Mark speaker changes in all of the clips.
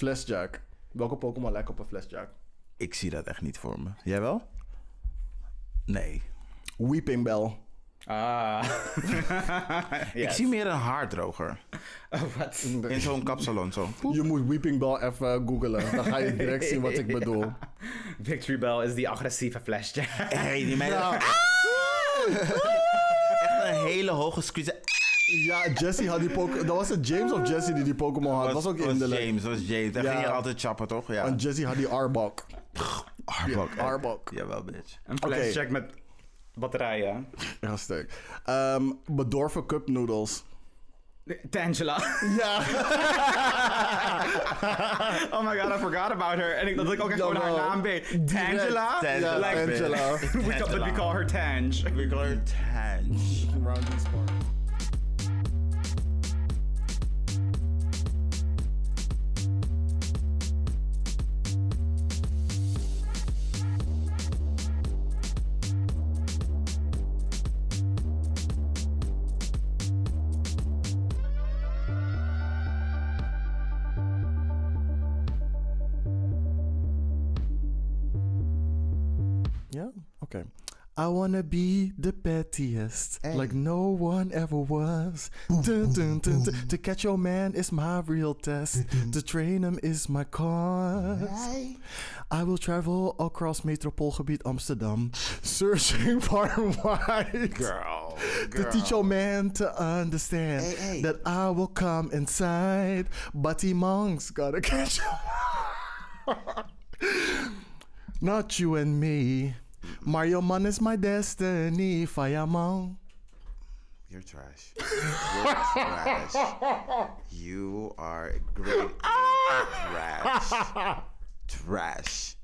Speaker 1: Flesjack. Welke Pokémon lijkt op een Flesjack?
Speaker 2: Ik zie dat echt niet voor me. Jij wel? Nee.
Speaker 1: Weeping Bell.
Speaker 2: Ah. Ik zie meer een haardroger.
Speaker 3: Oh, wat?
Speaker 2: In zo'n kapsalon zo.
Speaker 1: Je moet Weeping Bell even googlen. Dan ga je direct zien wat ik bedoel.
Speaker 3: Victory Bell is die agressieve flashjack.
Speaker 2: Hey, die meiden.
Speaker 1: Nou,
Speaker 2: Echt een hele hoge squeeze.
Speaker 1: ja, Jesse had die Pokémon... Dat was het James of Jesse die die Pokémon had? Dat was ook in de lijn.
Speaker 2: James, was James. Daar
Speaker 1: Ja.
Speaker 2: ging je altijd chappen, toch? Ja.
Speaker 1: Want Jesse had die Arbok.
Speaker 2: Arbok. hè?
Speaker 1: Arbok.
Speaker 2: Jawel, bitch.
Speaker 3: Een flashjack met batterijen.
Speaker 1: Ja, sterk. Ehm, bedorven cup noodles.
Speaker 3: Tangela.
Speaker 1: Ja.
Speaker 3: Oh my god, I forgot about her. En ik dat ik ook echt gewoon haar
Speaker 1: Jawel.
Speaker 3: naam weet. Tangela?
Speaker 2: Tangela,
Speaker 3: Like,
Speaker 2: bitch.
Speaker 1: Tangela.
Speaker 3: We, call, but we call her Tange.
Speaker 2: We call her Tange.
Speaker 1: Ja, oké. I wanna be the pettiest, like no one ever was. Dun, dun, dun, dun. To catch your man is my real test. To train him is my cause. I will travel across metropoolgebied Amsterdam, searching far and wide.
Speaker 2: Girl.
Speaker 1: To teach your man to understand that I will come inside, but he monks gotta catch Not you and me. Mario Man is my destiny, fireman.
Speaker 2: You're trash. You're trash. You are great trash. Trash.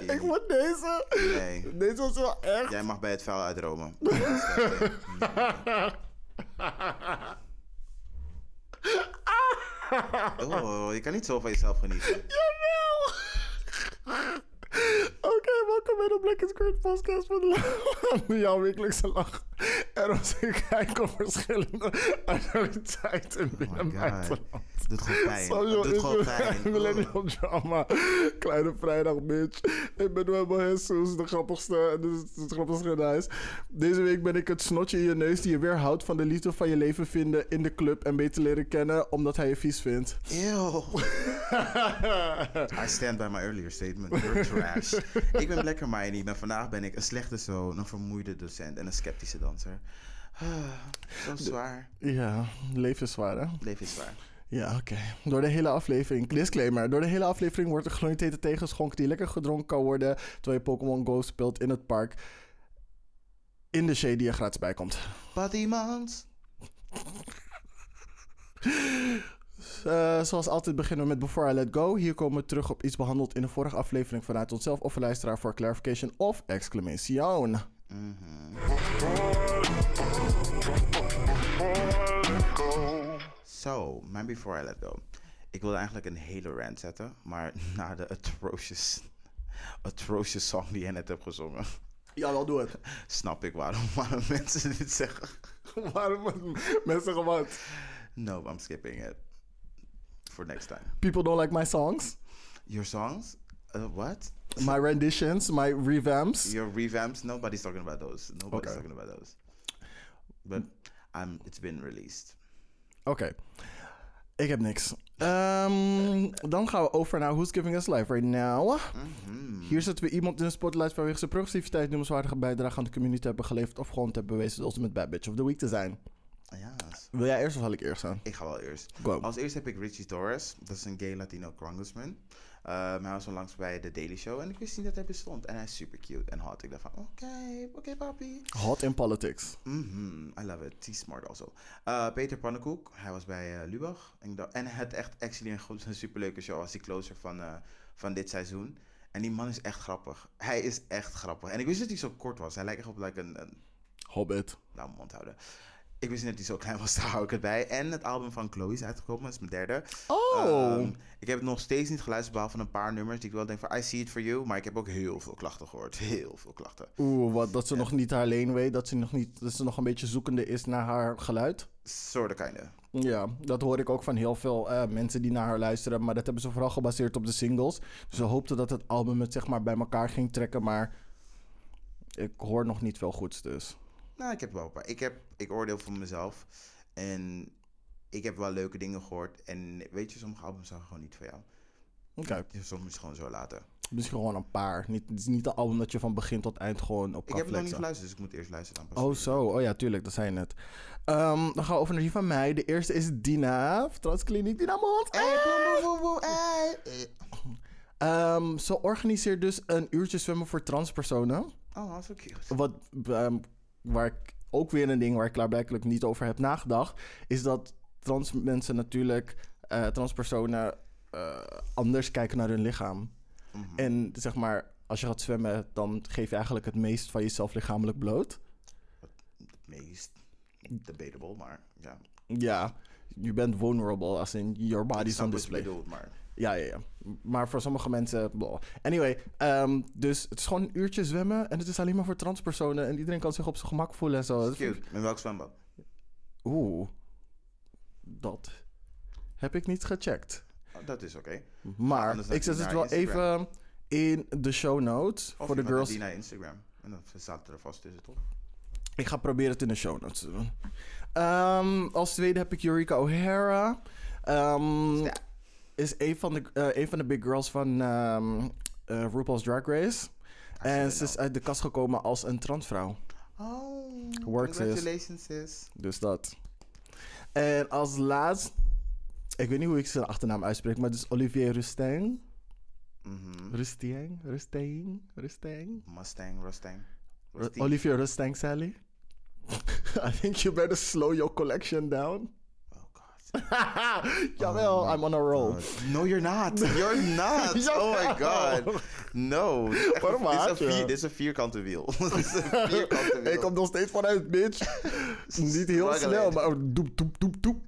Speaker 1: Ik moet deze.
Speaker 2: Nee.
Speaker 1: Deze was wel echt.
Speaker 2: Jij mag bij het vuil uitromen. Oh, je kan niet zo van jezelf genieten.
Speaker 1: Jawel! Oké, welkom bij de Black is Great podcast van de jouw wekelijkse lach. Er was een kijk op verschillende actualiteiten binnen
Speaker 2: Oh God.
Speaker 1: mijn land.
Speaker 2: Doet gewoon pijn.
Speaker 1: Social
Speaker 2: Doet gewoon
Speaker 1: issues en
Speaker 2: pijn. Oh.
Speaker 1: Millennial drama. Kleine vrijdag, bitch. Ik ben Webbo Jesus, de grappigste. Dit is het grappigste in huis. Deze week ben ik het snotje in je neus die je weerhoudt van de liefde van je leven vinden in de club en beter leren kennen omdat hij je vies vindt.
Speaker 2: Ew. I stand by my earlier statement. You're trash. ik ben Black Hermione en vandaag ben ik een slechte zoon, een vermoeide docent en een sceptische danser. Ah, zo zwaar.
Speaker 1: Ja, leven is zwaar, hè?
Speaker 2: Leven is zwaar.
Speaker 1: Ja, oké. Door de hele aflevering. Disclaimer. Door de hele aflevering wordt er gloniteten tegengeschonken die lekker gedronken kan worden terwijl je Pokémon Go speelt in het park. In de shade die er gratis bij komt.
Speaker 2: Bodymans.
Speaker 1: Eh, zoals altijd beginnen we met Before I Let Go. Hier komen we terug op iets behandeld in de vorige aflevering vanuit onszelf of een luisteraar voor clarification of exclamation.
Speaker 2: Zo, mijn Before I Let Go. Ik wilde eigenlijk een hele rant zetten, maar na de atrocious, atrocious song die jij net hebt gezongen,
Speaker 1: Ja, wel doe het.
Speaker 2: snap ik waarom, waarom mensen dit zeggen.
Speaker 1: Waarom mensen gewoon.
Speaker 2: No, I'm skipping it. For next time.
Speaker 1: People don't like my songs,
Speaker 2: Your songs? Uh, what?
Speaker 1: my renditions, my revamps.
Speaker 2: Your revamps? Nobody's talking about those. Nobody's
Speaker 1: Okay.
Speaker 2: talking about those. But um, it's been released.
Speaker 1: Oké. Ik heb niks. Ehm, dan gaan we over naar Who's Giving Us Life Right Now. Hier zetten we iemand in de spotlight vanwege zijn progressiviteit, noemenswaardige bijdrage aan de community hebben geleverd of gewoon te hebben bewezen de Ultimate Bad Bitch of the Week te zijn.
Speaker 2: Ja,
Speaker 1: Wil jij eerst of zal ik eerst gaan?
Speaker 2: ik ga wel eerst.
Speaker 1: Go.
Speaker 2: Als eerst heb ik Richie Torres. Dat is een gay Latino congressman. Ehm, hij was onlangs bij The Daily Show en ik wist niet dat hij bestond. En hij is super cute en hot. Ik dacht van, oké, oké papi.
Speaker 1: Hot in politics.
Speaker 2: Mhm, I love it. He's smart also. Eh, Peter Pannenkoek, hij was bij eh, Lubach. En ik dacht- En hij had echt actually een, goed- een superleuke show als die closer van, eh, van dit seizoen. En die man is echt grappig. Hij is echt grappig. En ik wist dat hij zo kort was. Hij lijkt echt op like een, een
Speaker 1: Hobbit.
Speaker 2: nou, mond houden. Ik wist niet dat hij zo klein was, daar hou ik het bij. En het album van Chloe is uitgekomen, dat is mijn derde.
Speaker 1: Oh.
Speaker 2: Ehm, ik heb het nog steeds niet geluisterd, behalve een paar nummers die ik wel denk van I see it for you. Maar ik heb ook heel veel klachten gehoord. Heel veel klachten.
Speaker 1: Oeh, wat, dat ze nog niet haar lane weet. Dat ze, nog niet, dat ze nog een beetje zoekende is naar haar geluid.
Speaker 2: Soort kinder.
Speaker 1: Ja, dat hoor ik ook van heel veel eh, mensen die naar haar luisteren. Maar dat hebben ze vooral gebaseerd op de singles. Dus Ze hoopten dat het album het zeg maar bij elkaar ging trekken. Maar ik hoor nog niet veel goeds dus.
Speaker 2: Nou, ik heb wel een paar. Ik, heb, ik oordeel voor mezelf. En ik heb wel leuke dingen gehoord. En weet je, sommige albums zijn gewoon niet voor jou.
Speaker 1: Oké,
Speaker 2: Soms gewoon zo laten.
Speaker 1: misschien gewoon een paar. Niet, het is niet een album dat je van begin tot eind gewoon op
Speaker 2: Ik
Speaker 1: kan
Speaker 2: heb het nog
Speaker 1: flexen.
Speaker 2: niet geluisterd, dus ik moet eerst luisteren. Dan pas.
Speaker 1: Oh zo, oh ja, tuurlijk, dat zijn het. Ehm, dan gaan we over naar die van mij. De eerste is Dina, Transkliniek Dina Mond.
Speaker 2: Hey, boe, boe, boe, boe, hey. Eh.
Speaker 1: Ehm, ze organiseert dus een uurtje zwemmen voor transpersonen.
Speaker 2: Oh, zo cute.
Speaker 1: Wat, ehm, waar ik ook weer een ding waar ik klaarblijkelijk niet over heb nagedacht, is dat trans mensen natuurlijk, eh, transpersonen, eh, anders kijken naar hun lichaam.
Speaker 2: Mhm.
Speaker 1: En zeg maar, als je gaat zwemmen, dan geef je eigenlijk het meest van jezelf lichamelijk bloot.
Speaker 2: Het meest debatable, maar ja.
Speaker 1: Ja, je bent vulnerable, als in your
Speaker 2: Ik
Speaker 1: body's
Speaker 2: snap
Speaker 1: on
Speaker 2: wat je
Speaker 1: display.
Speaker 2: bedoelt, maar
Speaker 1: Ja, ja, ja. Maar voor sommige mensen. blah. Anyway, ehm, dus het is gewoon een uurtje zwemmen. En het is alleen maar voor transpersonen. En iedereen kan zich op zijn gemak voelen en zo. Dat vind ik-
Speaker 2: cute. Met welk zwembad?
Speaker 1: Oeh. Dat heb ik niet gecheckt.
Speaker 2: Oh, dat is oké.
Speaker 1: Maar
Speaker 2: Anders dan
Speaker 1: ik zet
Speaker 2: naar
Speaker 1: het wel
Speaker 2: Instagram.
Speaker 1: even in de show notes.
Speaker 2: Of
Speaker 1: Voor de girls.
Speaker 2: die naar Instagram. En dan zaten er vast tussen, toch?
Speaker 1: Ik ga proberen het in de show notes te doen. Ehm, als tweede heb ik Eureka O'Hara. Ehm,
Speaker 2: Ja.
Speaker 1: Is een van, de, eh, een van de big girls van ehm, eh, RuPaul's Drag Race. En
Speaker 2: it
Speaker 1: ze is uit de kast gekomen als een transvrouw.
Speaker 2: Oh,
Speaker 1: Works is-
Speaker 2: congratulations, sis.
Speaker 1: Dus dat. En als laatst... Ik weet niet hoe ik zijn achternaam uitspreek, maar het is Olivier Rustin.
Speaker 2: Mhm.
Speaker 1: Rustin? Rustin? Rustin?
Speaker 2: Mustang, Rustang.
Speaker 1: Ru-
Speaker 2: Rusty.
Speaker 1: Olivier Rustin, Sally. I think you better slow your collection down.
Speaker 2: Oh, God.
Speaker 1: Jawel, I'm on a roll.
Speaker 2: No, you're not. You're not. Oh my god. No. Dit is echt-
Speaker 1: Waarom
Speaker 2: dit is een
Speaker 1: haat je?
Speaker 2: vier- Dit is een vierkante wiel. dit is een vierkante wiel.
Speaker 1: Ik kom nog steeds vanuit, bitch. Niet heel
Speaker 2: Struggling.
Speaker 1: snel, maar doep, doep, doep, doep.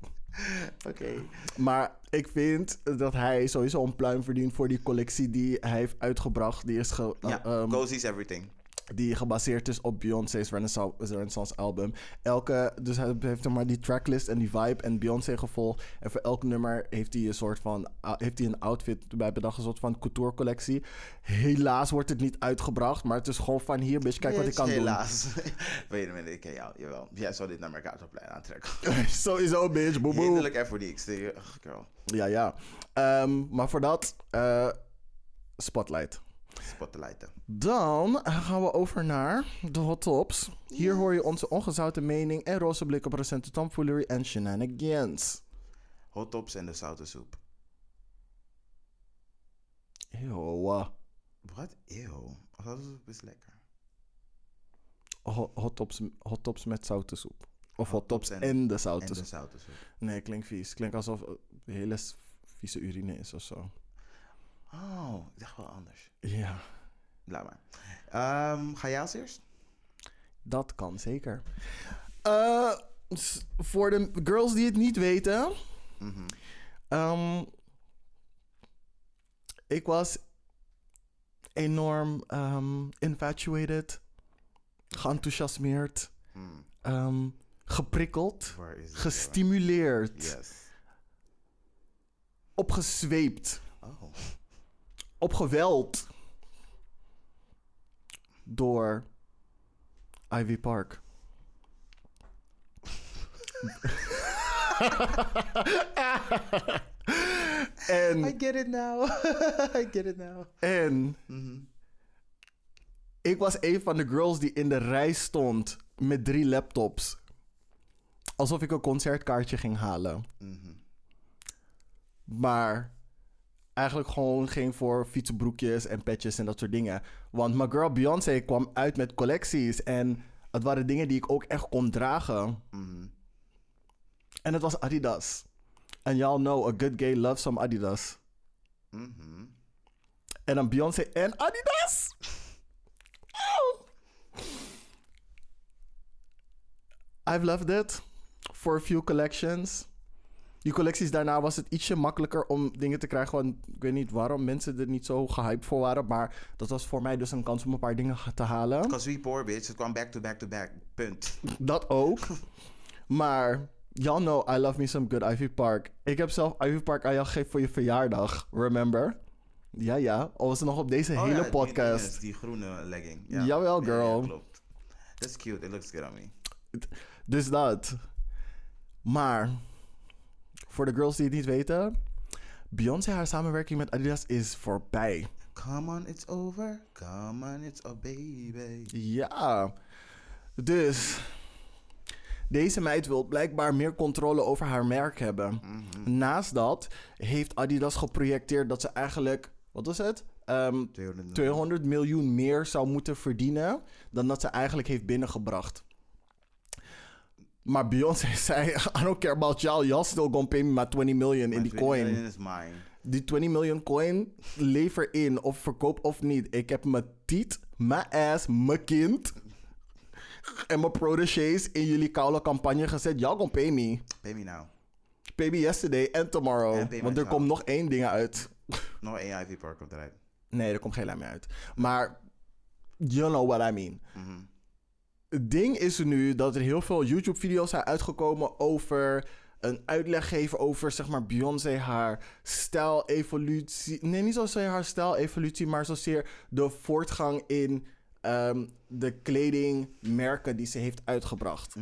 Speaker 2: Oké.
Speaker 1: Maar ik vind dat hij sowieso een pluim verdient voor die collectie die hij heeft uitgebracht. Die, is ge-
Speaker 2: Ja,
Speaker 1: eh, ehm,
Speaker 2: Cozy's everything.
Speaker 1: die gebaseerd is op Beyoncé's Renaissance, Renaissance album. Elke, dus hij heeft zeg maar die tracklist en die vibe en Beyoncé gevolg. En voor elk nummer heeft hij een soort van, ah, heeft hij een outfit bij bedacht, een soort van couture collectie. Helaas wordt het niet uitgebracht, maar het is gewoon van hier, bitch, kijk wat ik
Speaker 2: Yes,
Speaker 1: kan
Speaker 2: Helaas. Wait a minute, ik ken jou. Jawel. Jij zou dit naar Mercatorplein aantrekken.
Speaker 1: doen. Sowieso, bitch, boe boe.
Speaker 2: Hinderlijk FODX. Ach, girl.
Speaker 1: Ja, ja. Ehm, maar voor dat, eh, Spotlight.
Speaker 2: Spotlighten.
Speaker 1: Dan gaan we over naar de hot tops. Hier hoor je onze ongezouten mening en roze blik op recente tomfoolery en shenanigans.
Speaker 2: Hot tops en de zoute soep.
Speaker 1: Eeuw. eh,
Speaker 2: Wat? Eeuw. Zoute soep is lekker.
Speaker 1: Hot, hot tops, hot tops met zoute soep. Of hot, tops
Speaker 2: tops
Speaker 1: en,
Speaker 2: en-
Speaker 1: de
Speaker 2: En
Speaker 1: zoute
Speaker 2: de
Speaker 1: soep.
Speaker 2: zoute soep.
Speaker 1: Nee, klinkt vies. Klinkt alsof eh, de hele s- vieze urine is of zo.
Speaker 2: Oh, ik dacht wel anders.
Speaker 1: Ja,
Speaker 2: Laat maar. Ehm, ga jij als eerst?
Speaker 1: dat kan zeker. Eh, s- voor de girls die het niet weten.
Speaker 2: Mhm.
Speaker 1: ehm, ik was enorm ehm, infatuated, geenthousiasmeerd,
Speaker 2: Mm,
Speaker 1: ehm, geprikkeld,
Speaker 2: waar is het?
Speaker 1: gestimuleerd.
Speaker 2: Yes.
Speaker 1: opgezweept,
Speaker 2: Oh.
Speaker 1: opgeweld door Ivy Park. en,
Speaker 2: get it now. I get it now.
Speaker 1: en ik was een van de girls die in de rij stond met drie laptops. Alsof ik een concertkaartje ging halen. Maar eigenlijk gewoon ging voor fietsenbroekjes en petjes en dat soort dingen. Want my girl Beyoncé kwam uit met collecties. En het waren dingen die ik ook echt kon dragen. En het was Adidas. En y'all know, a good gay loves some Adidas. En dan Beyoncé en Adidas. Au. I've loved it. for a few collections. Die collecties daarna was het ietsje makkelijker om dingen te krijgen. Want ik weet niet waarom mensen er niet zo gehyped voor waren. Maar dat was voor mij dus een kans om een paar dingen te halen.
Speaker 2: Because we poor, bitch. Het kwam back to back to back. Punt.
Speaker 1: Dat ook. Maar y'all know I love me some good Ivy Park. Ik heb zelf Ivy Park aan jou gegeven voor je verjaardag. Remember? Ja, ja. Al was het nog op deze
Speaker 2: Oh ja,
Speaker 1: hele
Speaker 2: die
Speaker 1: podcast.
Speaker 2: dinges, Die groene legging. Ja.
Speaker 1: Jawel,
Speaker 2: Ja, ja,
Speaker 1: girl.
Speaker 2: klopt. That's cute. It looks good on me.
Speaker 1: Dus dat. Maar, voor de girls die het niet weten... Beyoncé, haar samenwerking met Adidas is voorbij.
Speaker 2: Come on, it's over. Come on, it's a baby.
Speaker 1: Ja. Dus. Deze meid wil blijkbaar meer controle over haar merk hebben. Naast dat heeft Adidas geprojecteerd dat ze eigenlijk. Wat was het? Ehm,
Speaker 2: 200.
Speaker 1: 200 miljoen meer zou moeten verdienen. dan dat ze eigenlijk heeft binnengebracht. Maar Beyoncé zei: I don't care about y'all. Y'all still gonna pay me my 20 million in die coin.
Speaker 2: Million is mine.
Speaker 1: Die 20 miljoen coin, lever in of verkoop of niet. Ik heb mijn tiet, mijn ass, mijn kind en mijn protégés in jullie koude campagne gezet. Y'all gonna pay me.
Speaker 2: Pay me now.
Speaker 1: Pay me yesterday en tomorrow.
Speaker 2: En pay my
Speaker 1: want er
Speaker 2: child.
Speaker 1: komt nog één ding uit.
Speaker 2: Nog één Ivy Park komt eruit.
Speaker 1: Nee, er komt geen lijn meer uit. Maar you know what I mean. Het ding is nu dat er heel veel YouTube-video's zijn uitgekomen over een uitleg geven over zeg maar Beyoncé haar stijl-evolutie. Nee, niet zozeer haar stijl-evolutie, maar zozeer de voortgang in ehm, de kledingmerken die ze heeft uitgebracht.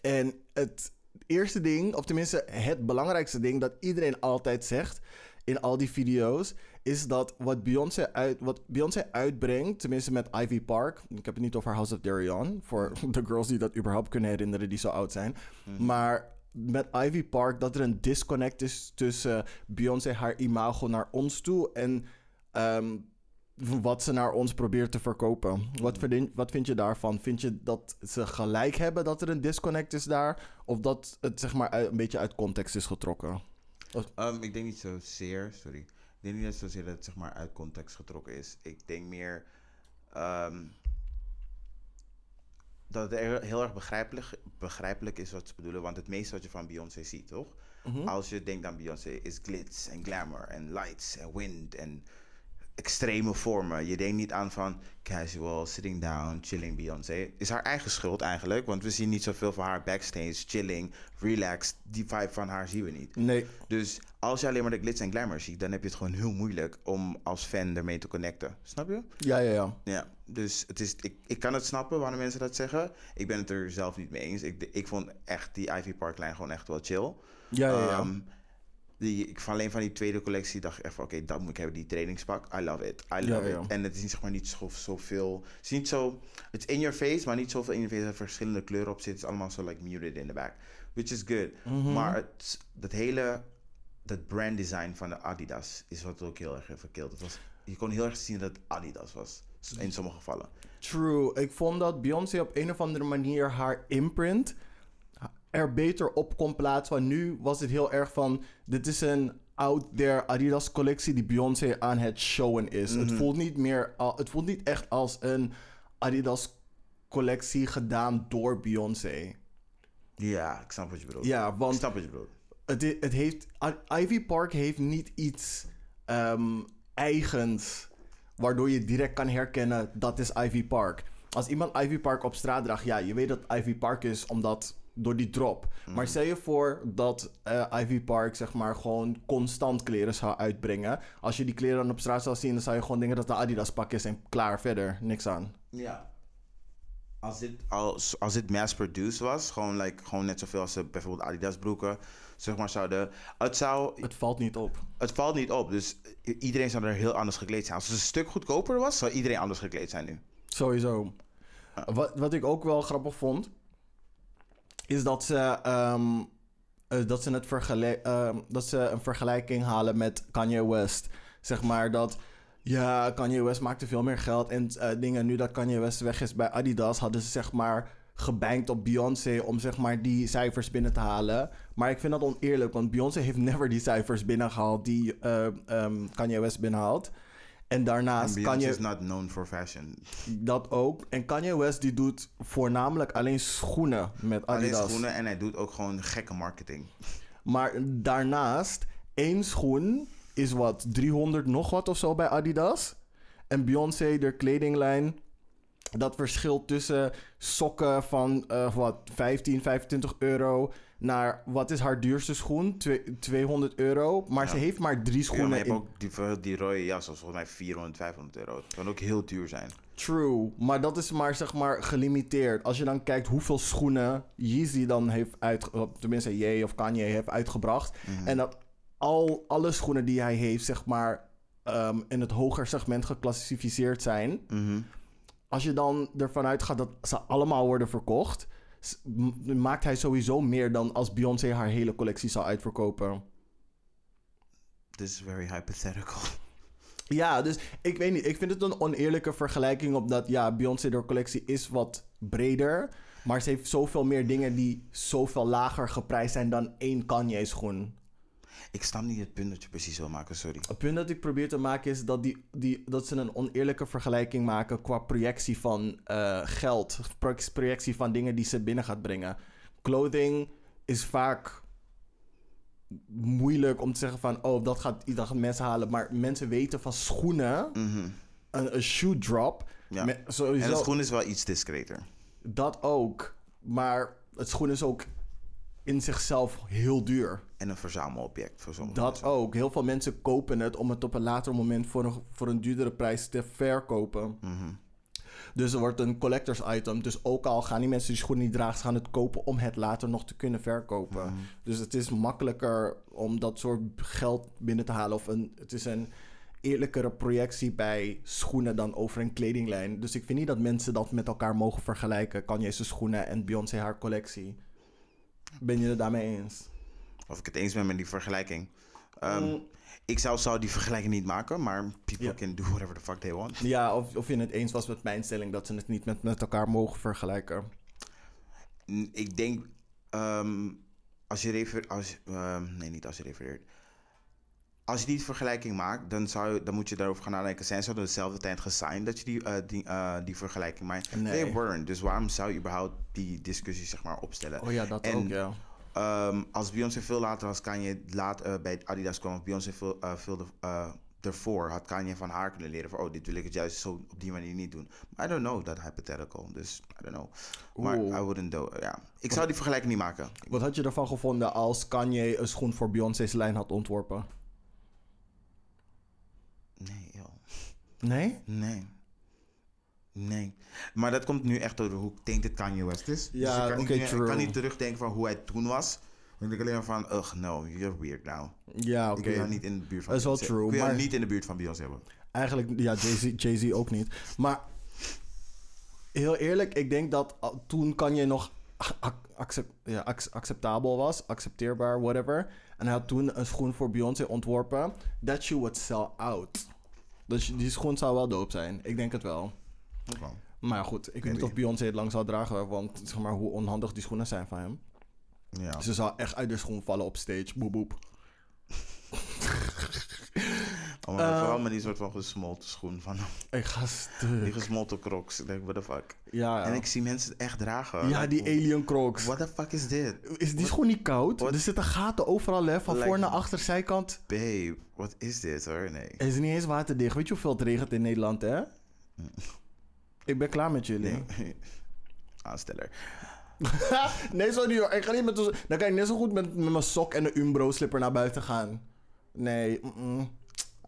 Speaker 1: En het eerste ding, of tenminste het belangrijkste ding dat iedereen altijd zegt in al die video's, is dat wat Beyoncé, uit, wat Beyoncé uitbrengt, tenminste met Ivy Park, ik heb het niet over House of Darion, voor de girls die dat überhaupt kunnen herinneren die zo oud zijn, maar met Ivy Park dat er een disconnect is tussen Beyoncé haar imago naar ons toe en ehm, wat ze naar ons probeert te verkopen. Wat, verdien- wat vind je daarvan? Vind je dat ze gelijk hebben dat er een disconnect is daar? Of dat het zeg maar uit- een beetje uit context is getrokken?
Speaker 2: Ehm, ik denk niet zozeer, sorry. Ik denk niet dat zozeer dat het zeg maar uit context getrokken is. Ik denk meer ehm, dat het heel- heel erg begrijpelijk, begrijpelijk is wat ze bedoelen. Want het meeste wat je van Beyoncé ziet, toch? Als je denkt aan Beyoncé, is glitz en glamour en lights en wind en extreme vormen. Je denkt niet aan van casual, sitting down, chilling Beyoncé. Is haar eigen schuld eigenlijk, want we zien niet zoveel van haar backstage, chilling, relaxed. Die vibe van haar zien we niet.
Speaker 1: Nee.
Speaker 2: Dus als je alleen maar de glitz en glamour ziet, dan heb je het gewoon heel moeilijk om als fan ermee te connecten. Snap je?
Speaker 1: Ja, ja, ja.
Speaker 2: Ja, dus het is, ik, ik kan het snappen waarom mensen dat zeggen. Ik ben het er zelf niet mee eens. Ik, ik vond echt die Ivy Park-lijn gewoon echt wel chill.
Speaker 1: Ja, ja, ja.
Speaker 2: Ehm, die, ik, van alleen van die tweede collectie dacht ik echt van... oké, dat moet ik hebben, die trainingspak. I love it, I love
Speaker 1: Ja, ja.
Speaker 2: it. En het is zeg maar niet zo- zoveel... het is niet zo... Het is in your face, maar niet zoveel in your face... dat er verschillende kleuren op zitten. Het is allemaal zo like muted in the back. Which is good.
Speaker 1: Mhm.
Speaker 2: Maar het, dat hele... dat brand design van de Adidas... is wat ook heel erg verkeerd. Het was, je kon heel erg zien dat het Adidas was. In sommige gevallen.
Speaker 1: True. Ik vond dat Beyoncé op een of andere manier haar imprint er beter op kon plaatsen. Want nu was het heel erg van: dit is een out there Adidas collectie die Beyoncé aan het showen is. Het voelt niet meer, al- het voelt niet echt als een Adidas collectie gedaan door Beyoncé.
Speaker 2: Ja, ik snap wat je bedoelt.
Speaker 1: Ja,
Speaker 2: Ik
Speaker 1: want
Speaker 2: snap wat je bedoelt.
Speaker 1: het, i- het heeft, I- Ivy Park heeft niet iets ehm, eigens waardoor je direct kan herkennen dat is Ivy Park. Als iemand Ivy Park op straat draagt, ja, je weet dat het Ivy Park is omdat door die drop. Maar stel je voor dat eh, Ivy Park zeg maar gewoon constant kleren zou uitbrengen. Als je die kleren dan op straat zou zien, dan zou je gewoon denken dat het een Adidas pak is en klaar verder, niks aan.
Speaker 2: Ja. Als dit, als, als dit mass-produced was, gewoon, like, gewoon net zoveel als de bijvoorbeeld Adidas broeken, zeg maar, zouden... Het, zou,
Speaker 1: Het valt niet op.
Speaker 2: het valt niet op, dus i- iedereen zou er heel anders gekleed zijn. Als het een stuk goedkoper was, zou iedereen anders gekleed zijn nu.
Speaker 1: Sowieso. Wat, wat ik ook wel grappig vond, is dat ze, ehm, eh, dat, ze het vergele- ehm, dat ze een vergelijking halen met Kanye West. Zeg maar dat, ja, Kanye West maakte veel meer geld en eh, dingen. Nu dat Kanye West weg is bij Adidas, hadden ze zeg maar gebankt op Beyoncé om zeg maar die cijfers binnen te halen. Maar ik vind dat oneerlijk, want Beyoncé heeft never die cijfers binnengehaald die eh, ehm, Kanye West binnenhaalt. En daarnaast
Speaker 2: Beyoncé
Speaker 1: kan je
Speaker 2: is not known for fashion.
Speaker 1: dat ook. En Kanye West die doet voornamelijk alleen schoenen met
Speaker 2: Alleen
Speaker 1: Adidas.
Speaker 2: schoenen en hij doet ook gewoon gekke marketing.
Speaker 1: Maar daarnaast, één schoen is wat 300 nog wat of zo bij Adidas. En Beyoncé, de kledinglijn, dat verschilt tussen sokken van eh, wat 15, 25 euro naar wat is haar duurste schoen? Twee- 200 euro. Maar ze heeft maar drie
Speaker 2: Ja, maar je
Speaker 1: schoenen
Speaker 2: hebt
Speaker 1: in.
Speaker 2: ook die, voor die rode jas, dat is volgens mij 400, 500 euro. Het kan ook heel duur zijn.
Speaker 1: True, maar dat is maar zeg maar gelimiteerd. Als je dan kijkt hoeveel schoenen Yeezy dan heeft uit, of tenminste Ye of Kanye heeft uitgebracht, en dat al alle schoenen die hij heeft zeg maar ehm, in het hoger segment geclassificeerd zijn, als je dan ervan uitgaat dat ze allemaal worden verkocht, s- m- maakt hij sowieso meer dan als Beyoncé haar hele collectie zou uitverkopen.
Speaker 2: This is very hypothetical.
Speaker 1: Ja, dus ik weet niet. Ik vind het een oneerlijke vergelijking. Omdat ja, Beyoncé door collectie is wat breder. Maar ze heeft zoveel meer dingen die zoveel lager geprijsd zijn dan één Kanye schoen.
Speaker 2: Ik snap niet het punt dat je precies wil maken, sorry.
Speaker 1: Het punt dat ik probeer te maken is dat, die, die, dat ze een oneerlijke vergelijking maken qua projectie van eh, geld. pro- Projectie van dingen die ze binnen gaat brengen. Clothing is vaak moeilijk om te zeggen van... oh, dat gaat, dat gaan mensen halen. Maar mensen weten van schoenen... een, een shoe drop...
Speaker 2: Mhm. Ja.
Speaker 1: me-
Speaker 2: En
Speaker 1: sowieso,
Speaker 2: het schoen is wel iets discreter.
Speaker 1: Dat ook. Maar het schoen is ook in zichzelf heel duur.
Speaker 2: En een verzamelobject voor sommigen.
Speaker 1: Dat ook. Heel veel mensen kopen het om het op een later moment voor een, voor een duurdere prijs te verkopen. Dus er wordt een collectors item. Dus ook al gaan die mensen die schoenen niet dragen, ze gaan het kopen om het later nog te kunnen verkopen. Dus het is makkelijker om dat soort geld binnen te halen. Of een, het is een eerlijkere projectie bij schoenen dan over een kledinglijn. Dus ik vind niet dat mensen dat met elkaar mogen vergelijken. Kanye zijn schoenen en Beyoncé haar collectie. Ben je het daarmee eens?
Speaker 2: Of ik het eens ben met die vergelijking. Ehm, Ik zou, zou die vergelijking niet maken, maar people
Speaker 1: Mm. Ja.
Speaker 2: can do whatever the fuck they want.
Speaker 1: Ja, of, of je het eens was met mijn stelling dat ze het niet met, met elkaar mogen vergelijken.
Speaker 2: N- Ik denk, ehm, als je refereert, als, ehm, nee niet als je refereert. Als je die vergelijking maakt, dan, zou je, dan moet je daarover gaan nadenken. Zijn ze op dezelfde tijd gesigned dat je die, eh, die, eh, die vergelijking maakt?
Speaker 1: Nee.
Speaker 2: They weren't. Dus waarom zou je überhaupt die discussie zeg maar opstellen?
Speaker 1: Oh ja, dat
Speaker 2: En-
Speaker 1: ook, ja.
Speaker 2: Ehm, als Beyoncé veel later was Kanye laat, eh, bij Adidas kwam, of Beyoncé veel, eh, veel de- eh, ervoor, had Kanye van haar kunnen leren van, oh, dit wil ik het juist zo op die manier niet doen. I don't know, that hypothetical, dus I don't know. Maar
Speaker 1: Oeh.
Speaker 2: I wouldn't do, ja. Ik zou die vergelijking niet maken.
Speaker 1: Wat had je ervan gevonden als Kanye een schoen voor Beyoncé's lijn had ontworpen?
Speaker 2: Nee, joh.
Speaker 1: Nee?
Speaker 2: Nee. Nee. Maar dat komt nu echt door hoe ik denk dat Kanye West is. Dus
Speaker 1: Ja,
Speaker 2: ik kan niet
Speaker 1: oké,
Speaker 2: meer- Ik
Speaker 1: true.
Speaker 2: kan niet terugdenken van hoe hij toen was. Ik denk alleen maar van, ugh, no, you're weird now.
Speaker 1: Ja,
Speaker 2: Ik
Speaker 1: oké.
Speaker 2: wil jou niet in de buurt van
Speaker 1: Dat is wel
Speaker 2: Beyoncé-
Speaker 1: true,
Speaker 2: Ik wil jou
Speaker 1: maar-
Speaker 2: niet in de buurt van Beyoncé hebben.
Speaker 1: Eigenlijk, ja, Jay-Z Jay-Z ook niet. Maar heel eerlijk, ik denk dat al- toen Kanye nog ac- accep- ja, ac- acceptabel was, accepteerbaar, whatever. En hij had toen een schoen voor Beyoncé ontworpen. That shoe would sell out. Dus die schoen zou wel doop zijn. Ik denk het wel.
Speaker 2: Oké.
Speaker 1: Maar goed, ik weet niet
Speaker 2: Maybe.
Speaker 1: of Beyoncé het lang zal dragen, want zeg maar hoe onhandig die schoenen zijn van hem.
Speaker 2: Ja.
Speaker 1: Ze zou echt uit de schoen vallen op stage, boep boep.
Speaker 2: Oh, maar
Speaker 1: ehm,
Speaker 2: vooral met die soort van gesmolten schoen van
Speaker 1: Ik ga
Speaker 2: die
Speaker 1: stuk.
Speaker 2: gesmolten crocs. Ik denk, what the fuck.
Speaker 1: Ja,
Speaker 2: En
Speaker 1: ja.
Speaker 2: ik zie mensen het echt dragen.
Speaker 1: ja
Speaker 2: Like,
Speaker 1: die alien crocs.
Speaker 2: What the fuck is dit?
Speaker 1: Is die schoen niet koud?
Speaker 2: Wat?
Speaker 1: Er zitten gaten overal, hè? Van
Speaker 2: Lijkt
Speaker 1: voor
Speaker 2: me.
Speaker 1: naar achter, zijkant.
Speaker 2: Babe, wat is dit hoor? Nee.
Speaker 1: Het is niet eens waterdicht. Weet je hoeveel het regent in Nederland, hè? Ik ben klaar met jullie. Nee,
Speaker 2: nee. Aansteller.
Speaker 1: sorry hoor. Ik ga niet met ons... Dan kan ik net zo goed met, met mijn sok en een Umbro-slipper naar buiten gaan. Nee, mm-mm.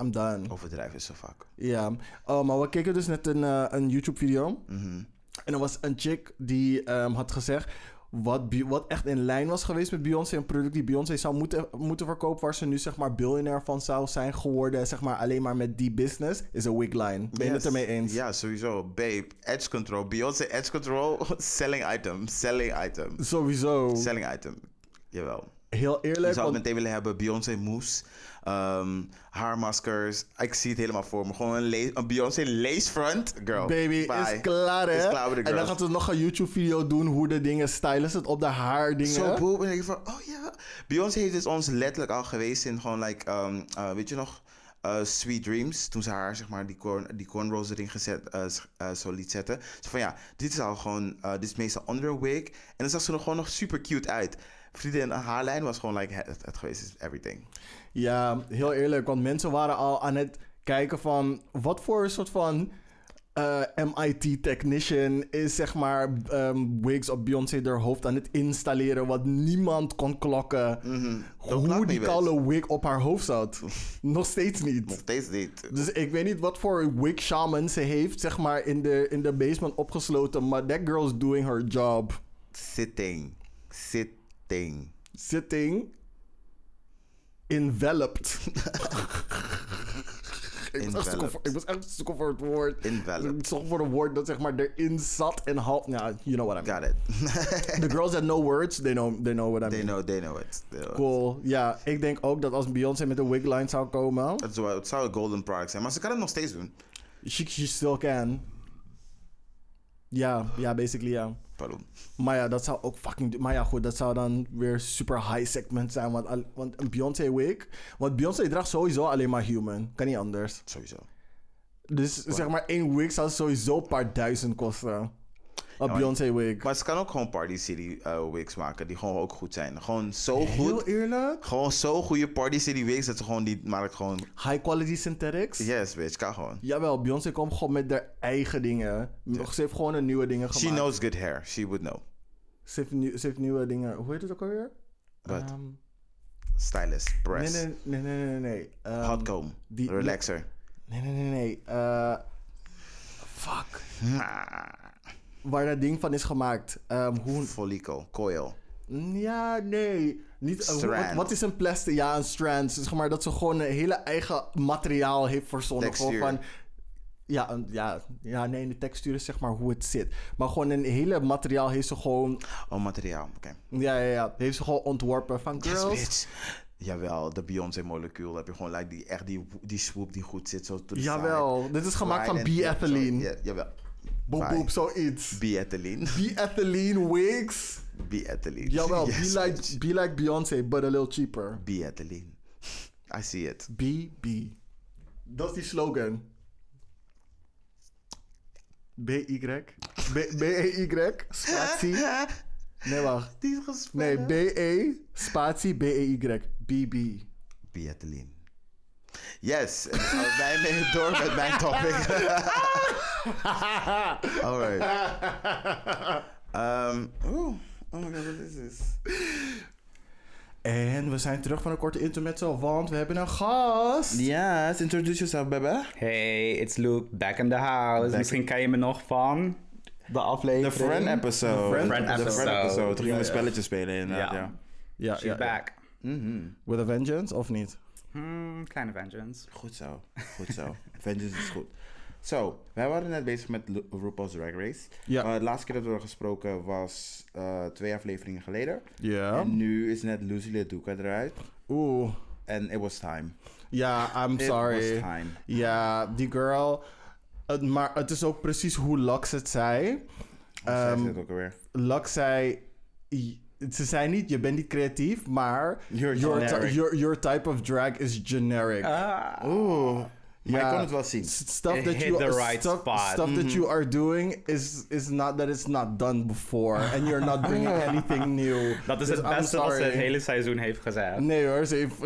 Speaker 1: I'm done.
Speaker 2: Overdrijven is zo vaak.
Speaker 1: Ja, oh, maar we keken dus net een, eh, een YouTube-video.
Speaker 2: Mhm.
Speaker 1: En er was een chick die ehm, had gezegd. Wat, Be- wat echt in lijn was geweest met Beyoncé. Een product die Beyoncé zou moeten, moeten verkopen. Waar ze nu zeg maar biljonair van zou zijn geworden. Zeg maar alleen maar met die business. Is een wigline. Ben je het ermee eens?
Speaker 2: Ja, sowieso. Babe, edge control. Beyoncé edge control. selling item. Selling item.
Speaker 1: Sowieso.
Speaker 2: Selling item. Jawel.
Speaker 1: Heel
Speaker 2: Je
Speaker 1: eerlijk.
Speaker 2: zou het
Speaker 1: want-
Speaker 2: meteen willen hebben. Beyoncé moes. ehm, haarmaskers. Ik zie het helemaal voor me. Gewoon een, lace- een Beyoncé lacefront. Girl.
Speaker 1: Baby,
Speaker 2: oh, bye.
Speaker 1: is klaar hè?
Speaker 2: Is klaar met de
Speaker 1: en dan
Speaker 2: girls.
Speaker 1: gaat ze nog een YouTube-video doen hoe de dingen stylen. Ze het op de haar dingen.
Speaker 2: Zo boep. En dan denk je van, oh ja. Beyoncé heeft dus ons letterlijk al geweest in gewoon, like, ehm, eh, weet je nog,
Speaker 4: eh, Sweet Dreams, toen ze haar, zeg maar, die, corn, die cornrows erin gezet, eh, z- eh, zo liet zetten. Ze van ja, dit is al gewoon, eh, dit is meestal under a wig. En dan zag ze er gewoon nog super cute uit. Vriendin, haar lijn was gewoon like, het, het geweest is everything.
Speaker 1: Ja, heel eerlijk, want mensen waren al aan het kijken van wat voor soort van eh, MIT technician is zeg maar ehm, wigs op Beyoncé haar hoofd aan het installeren wat niemand kon klokken. Hoe
Speaker 4: klokt
Speaker 1: die
Speaker 4: niet,
Speaker 1: koude wig op haar hoofd zat. Nog steeds
Speaker 4: Nog
Speaker 1: niet.
Speaker 4: steeds niet.
Speaker 1: Dus ik weet niet wat voor wig shaman ze heeft zeg maar in de, in de basement opgesloten, maar that girl's doing her job.
Speaker 4: Sitting. Sitting.
Speaker 1: Sitting enveloped. Ik was, echt zoeken voor,
Speaker 4: Enveloped.
Speaker 1: ik was echt zoeken voor het woord.
Speaker 4: Enveloped.
Speaker 1: Ik zocht voor een woord dat zeg maar erin zat en half. Nou, you know what I mean.
Speaker 4: Got it.
Speaker 1: The girls that know words, they know, they know what I
Speaker 4: They
Speaker 1: mean.
Speaker 4: know, they know it. They know it.
Speaker 1: Cool. Ja, ik denk ook dat als Beyoncé met een wigline zou komen,
Speaker 4: Het zou, het zou een golden product zijn, maar ze kan het nog steeds doen.
Speaker 1: she, she still can. Ja, ja, basically ja.
Speaker 4: Pardon.
Speaker 1: Maar ja, dat zou ook fucking... du- Maar ja, goed, dat zou dan weer super high segment zijn. Want, al- want een Beyoncé wig... Want Beyoncé draagt sowieso alleen maar human. Kan niet anders.
Speaker 4: Sowieso.
Speaker 1: Dus zeg maar één wig zou sowieso een paar duizend kosten. Een Beyoncé wig.
Speaker 4: Maar ze kan ook gewoon Party City eh, wigs maken, die gewoon ook goed zijn. Gewoon zo
Speaker 1: Heel
Speaker 4: goed.
Speaker 1: eerlijk.
Speaker 4: Gewoon zo goede Party City wigs dat ze gewoon die maar ik gewoon.
Speaker 1: High quality synthetics.
Speaker 4: Yes, bitch, kan gewoon.
Speaker 1: Jawel, Beyoncé komt gewoon met haar eigen dingen. Ze heeft gewoon een nieuwe dingen
Speaker 4: She
Speaker 1: gemaakt.
Speaker 4: knows good hair. She would know.
Speaker 1: Ze, heeft nieuw- ze heeft nieuwe dingen... Hoe heet het ook alweer?
Speaker 4: Wat?
Speaker 1: Ehm,
Speaker 4: Stylist,
Speaker 1: nee,
Speaker 4: press,
Speaker 1: nee, nee, nee, nee, nee. Ehm,
Speaker 4: hot comb,
Speaker 1: die-
Speaker 4: relaxer.
Speaker 1: nee, nee, nee, nee. Eh, fuck.
Speaker 4: Ah,
Speaker 1: Waar dat ding van is gemaakt. Ehm, hoe... mm,
Speaker 4: Follicle, coil.
Speaker 1: Ja, nee. Niet, eh, hoe- wat,
Speaker 4: Strand.
Speaker 1: wat is een plastic? Ja, een strand. Dus zeg maar dat ze gewoon een hele eigen materiaal heeft verzonnen. Gewoon
Speaker 4: Textuur.
Speaker 1: van, ja, een- ja, ja, nee, de textuur is zeg maar hoe het zit. Maar gewoon een hele materiaal heeft ze gewoon...
Speaker 4: Oh, materiaal. Oké.
Speaker 1: Ja, ja, ja. Heeft ze gewoon ontworpen van
Speaker 4: Yes,
Speaker 1: girls.
Speaker 4: bitch. Jawel, de Beyoncé-molecuul. Heb je gewoon like, die, echt die, die swoop die goed zit. Zo to the
Speaker 1: Jawel.
Speaker 4: side.
Speaker 1: Dit is gemaakt
Speaker 4: Right
Speaker 1: van
Speaker 4: and-
Speaker 1: B-ethylene.
Speaker 4: Ja, jawel.
Speaker 1: Boep,
Speaker 4: Fine.
Speaker 1: boep, zoiets.
Speaker 4: B-ethylene.
Speaker 1: B-ethylene wigs.
Speaker 4: B-ethylene.
Speaker 1: Jawel,
Speaker 4: Yes,
Speaker 1: be,
Speaker 4: bitch.
Speaker 1: like, be like Beyoncé, but a little cheaper.
Speaker 4: B-ethylene. I see it.
Speaker 1: BB. Dat is die slogan. B-Y. B- B-E-Y. Spatie. Nee, wacht.
Speaker 4: Eh, Die is
Speaker 1: Nee,
Speaker 4: gespeeld.
Speaker 1: B-E. Spatie. E B-E-Y. BB.
Speaker 4: B-ethylene. Yes. En dan gaan we Wij mee door met mijn topic. Alright. Ehm, oeh. Oh my god, wat is dit?
Speaker 1: En we zijn terug van een korte intermezzo, want we hebben een gast.
Speaker 4: Yes, introduce yourself, baby.
Speaker 3: Hey, it's Luke, back in the house. Misschien ken je me nog van de
Speaker 2: De
Speaker 3: aflevering.
Speaker 2: friend episode.
Speaker 1: De friend
Speaker 2: De
Speaker 3: episode.
Speaker 2: friend episode. Toen
Speaker 3: Ja,
Speaker 2: gingen we
Speaker 3: ja.
Speaker 2: spelletjes spelen inderdaad,
Speaker 3: Ja.
Speaker 2: ja.
Speaker 1: Ja,
Speaker 3: She's back.
Speaker 1: With a vengeance, of niet?
Speaker 3: Hmm, kleine vengeance.
Speaker 2: Goed zo. Goed zo. Vengeance is goed. Zo, wij waren net bezig met Lu- RuPaul's Drag Race.
Speaker 1: Ja.
Speaker 2: Eh, de laatste keer dat we hadden gesproken was eh, twee afleveringen geleden.
Speaker 1: Ja.
Speaker 2: En nu is net Lucy Leduca eruit.
Speaker 1: Oeh.
Speaker 2: En it was time.
Speaker 1: Ja, I'm
Speaker 2: It
Speaker 1: sorry.
Speaker 2: was time.
Speaker 1: Ja, die girl. Het, maar het is ook precies hoe Lux het zei.
Speaker 2: Hoe zei
Speaker 1: Ehm,
Speaker 2: ze dat ook alweer?
Speaker 1: Lux zei. i- Ze zei niet, je bent niet creatief, maar.
Speaker 2: You're
Speaker 1: your,
Speaker 2: generic.
Speaker 1: ti- your, your type of drag is generic.
Speaker 3: Ah,
Speaker 2: Ah. Oeh. Maar
Speaker 1: Ja.
Speaker 2: ik kon het wel zien.
Speaker 1: S- Stuff
Speaker 3: It
Speaker 1: that
Speaker 3: hit
Speaker 1: you,
Speaker 3: the right
Speaker 1: stuff,
Speaker 3: spot.
Speaker 1: stuff that you are doing is, is not that it's not done before. And you're not bringing anything new.
Speaker 3: Dat is
Speaker 1: Dus
Speaker 3: het
Speaker 1: I'm
Speaker 3: beste wat ze het
Speaker 1: sorry.
Speaker 3: hele seizoen heeft gezegd.
Speaker 1: Nee hoor, ze heeft.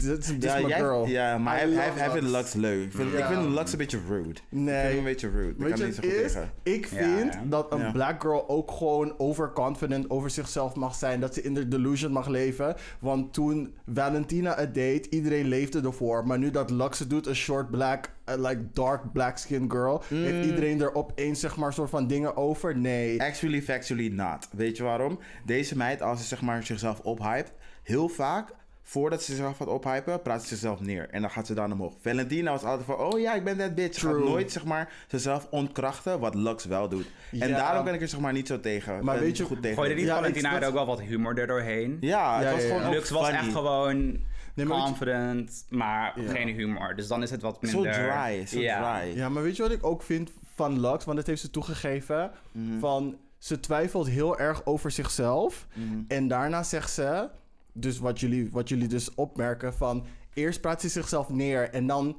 Speaker 1: Dit is dit is
Speaker 2: Ja,
Speaker 1: my
Speaker 2: jij-
Speaker 1: girl.
Speaker 2: ja, maar
Speaker 1: I
Speaker 2: hij, hij,
Speaker 1: love
Speaker 2: hij vindt
Speaker 1: Lux.
Speaker 2: Lux leuk. Ik vind, ik
Speaker 1: Ja.
Speaker 2: vind Lux een beetje rude. Ik vind
Speaker 1: Nee.
Speaker 2: hem een beetje rude. Ik
Speaker 1: Weet
Speaker 2: kan
Speaker 1: je
Speaker 2: niet zo
Speaker 1: wat
Speaker 2: goed
Speaker 1: is?
Speaker 2: tegen.
Speaker 1: Ik
Speaker 3: Ja,
Speaker 1: vind
Speaker 3: ja.
Speaker 1: dat een
Speaker 2: Ja.
Speaker 1: black girl ook gewoon overconfident over zichzelf mag zijn. Dat ze in de delusion mag leven. Want toen Valentina het deed, iedereen leefde ervoor. Maar nu dat Lux het doet, een short black, eh, like dark black skin girl...
Speaker 3: Mm.
Speaker 1: heeft iedereen er opeens zeg maar soort van dingen over? Nee.
Speaker 2: Actually, factually not. Weet je waarom? Deze meid, als ze zeg maar zichzelf ophypt, heel vaak, voordat ze zichzelf gaat ophypen, praat ze zichzelf neer. En dan gaat ze dan omhoog. Valentina was altijd van, oh ja, ik ben dat bitch. Ze Gaat
Speaker 1: True.
Speaker 2: nooit, zeg maar, zichzelf ontkrachten, wat Lux wel doet. En
Speaker 1: Ja.
Speaker 2: daarom ben ik er, zeg maar, niet zo tegen.
Speaker 1: Maar
Speaker 2: ben
Speaker 1: weet
Speaker 2: niet
Speaker 1: je-
Speaker 2: goed tegen.
Speaker 3: Gooi er niet
Speaker 1: Ja, ik-
Speaker 3: Valentina
Speaker 1: dat-
Speaker 3: er ook wel wat humor er doorheen?
Speaker 2: Ja, het
Speaker 1: Ja,
Speaker 2: was
Speaker 1: ja, ja.
Speaker 2: gewoon ook
Speaker 3: Lux was
Speaker 2: funny.
Speaker 3: echt gewoon
Speaker 1: Nee, maar weet je-
Speaker 3: confident, maar geen humor. Dus dan is het wat
Speaker 2: Zo
Speaker 3: minder...
Speaker 2: dry, zo
Speaker 3: Ja.
Speaker 2: dry.
Speaker 1: Ja, maar weet je wat ik ook vind van Lux? Want dat heeft ze toegegeven.
Speaker 2: Mhm. Mhm.
Speaker 1: Van, ze twijfelt heel erg over zichzelf. En daarna zegt ze... dus wat jullie, wat jullie dus opmerken van... Eerst praat ze zichzelf neer en dan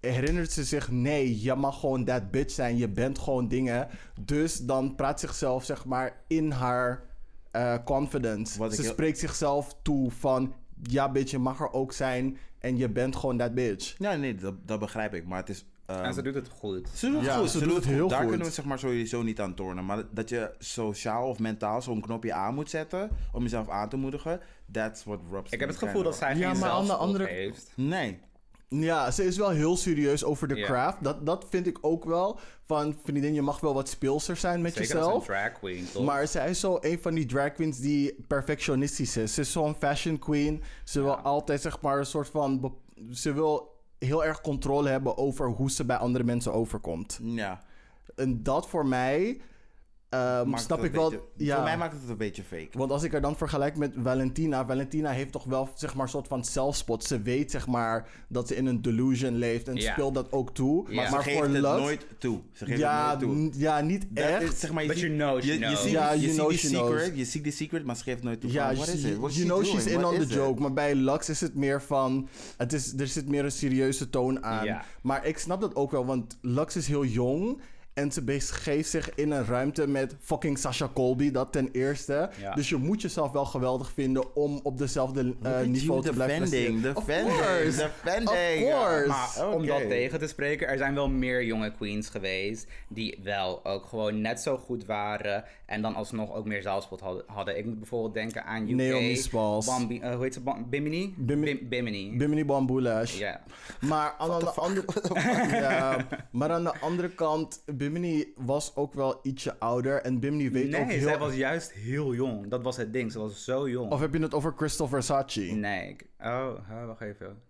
Speaker 1: herinnert ze zich... Nee, je mag gewoon dat bitch zijn. Je bent gewoon dingen. Dus dan praat ze zichzelf zeg maar in haar eh, confidence.
Speaker 2: Wat ik
Speaker 1: ze
Speaker 2: heel-
Speaker 1: spreekt zichzelf toe van... Ja, bitch, je mag er ook zijn. En je bent gewoon dat bitch.
Speaker 2: Ja, nee, dat, dat begrijp ik. Maar het is. ehm,
Speaker 3: En ze doet het goed.
Speaker 2: Ze doen het
Speaker 1: Ja,
Speaker 2: goed.
Speaker 1: ze doen het heel
Speaker 2: Daar
Speaker 1: goed.
Speaker 2: kunnen we zeg maar sowieso niet aan tornen. Maar dat je sociaal of mentaal zo'n knopje aan moet zetten om jezelf aan te moedigen, that's what Rob
Speaker 3: Ik heb het gevoel dat zij
Speaker 1: Ja,
Speaker 3: geen
Speaker 1: maar aan de
Speaker 3: zelfspot
Speaker 1: andere-
Speaker 3: heeft.
Speaker 2: Nee.
Speaker 1: Ja, ze is wel heel serieus over de
Speaker 3: Ja.
Speaker 1: craft. Dat, dat vind ik ook wel. Van, vriendin, je mag wel wat speelser zijn met
Speaker 3: Zeker als
Speaker 1: jezelf.
Speaker 3: een drag queen, toch?
Speaker 1: Maar zij is zo een van die drag queens die perfectionistisch is. Ze is zo'n fashion queen. Ze wil altijd, zeg maar, een soort van... be- Ze wil heel erg controle hebben over hoe ze bij andere mensen overkomt.
Speaker 2: Ja.
Speaker 1: En dat voor mij... ehm,
Speaker 2: Maakt
Speaker 1: snap
Speaker 2: het
Speaker 1: ik
Speaker 2: een
Speaker 1: wel...
Speaker 2: beetje-
Speaker 1: ja.
Speaker 2: Voor mij maakt het het een beetje fake.
Speaker 1: Want als ik haar dan vergelijk met Valentina, Valentina heeft toch wel zeg maar een soort van zelfspot. Ze weet zeg maar dat ze in een delusion leeft en
Speaker 3: Ja.
Speaker 1: speelt dat ook toe.
Speaker 3: Maar
Speaker 1: Maar,
Speaker 3: ze
Speaker 2: Ze geeft
Speaker 1: voor
Speaker 2: het
Speaker 1: Love,
Speaker 2: nooit toe. Ze geeft
Speaker 1: ja,
Speaker 2: het nooit toe.
Speaker 1: n- ja, niet
Speaker 2: Dat is,
Speaker 1: echt.
Speaker 2: zeg maar, je
Speaker 3: But
Speaker 2: ziet-
Speaker 3: you know she
Speaker 2: je, je
Speaker 3: knows.
Speaker 2: ziet,
Speaker 1: Ja,
Speaker 2: je
Speaker 1: you
Speaker 2: ziet
Speaker 1: know
Speaker 2: die
Speaker 1: she
Speaker 2: secret,
Speaker 1: knows.
Speaker 2: je ziet die secret, maar ze geeft nooit toe.
Speaker 1: ja,
Speaker 2: van, what is
Speaker 1: she-
Speaker 2: it? What is
Speaker 1: you
Speaker 2: she
Speaker 1: know
Speaker 2: doing?
Speaker 1: she's in
Speaker 2: What
Speaker 1: on
Speaker 2: is
Speaker 1: the
Speaker 2: it?
Speaker 1: joke. Maar bij Lux is het meer van, het is, er zit meer een serieuze toon aan.
Speaker 3: Ja.
Speaker 1: Maar ik snap dat ook wel, want Lux is heel jong. En ze begeeft zich in een ruimte met fucking Sasha Colby, dat ten eerste.
Speaker 3: Ja.
Speaker 1: Dus je moet jezelf wel geweldig vinden om op dezelfde eh,
Speaker 2: at
Speaker 1: niveau
Speaker 2: you
Speaker 1: te blijven
Speaker 2: defending,
Speaker 1: presteren.
Speaker 2: defending,
Speaker 1: Of course.
Speaker 2: defending.
Speaker 1: Of
Speaker 2: Ja,
Speaker 1: course.
Speaker 2: maar-
Speaker 3: Maar om dat
Speaker 2: Oké.
Speaker 3: tegen te spreken, er zijn wel meer jonge queens geweest die wel ook gewoon net zo goed waren en dan alsnog ook meer zelfspot hadden- hadden. Ik moet bijvoorbeeld denken aan UK.
Speaker 1: Naomi Smalls.
Speaker 3: Bambi, eh, hoe heet ze? Bam- Bimini?
Speaker 1: Bimi-
Speaker 3: Bim- Bimini.
Speaker 1: Bimini Bamboulash.
Speaker 3: ja.
Speaker 1: Maar aan, de andere, ja, maar aan de andere kant, Bimini was ook wel ietsje ouder. En Bimini weet ook
Speaker 3: Nee,
Speaker 1: heel...
Speaker 3: zij was juist heel jong. Dat was het ding. Ze was zo jong.
Speaker 1: Of heb je het over Crystal Versace?
Speaker 3: Nee. ik- Oh, huh, wacht even.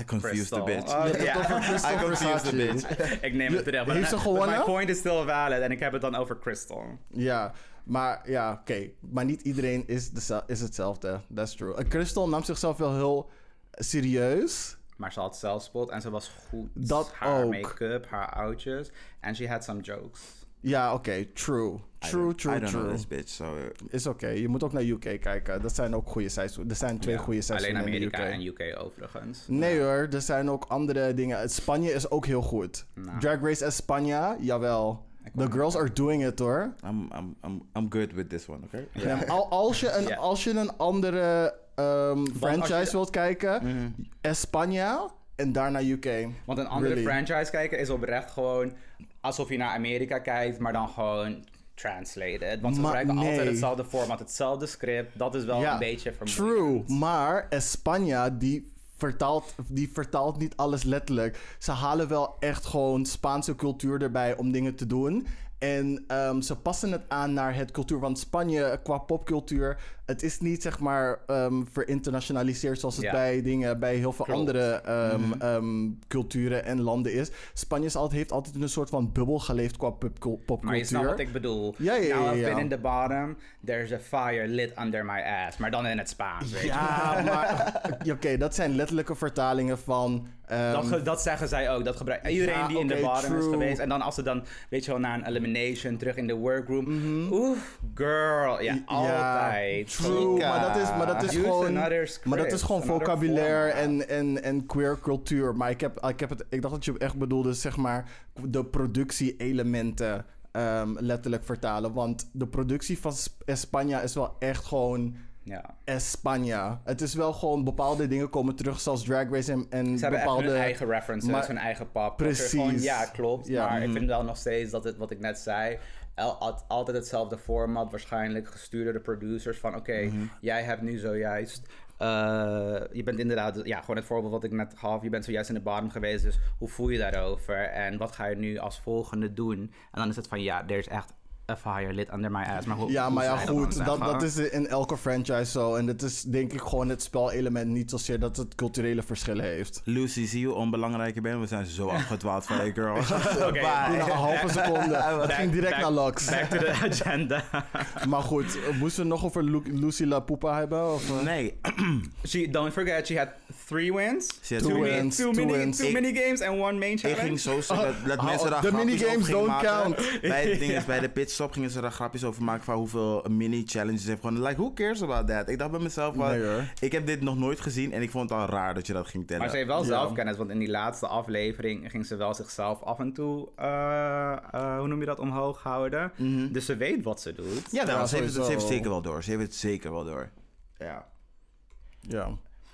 Speaker 2: I confused the
Speaker 3: Crystal.
Speaker 2: bitch.
Speaker 3: Oh, ja.
Speaker 1: Crystal
Speaker 2: I confused the bitch.
Speaker 3: ik neem het terecht.
Speaker 1: heeft ze
Speaker 3: maar-
Speaker 1: gewonnen?
Speaker 3: but My point is still valid. En ik heb het dan over Crystal.
Speaker 1: Ja, maar ja, oké. Maar niet iedereen is, deze- is hetzelfde. That's true. En Crystal nam zichzelf wel heel serieus.
Speaker 3: Maar ze had zelfspot en ze was goed.
Speaker 1: Dat
Speaker 3: haar
Speaker 1: ook.
Speaker 3: make-up, haar outjes. En she had some jokes.
Speaker 1: Ja, oké, true. True, true,
Speaker 2: I don't know
Speaker 1: true.
Speaker 2: this bitch, so... eh,
Speaker 1: Is oké. Je moet ook naar UK kijken. Dat zijn ook goede seizoenen. Er zijn twee goede
Speaker 3: Alleen
Speaker 1: seizoenen in de
Speaker 3: Amerika
Speaker 1: UK.
Speaker 3: en UK overigens.
Speaker 1: Nee hoor, er zijn ook andere dingen. Spanje is ook heel goed. Drag Race España, jawel. The girls are doing it hoor.
Speaker 2: I'm, I'm, I'm, I'm good with this one, oké?
Speaker 1: Ja, al- als, je een,
Speaker 3: Ja.
Speaker 1: als je een andere ehm, franchise wilt kijken, España en daarna UK.
Speaker 3: Want een andere
Speaker 1: Really.
Speaker 3: franchise kijken is oprecht gewoon alsof je naar Amerika kijkt, maar dan gewoon translated. Want ze
Speaker 1: Maar
Speaker 3: gebruiken
Speaker 1: nee.
Speaker 3: altijd hetzelfde format, hetzelfde script. Dat is wel
Speaker 1: Ja,
Speaker 3: een beetje vermoeiend.
Speaker 1: True, maar España die vertaalt, die vertaalt niet alles letterlijk. Ze halen wel echt gewoon Spaanse cultuur erbij om dingen te doen. En ehm, ze passen het aan naar het cultuur. Want Spanje, qua popcultuur, het is niet zeg maar ehm, verinternationaliseerd zoals het
Speaker 3: Ja.
Speaker 1: bij dingen, bij heel veel
Speaker 3: Klopt.
Speaker 1: andere ehm, ehm, culturen en landen is. Spanje is altijd, heeft altijd in een soort van bubbel geleefd qua popcul- popcultuur.
Speaker 3: Maar je snapt wat ik bedoel.
Speaker 1: Ja, ja,
Speaker 3: Now
Speaker 1: ja,
Speaker 3: I've
Speaker 1: ja.
Speaker 3: been in the bottom, there's a fire lit under my ass. Maar dan in het Spaans, weet je.
Speaker 1: Ja, maar ja, oké, dat zijn letterlijke vertalingen van. ehm,
Speaker 3: Dat, ge- dat zeggen zij ook. Dat gebruikt iedereen
Speaker 1: Ja,
Speaker 3: die in
Speaker 1: oké,
Speaker 3: de bottom is
Speaker 1: true.
Speaker 3: geweest. En dan als ze dan, weet je wel, na een elimination terug in de workroom.
Speaker 1: Mhm.
Speaker 3: Oef, girl. Ja, altijd.
Speaker 1: True, maar dat is, maar dat is
Speaker 3: Use
Speaker 1: gewoon,
Speaker 3: another script,
Speaker 1: maar dat is gewoon
Speaker 3: another
Speaker 1: vocabulaire
Speaker 3: format.
Speaker 1: en, en, en queer cultuur. Maar ik, heb, ik, heb het, ik dacht dat je echt bedoelde, zeg maar, de productie-elementen ehm, letterlijk vertalen. Want de productie van Sp- España is wel echt gewoon
Speaker 3: Ja.
Speaker 1: España. Het is wel gewoon bepaalde dingen komen terug, zoals Drag Race en, en
Speaker 3: Ze hebben
Speaker 1: bepaalde...
Speaker 3: echt hun eigen references,
Speaker 1: maar-
Speaker 3: hun eigen pap.
Speaker 1: Precies.
Speaker 3: Gewoon, ja, klopt.
Speaker 1: Ja. mhm.
Speaker 3: Maar ik vind wel nog steeds dat het, wat ik net zei, el- al- altijd hetzelfde format, waarschijnlijk gestuurd door de producers van, oké,
Speaker 1: Mhm.
Speaker 3: jij hebt nu zojuist... eh, je bent inderdaad, ja, gewoon het voorbeeld wat ik net gaf. Je bent zojuist in de bottom geweest, dus hoe voel je daarover? En wat ga je nu als volgende doen? En dan is het van, ja, er is echt a fire lit under my ass. Maar hoe,
Speaker 1: Ja,
Speaker 3: hoe
Speaker 1: maar ja,
Speaker 3: zou je dan
Speaker 1: goed. Dat,
Speaker 3: zeggen?
Speaker 1: dat is in elke franchise zo. En dat is denk ik gewoon het spelelement. Niet zozeer dat het culturele verschillen heeft.
Speaker 2: Lucy, zie je hoe onbelangrijk je bent? We zijn zo afgedwaald van je girl.
Speaker 3: Oké,
Speaker 1: Doe nou een halve seconde. Het ging direct
Speaker 3: back-
Speaker 1: naar Lux.
Speaker 3: Back to the agenda.
Speaker 1: Maar goed, eh, moesten we nog over Lu- Lucy La Pupa hebben? Of, eh?
Speaker 2: Nee,
Speaker 3: She don't forget she had Three wins?
Speaker 2: She had
Speaker 3: two
Speaker 2: two
Speaker 3: mini-
Speaker 1: wins,
Speaker 3: Two,
Speaker 1: two
Speaker 3: mini,
Speaker 1: wins.
Speaker 3: Two
Speaker 2: Ik-
Speaker 3: minigames en one main
Speaker 2: Ik
Speaker 3: challenge?
Speaker 2: ging zo zeggen dat, dat mensen daar
Speaker 1: Oh, de
Speaker 2: grapjes
Speaker 1: minigames
Speaker 2: over gingen
Speaker 1: don't
Speaker 2: maken.
Speaker 1: count.
Speaker 2: Bij, het ding is, bij de pitstop gingen ze daar grapjes over maken van hoeveel mini-challenges heeft. Gewoon, like, who cares about that? Ik dacht bij mezelf, van,
Speaker 4: Nee, hoor.
Speaker 2: ik heb dit nog nooit gezien en ik vond het al raar dat je dat ging tellen.
Speaker 3: Maar ze heeft wel zelfkennis, want in die laatste aflevering ging ze wel zichzelf af en toe, eh, eh, hoe noem je dat, omhoog houden. Dus ze weet wat ze doet.
Speaker 2: Mhm. ja, wel,
Speaker 1: Ja,
Speaker 2: ze, heeft, het- ze
Speaker 1: sowieso.
Speaker 2: heeft het zeker wel door. Ze heeft het zeker wel door. Ja.
Speaker 1: Ja.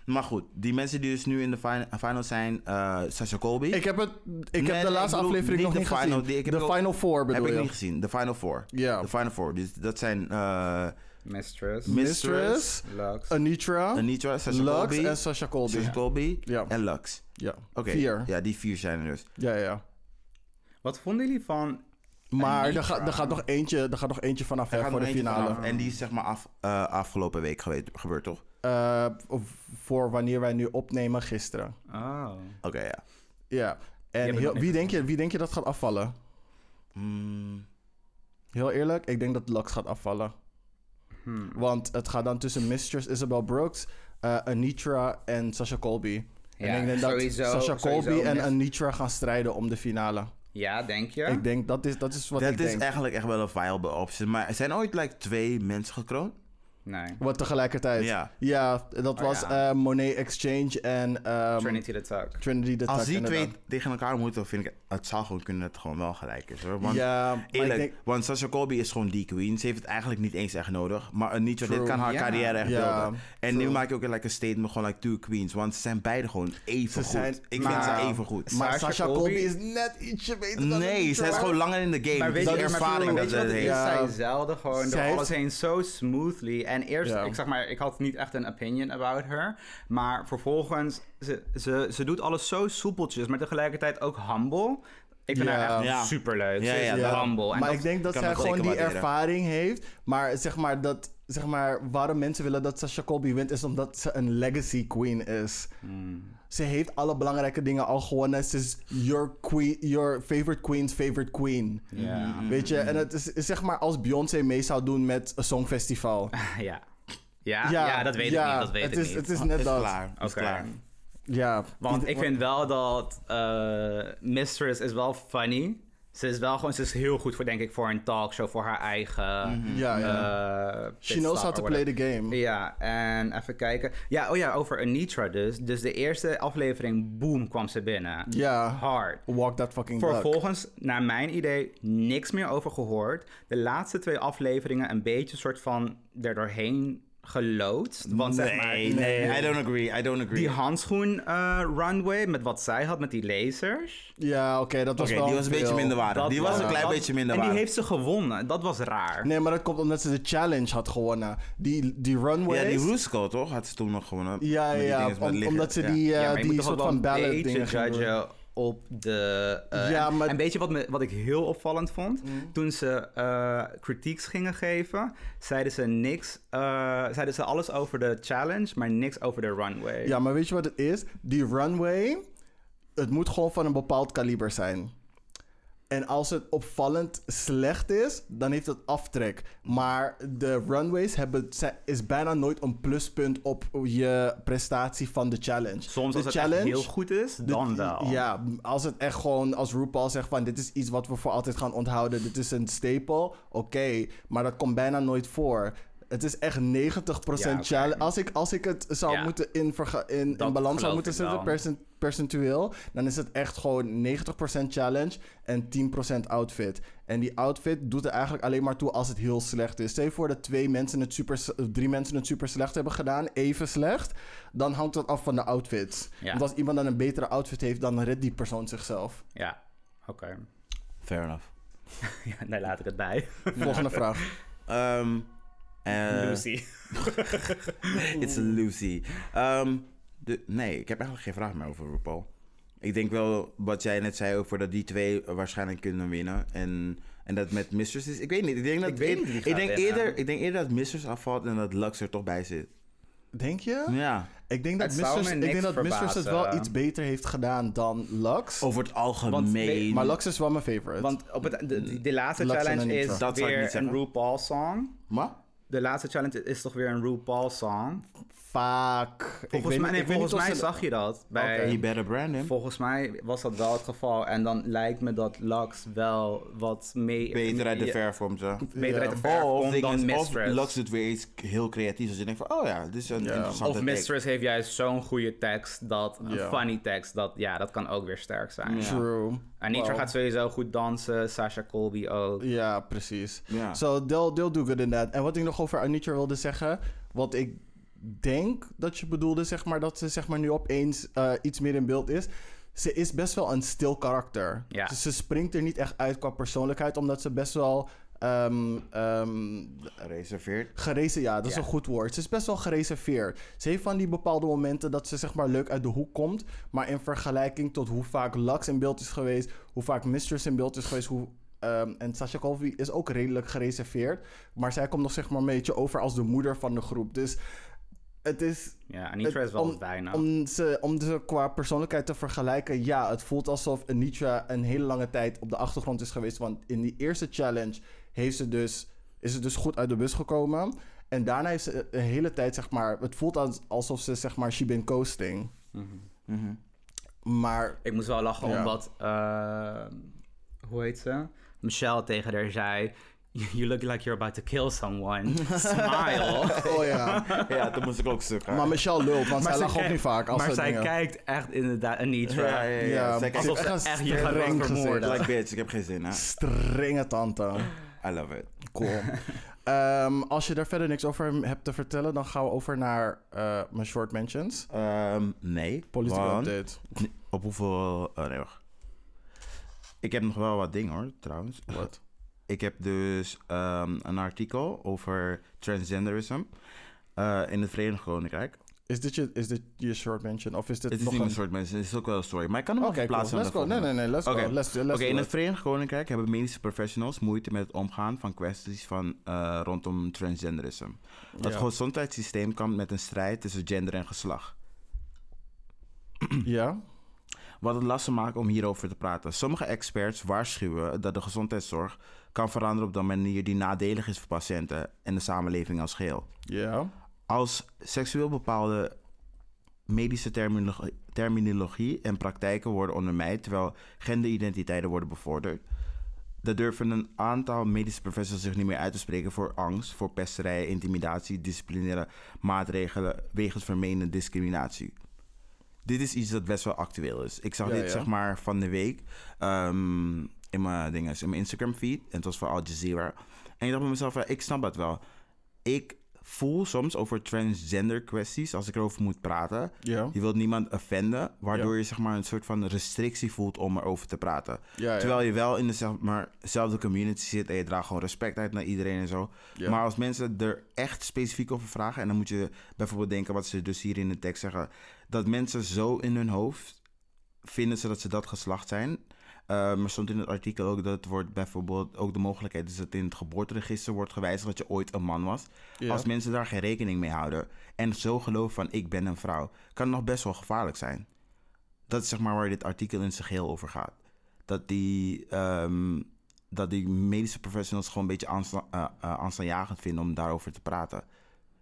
Speaker 2: Maar goed, die mensen die dus nu in de fin- final zijn, eh, Sasha Colby.
Speaker 1: Ik heb, het, ik heb
Speaker 2: Nee,
Speaker 1: de
Speaker 2: nee,
Speaker 1: laatste
Speaker 2: ik bedoel,
Speaker 1: aflevering
Speaker 2: niet
Speaker 1: nog
Speaker 2: de
Speaker 1: niet
Speaker 2: final,
Speaker 1: gezien.
Speaker 2: die- ik heb
Speaker 1: de
Speaker 2: ook-
Speaker 1: Final Four
Speaker 2: heb
Speaker 1: bedoel
Speaker 2: ik
Speaker 1: je?
Speaker 2: niet gezien. De Final Four.
Speaker 1: Ja.
Speaker 2: De Final Four. Dus dat zijn eh Mistress,
Speaker 3: Mistress.
Speaker 1: Mistress,
Speaker 3: Lux.
Speaker 1: Anitra,
Speaker 2: Anitra, Sasha
Speaker 1: Oh. Lux
Speaker 2: Colby,
Speaker 1: en Sasha Colby.
Speaker 2: Sasha Colby
Speaker 1: Ja.
Speaker 2: en Lux.
Speaker 1: Ja,
Speaker 2: Oké,
Speaker 1: vier. Ja,
Speaker 2: ja, die vier zijn er dus.
Speaker 1: ja, ja.
Speaker 3: Wat vonden jullie van...
Speaker 1: Maar
Speaker 3: Anitra.
Speaker 1: er, gaat er, gaat nog eentje, er gaat nog eentje vanaf
Speaker 2: Er
Speaker 1: hè,
Speaker 2: gaat
Speaker 1: voor
Speaker 2: nog
Speaker 1: de
Speaker 2: eentje
Speaker 1: finale.
Speaker 2: vanaf. En die is zeg maar af, eh, afgelopen week geweest, gebeurd, toch?
Speaker 1: Eh, of voor wanneer wij nu opnemen gisteren.
Speaker 3: Oh.
Speaker 2: Oké, ja.
Speaker 1: Ja. En
Speaker 3: bent
Speaker 1: heel-
Speaker 3: nog
Speaker 1: wie, denk je, wie denk je dat gaat afvallen?
Speaker 2: Mm,
Speaker 1: Heel eerlijk, ik denk dat Lux gaat afvallen.
Speaker 3: Hmm.
Speaker 1: Want het gaat dan tussen Mistress Isabel Brooks, eh, Anitra en Sasha Colby.
Speaker 3: Ja,
Speaker 1: en ik denk dat
Speaker 3: sowieso-
Speaker 1: Sasha Colby
Speaker 3: sowieso
Speaker 1: en
Speaker 3: Mis-
Speaker 1: Anitra gaan strijden om de finale.
Speaker 3: Ja, denk je?
Speaker 1: Ik denk, dat is, dat is wat
Speaker 2: dat
Speaker 1: ik
Speaker 2: is
Speaker 1: denk.
Speaker 2: eigenlijk echt wel een viable optie. Maar er zijn ooit like, twee mensen gekroond.
Speaker 3: Nee.
Speaker 1: Wat tegelijkertijd.
Speaker 2: Ja.
Speaker 1: Ja, dat was
Speaker 3: Oh, ja.
Speaker 1: eh, Monet Exchange en ehm,
Speaker 3: Trinity the Tuck.
Speaker 1: Trinity the
Speaker 2: Als
Speaker 1: Tuck,
Speaker 2: die twee
Speaker 1: inderdaad.
Speaker 2: tegen elkaar moeten, vind ik... Het zou gewoon kunnen dat het gewoon wel gelijk is, hoor. Want,
Speaker 1: Ja, maar ik
Speaker 2: Eerlijk,
Speaker 1: denk-
Speaker 2: want Sasha Colby is gewoon die queen. Ze heeft het eigenlijk niet eens echt nodig. Maar Anitra, dit
Speaker 1: True.
Speaker 2: kan haar
Speaker 3: Ja.
Speaker 2: carrière echt
Speaker 1: Ja,
Speaker 2: helpen. En nu maak je ook like, een statement gewoon like two queens. Want ze zijn beide gewoon even goed.
Speaker 1: zijn-
Speaker 2: ik vind
Speaker 3: maar-
Speaker 2: ze even goed.
Speaker 1: Maar
Speaker 3: Sasha
Speaker 1: Sasha Colby
Speaker 3: Colby
Speaker 1: is net ietsje beter dan
Speaker 2: Nee,
Speaker 1: Anitra.
Speaker 2: zij is gewoon langer in de game.
Speaker 3: Maar
Speaker 2: Het is
Speaker 3: weet je,
Speaker 2: de
Speaker 3: maar
Speaker 2: ervaring
Speaker 3: Fury,
Speaker 2: dat
Speaker 3: weet
Speaker 2: ze
Speaker 3: je wat
Speaker 2: het
Speaker 3: het is?
Speaker 2: heeft.
Speaker 1: Ja.
Speaker 3: Zij zelden gewoon
Speaker 1: Zij
Speaker 3: door alles
Speaker 1: heeft-
Speaker 3: heen zo smoothly. En eerst,
Speaker 1: Ja.
Speaker 3: ik zeg maar, ik had niet echt een opinion about her. Maar vervolgens, ze, ze, ze doet alles zo soepeltjes, maar tegelijkertijd ook humble. Ik vind
Speaker 1: Ja.
Speaker 3: haar echt
Speaker 2: Ja.
Speaker 3: superleuk.
Speaker 2: Ja,
Speaker 3: ze is
Speaker 2: ja,
Speaker 1: Ja,
Speaker 3: humble. En
Speaker 1: maar
Speaker 3: dat-
Speaker 1: ik denk dat
Speaker 2: kan
Speaker 1: zij
Speaker 2: ik
Speaker 1: gewoon
Speaker 2: zeker
Speaker 1: die
Speaker 2: waarderen.
Speaker 1: ervaring heeft. Maar zeg maar dat. Zeg maar, waarom mensen willen dat Sasha Colby wint, is omdat ze een legacy queen is. Ze heeft alle belangrijke dingen al gewonnen. Ze is your, queen, your favorite queen's favorite queen.
Speaker 3: Ja.
Speaker 1: Weet je, en het is, is zeg maar als Beyoncé mee zou doen met een songfestival.
Speaker 3: Ja. Ja, ja, dat weet ik
Speaker 1: ja,
Speaker 3: niet. Dat weet
Speaker 1: het
Speaker 3: ik
Speaker 1: is,
Speaker 3: niet.
Speaker 1: Het is net
Speaker 2: Is
Speaker 1: dat.
Speaker 2: klaar. Is
Speaker 3: Oké.
Speaker 2: klaar.
Speaker 1: Ja.
Speaker 3: Want
Speaker 1: Ieder-
Speaker 3: ik vind wel dat eh, Mistress is wel funny. Ze is wel gewoon, ze is heel goed voor, denk ik, voor een talkshow, voor haar eigen.
Speaker 1: Mhm.
Speaker 3: eh,
Speaker 1: Ja,
Speaker 3: ja.
Speaker 1: She knows how to play the game.
Speaker 3: Ja, en even kijken. Ja, oh ja, over Anitra dus. Dus de eerste aflevering, boom, kwam ze binnen.
Speaker 1: Ja.
Speaker 3: Hard.
Speaker 1: Walk that fucking duck.
Speaker 3: Vervolgens, naar mijn idee, niks meer over gehoord. De laatste twee afleveringen een beetje soort van er doorheen geloodst. Want zeg maar,
Speaker 2: Nee, nee, I don't agree. I don't agree.
Speaker 3: die handschoen eh, runway met wat zij had met die lasers.
Speaker 1: Ja, oké, dat was
Speaker 2: Oké,
Speaker 1: wel
Speaker 2: die was een beetje
Speaker 1: veel.
Speaker 2: minder waardig. Die was een klein beetje minder
Speaker 3: En die
Speaker 2: waardig.
Speaker 3: heeft ze gewonnen. Dat was raar.
Speaker 1: Nee, maar dat komt omdat ze de challenge had gewonnen. Die, die runways.
Speaker 2: Ja, die Rusko toch? Had ze toen nog gewonnen.
Speaker 1: Ja,
Speaker 2: Met die
Speaker 1: ja,
Speaker 2: dinges met
Speaker 1: om-
Speaker 2: liggen.
Speaker 1: omdat ze
Speaker 2: Ja.
Speaker 1: die, eh,
Speaker 3: Ja, maar je moet
Speaker 1: die
Speaker 3: toch
Speaker 1: soort
Speaker 3: wel
Speaker 1: van ballad
Speaker 3: een
Speaker 1: dingen
Speaker 3: beetje
Speaker 1: gaan doen.
Speaker 3: judgen op de... eh,
Speaker 1: Ja,
Speaker 3: en-
Speaker 1: maar-
Speaker 3: En weet je wat, me, wat ik heel opvallend vond? Toen ze eh, kritieks gingen geven, zeiden ze niks... eh, zeiden ze alles over de challenge, maar niks over de runway.
Speaker 1: Ja, maar weet je wat het is? Die runway, het moet gewoon van een bepaald kaliber zijn. En als het opvallend slecht is, dan heeft het aftrek. Maar de runways hebben, zijn- is bijna nooit een pluspunt op je prestatie van de challenge.
Speaker 3: Soms
Speaker 1: de
Speaker 3: als het echt heel goed is,
Speaker 1: de-
Speaker 3: dan wel.
Speaker 1: Ja, als het echt gewoon, als RuPaul zegt van dit is iets wat we voor altijd gaan onthouden, dit is een staple, oké, maar dat komt bijna nooit voor. Het is echt 90%
Speaker 3: Ja, oké.
Speaker 1: challenge. Als ik, als ik het zou
Speaker 3: Ja.
Speaker 1: moeten in, verga- in,
Speaker 3: Dat
Speaker 1: in balans zou
Speaker 3: geloof
Speaker 1: moeten
Speaker 3: ik
Speaker 1: zetten,
Speaker 3: wel.
Speaker 1: percent- percentueel, dan is het echt gewoon 90% challenge en 10% outfit. En die outfit doet er eigenlijk alleen maar toe als het heel slecht is. Stel je voor dat twee mensen het super, s- of drie mensen het super slecht hebben gedaan, even slecht, dan hangt dat af van de outfits.
Speaker 3: Ja.
Speaker 1: Want als iemand dan een betere outfit heeft, dan redt die persoon zichzelf.
Speaker 3: Ja, oké.
Speaker 2: Fair enough.
Speaker 3: Ja, daar laat ik het bij.
Speaker 1: Volgende vraag.
Speaker 2: Ehm, eh,
Speaker 3: Lucy.
Speaker 2: It's
Speaker 3: Mm.
Speaker 2: Lucy. Ehm, de, nee, ik heb eigenlijk geen vraag meer over RuPaul. Ik denk wel wat jij net zei over dat die twee waarschijnlijk kunnen winnen. En, en dat met Mistress is. Ik weet niet. Ik denk, dat,
Speaker 3: Ik weet niet wie
Speaker 2: ik
Speaker 3: gaat
Speaker 2: denk,
Speaker 3: winnen.
Speaker 2: eerder, ik denk eerder dat Mistress afvalt en dat Lux er toch bij zit.
Speaker 1: Denk je?
Speaker 2: Ja.
Speaker 1: Ik denk dat
Speaker 3: Het zou
Speaker 1: Mistress,
Speaker 3: me
Speaker 1: ik
Speaker 3: niks
Speaker 1: denk dat Mistress het wel
Speaker 3: verbazen.
Speaker 1: iets beter heeft gedaan dan Lux.
Speaker 2: Over het
Speaker 3: Want
Speaker 2: algemeen.
Speaker 3: nee,
Speaker 1: Maar Lux is wel mijn favorite.
Speaker 3: Want op het, de, de- de laatste
Speaker 1: Lux en
Speaker 3: challenge
Speaker 1: Anitra.
Speaker 2: Dat
Speaker 3: is
Speaker 2: zou ik niet
Speaker 3: weer een
Speaker 2: zeggen.
Speaker 3: RuPaul song.
Speaker 2: Maar?
Speaker 3: De de laatste challenge is toch weer een RuPaul song.
Speaker 1: Vaak.
Speaker 3: Volgens mij, nee, volgens mij zag je dat. Bij,
Speaker 2: You better brand him.
Speaker 3: Volgens mij was dat wel het geval. En dan lijkt me dat Lux wel wat mee...
Speaker 2: Beter uit de
Speaker 3: ja,
Speaker 2: verf komt, ja.
Speaker 3: Beter uit de
Speaker 1: Ja.
Speaker 3: verf
Speaker 2: Of,
Speaker 3: komt
Speaker 2: ding
Speaker 3: dan
Speaker 2: is, of
Speaker 3: Mistress.
Speaker 2: Lux doet weer iets heel creatiefs. Dus je denkt van, oh ja, dit is een interessante
Speaker 3: Of
Speaker 2: take.
Speaker 3: Mistress heeft juist zo'n goede tekst, dat, een
Speaker 1: Ja.
Speaker 3: funny tekst, dat, ja, dat kan ook weer sterk zijn. Ja.
Speaker 1: True.
Speaker 3: Anitra
Speaker 1: Wow.
Speaker 3: gaat sowieso goed dansen, Sasha Colby ook.
Speaker 1: Ja, precies.
Speaker 2: Ja.
Speaker 1: So, they'll, they'll do good in that. En wat ik nog over Anitra wilde zeggen, wat ik denk dat je bedoelde, zeg maar, dat ze zeg maar, nu opeens eh, iets meer in beeld is. Ze is best wel een stil karakter.
Speaker 3: Ja.
Speaker 1: Ze, ze springt er niet echt uit qua persoonlijkheid, omdat ze best wel ehm, ehm,
Speaker 2: Reserveerd.
Speaker 1: Gerezen, ja, dat is
Speaker 3: Ja.
Speaker 1: een goed woord. Ze is best wel gereserveerd. Ze heeft van die bepaalde momenten dat ze zeg maar leuk uit de hoek komt. Maar in vergelijking tot hoe vaak Lux in beeld is geweest, hoe vaak Mistress in beeld is geweest, hoe. ehm, en Sasha Colby is ook redelijk gereserveerd. Maar zij komt nog zeg maar een beetje over als de moeder van de groep. Dus het is.
Speaker 3: Ja, Anitra
Speaker 1: het-
Speaker 3: is wel
Speaker 1: om-
Speaker 3: wat weinig.
Speaker 1: Om ze, om ze qua persoonlijkheid te vergelijken, ja, het voelt alsof Anitra een hele lange tijd op de achtergrond is geweest. Want in die eerste challenge heeft ze dus, is ze dus goed uit de bus gekomen. En daarna heeft ze een hele tijd, zeg maar, het voelt als- alsof ze, zeg maar, she been coasting. Mhm. Maar
Speaker 3: Ik moest wel lachen
Speaker 1: Ja.
Speaker 3: omdat, eh, hoe heet ze? Michelle tegen haar zei, you look like you're about to kill someone. Smile.
Speaker 1: Oh ja.
Speaker 2: Ja, toen moest ik ook stuk
Speaker 1: Maar Michelle lult, want zij
Speaker 3: zij
Speaker 1: lacht ook
Speaker 3: kijkt-
Speaker 1: niet vaak. Als
Speaker 3: maar
Speaker 1: ze
Speaker 3: zij
Speaker 1: dingen-
Speaker 3: kijkt echt inderdaad Anitra.
Speaker 2: Ja, ja, ja.
Speaker 1: Ja,
Speaker 2: Zij kijkt
Speaker 1: Ze
Speaker 3: Alsof ze
Speaker 1: heeft
Speaker 3: echt
Speaker 1: een
Speaker 3: je gaat
Speaker 1: streng
Speaker 3: wel vermoorden.
Speaker 1: gezicht.
Speaker 2: like bitch, ik heb geen zin, hè.
Speaker 1: Strenge tante.
Speaker 2: I love it.
Speaker 1: Cool. Ehm, als je daar verder niks over hebt te vertellen, dan gaan we over naar eh, mijn short mentions.
Speaker 2: Ehm, nee.
Speaker 1: Political
Speaker 2: want-
Speaker 1: update.
Speaker 2: Op hoeveel... oh, nee, wacht. Ik heb nog wel wat dingen, hoor, trouwens.
Speaker 1: Wat?
Speaker 2: Ik heb dus ehm, een artikel over transgenderism eh, in het Verenigd Koninkrijk.
Speaker 1: Is dit, je, is dit je short mention? Of is dit
Speaker 2: Het is
Speaker 1: nog
Speaker 2: niet een
Speaker 1: een...
Speaker 2: soort mensen, het is ook wel een story. Maar ik kan hem
Speaker 1: Oké,
Speaker 2: ook
Speaker 1: cool.
Speaker 2: plaatsen.
Speaker 1: Let's go. Nee, nee, nee. Let's
Speaker 2: Oké.
Speaker 1: go. Let's, do- let's
Speaker 2: Oké,
Speaker 1: do
Speaker 2: in het
Speaker 1: it.
Speaker 2: Verenigd Koninkrijk hebben medische professionals moeite met het omgaan van kwesties van, eh, rondom transgenderism. Het
Speaker 1: Ja.
Speaker 2: gezondheidssysteem kampt met een strijd tussen gender en geslacht.
Speaker 1: Ja?
Speaker 2: Wat het lastig maakt om hierover te praten. Sommige experts waarschuwen dat de gezondheidszorg kan veranderen op de manier die nadelig is voor patiënten en de samenleving als geheel.
Speaker 1: Ja?
Speaker 2: Als seksueel bepaalde medische terminologie, terminologie en praktijken worden ondermijnd, terwijl genderidentiteiten worden bevorderd, dan durven een aantal medische professionals zich niet meer uit te spreken voor angst, voor pesterij, intimidatie, disciplinaire maatregelen wegens vermeende discriminatie. Dit is iets dat best wel actueel is. Ik zag
Speaker 1: Ja,
Speaker 2: dit
Speaker 1: ja.
Speaker 2: zeg maar van de week ehm, in mijn dinges, in mijn Instagram feed en het was van Al Jazeera. En ik dacht bij mezelf, ja, ik snap dat wel. Ik voel soms over transgender kwesties als ik erover moet praten.
Speaker 1: Ja?
Speaker 2: Je wilt niemand offenden, waardoor
Speaker 1: Ja.
Speaker 2: je zeg maar een soort van restrictie voelt om erover te praten.
Speaker 1: Ja, ja.
Speaker 2: Terwijl je wel in dezelfdezelfde community zit en je draagt gewoon respect uit naar iedereen en zo.
Speaker 1: Ja.
Speaker 2: Maar als mensen er echt specifiek over vragen, en dan moet je bijvoorbeeld denken wat ze dus hier in de tekst zeggen, dat mensen zo in hun hoofd vinden ze dat ze dat geslacht zijn. Eh, maar stond in het artikel ook dat het wordt bijvoorbeeld ook de mogelijkheid is dat in het geboorteregister wordt gewijzigd dat je ooit een man was.
Speaker 1: Ja.
Speaker 2: Als mensen daar geen rekening mee houden en zo geloven van ik ben een vrouw, kan het nog best wel gevaarlijk zijn. Dat is zeg maar waar dit artikel in zijn geheel over gaat. Dat die, ehm, dat die medische professionals gewoon een beetje aansla- eh, eh, aanslaanjagend vinden om daarover te praten.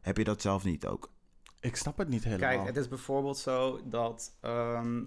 Speaker 2: Heb je dat zelf niet ook?
Speaker 1: Ik snap het niet helemaal.
Speaker 3: Kijk, het is bijvoorbeeld zo dat. ehm,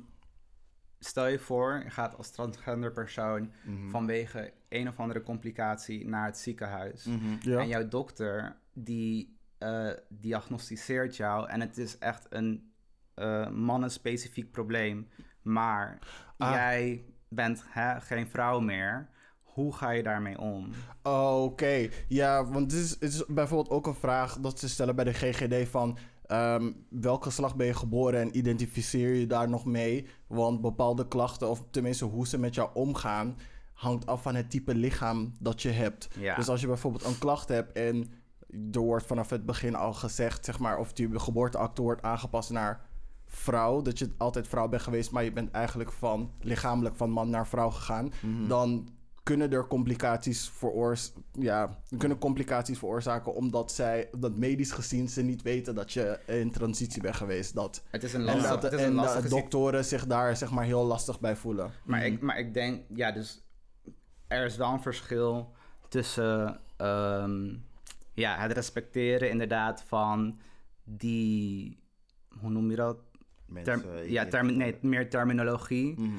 Speaker 3: stel je voor, je gaat als transgender persoon
Speaker 1: Mhm.
Speaker 3: vanwege een of andere complicatie naar het ziekenhuis.
Speaker 1: Mhm. Ja.
Speaker 3: En jouw dokter die eh, diagnosticeert jou en het is echt een eh mannenspecifiek probleem. Maar
Speaker 1: Ah.
Speaker 3: jij bent hè, geen vrouw meer. Hoe ga je daarmee om?
Speaker 1: Oké, ja, want het is, het is bijvoorbeeld ook een vraag dat ze stellen bij de GGD van ehm, welk geslacht ben je geboren en identificeer je daar nog mee? Want bepaalde klachten, of tenminste hoe ze met jou omgaan, hangt af van het type lichaam dat je hebt.
Speaker 3: Ja.
Speaker 1: Dus als je bijvoorbeeld een klacht hebt en er wordt vanaf het begin al gezegd, zeg maar, of die geboorteakte wordt aangepast naar vrouw, dat je altijd vrouw bent geweest, maar je bent eigenlijk van lichamelijk van man naar vrouw gegaan,
Speaker 3: Mhm.
Speaker 1: dan kunnen er complicaties veroors ja, kunnen complicaties veroorzaken omdat zij, dat medisch gezien ze niet weten dat je in transitie bent geweest. Dat.
Speaker 3: Het is een
Speaker 1: En
Speaker 3: lastig,
Speaker 1: dat de,
Speaker 3: het is een
Speaker 1: en dat
Speaker 3: lastige situ-
Speaker 1: doktoren zich daar zeg maar heel lastig bij voelen.
Speaker 3: Maar, ik,
Speaker 4: Mhm.
Speaker 3: maar ik denk, ja, dus er is wel een verschil tussen ehm, ja, het respecteren inderdaad van die, hoe noem je dat? Term-
Speaker 4: eh,
Speaker 2: Mensen,
Speaker 3: ja,
Speaker 2: ik-
Speaker 3: termi- nee, meer terminologie.
Speaker 4: Mhm.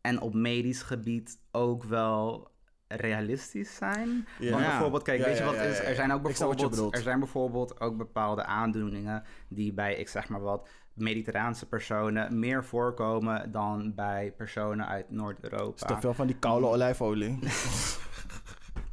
Speaker 3: En op medisch gebied ook wel realistisch zijn. Want
Speaker 2: Ja.
Speaker 3: bijvoorbeeld, kijk,
Speaker 4: Ja,
Speaker 3: weet je
Speaker 4: ja,
Speaker 3: wat
Speaker 4: ja,
Speaker 3: is?
Speaker 4: ja,
Speaker 3: Er zijn ook
Speaker 4: Ik snap wat je
Speaker 3: bijvoorbeeld,
Speaker 4: bedoelt.
Speaker 3: er zijn bijvoorbeeld ook bepaalde aandoeningen die bij, ik zeg maar wat, mediterraanse personen meer voorkomen dan bij personen uit
Speaker 1: is toch
Speaker 3: Noord-Europa.
Speaker 1: veel van die koude olijfolie.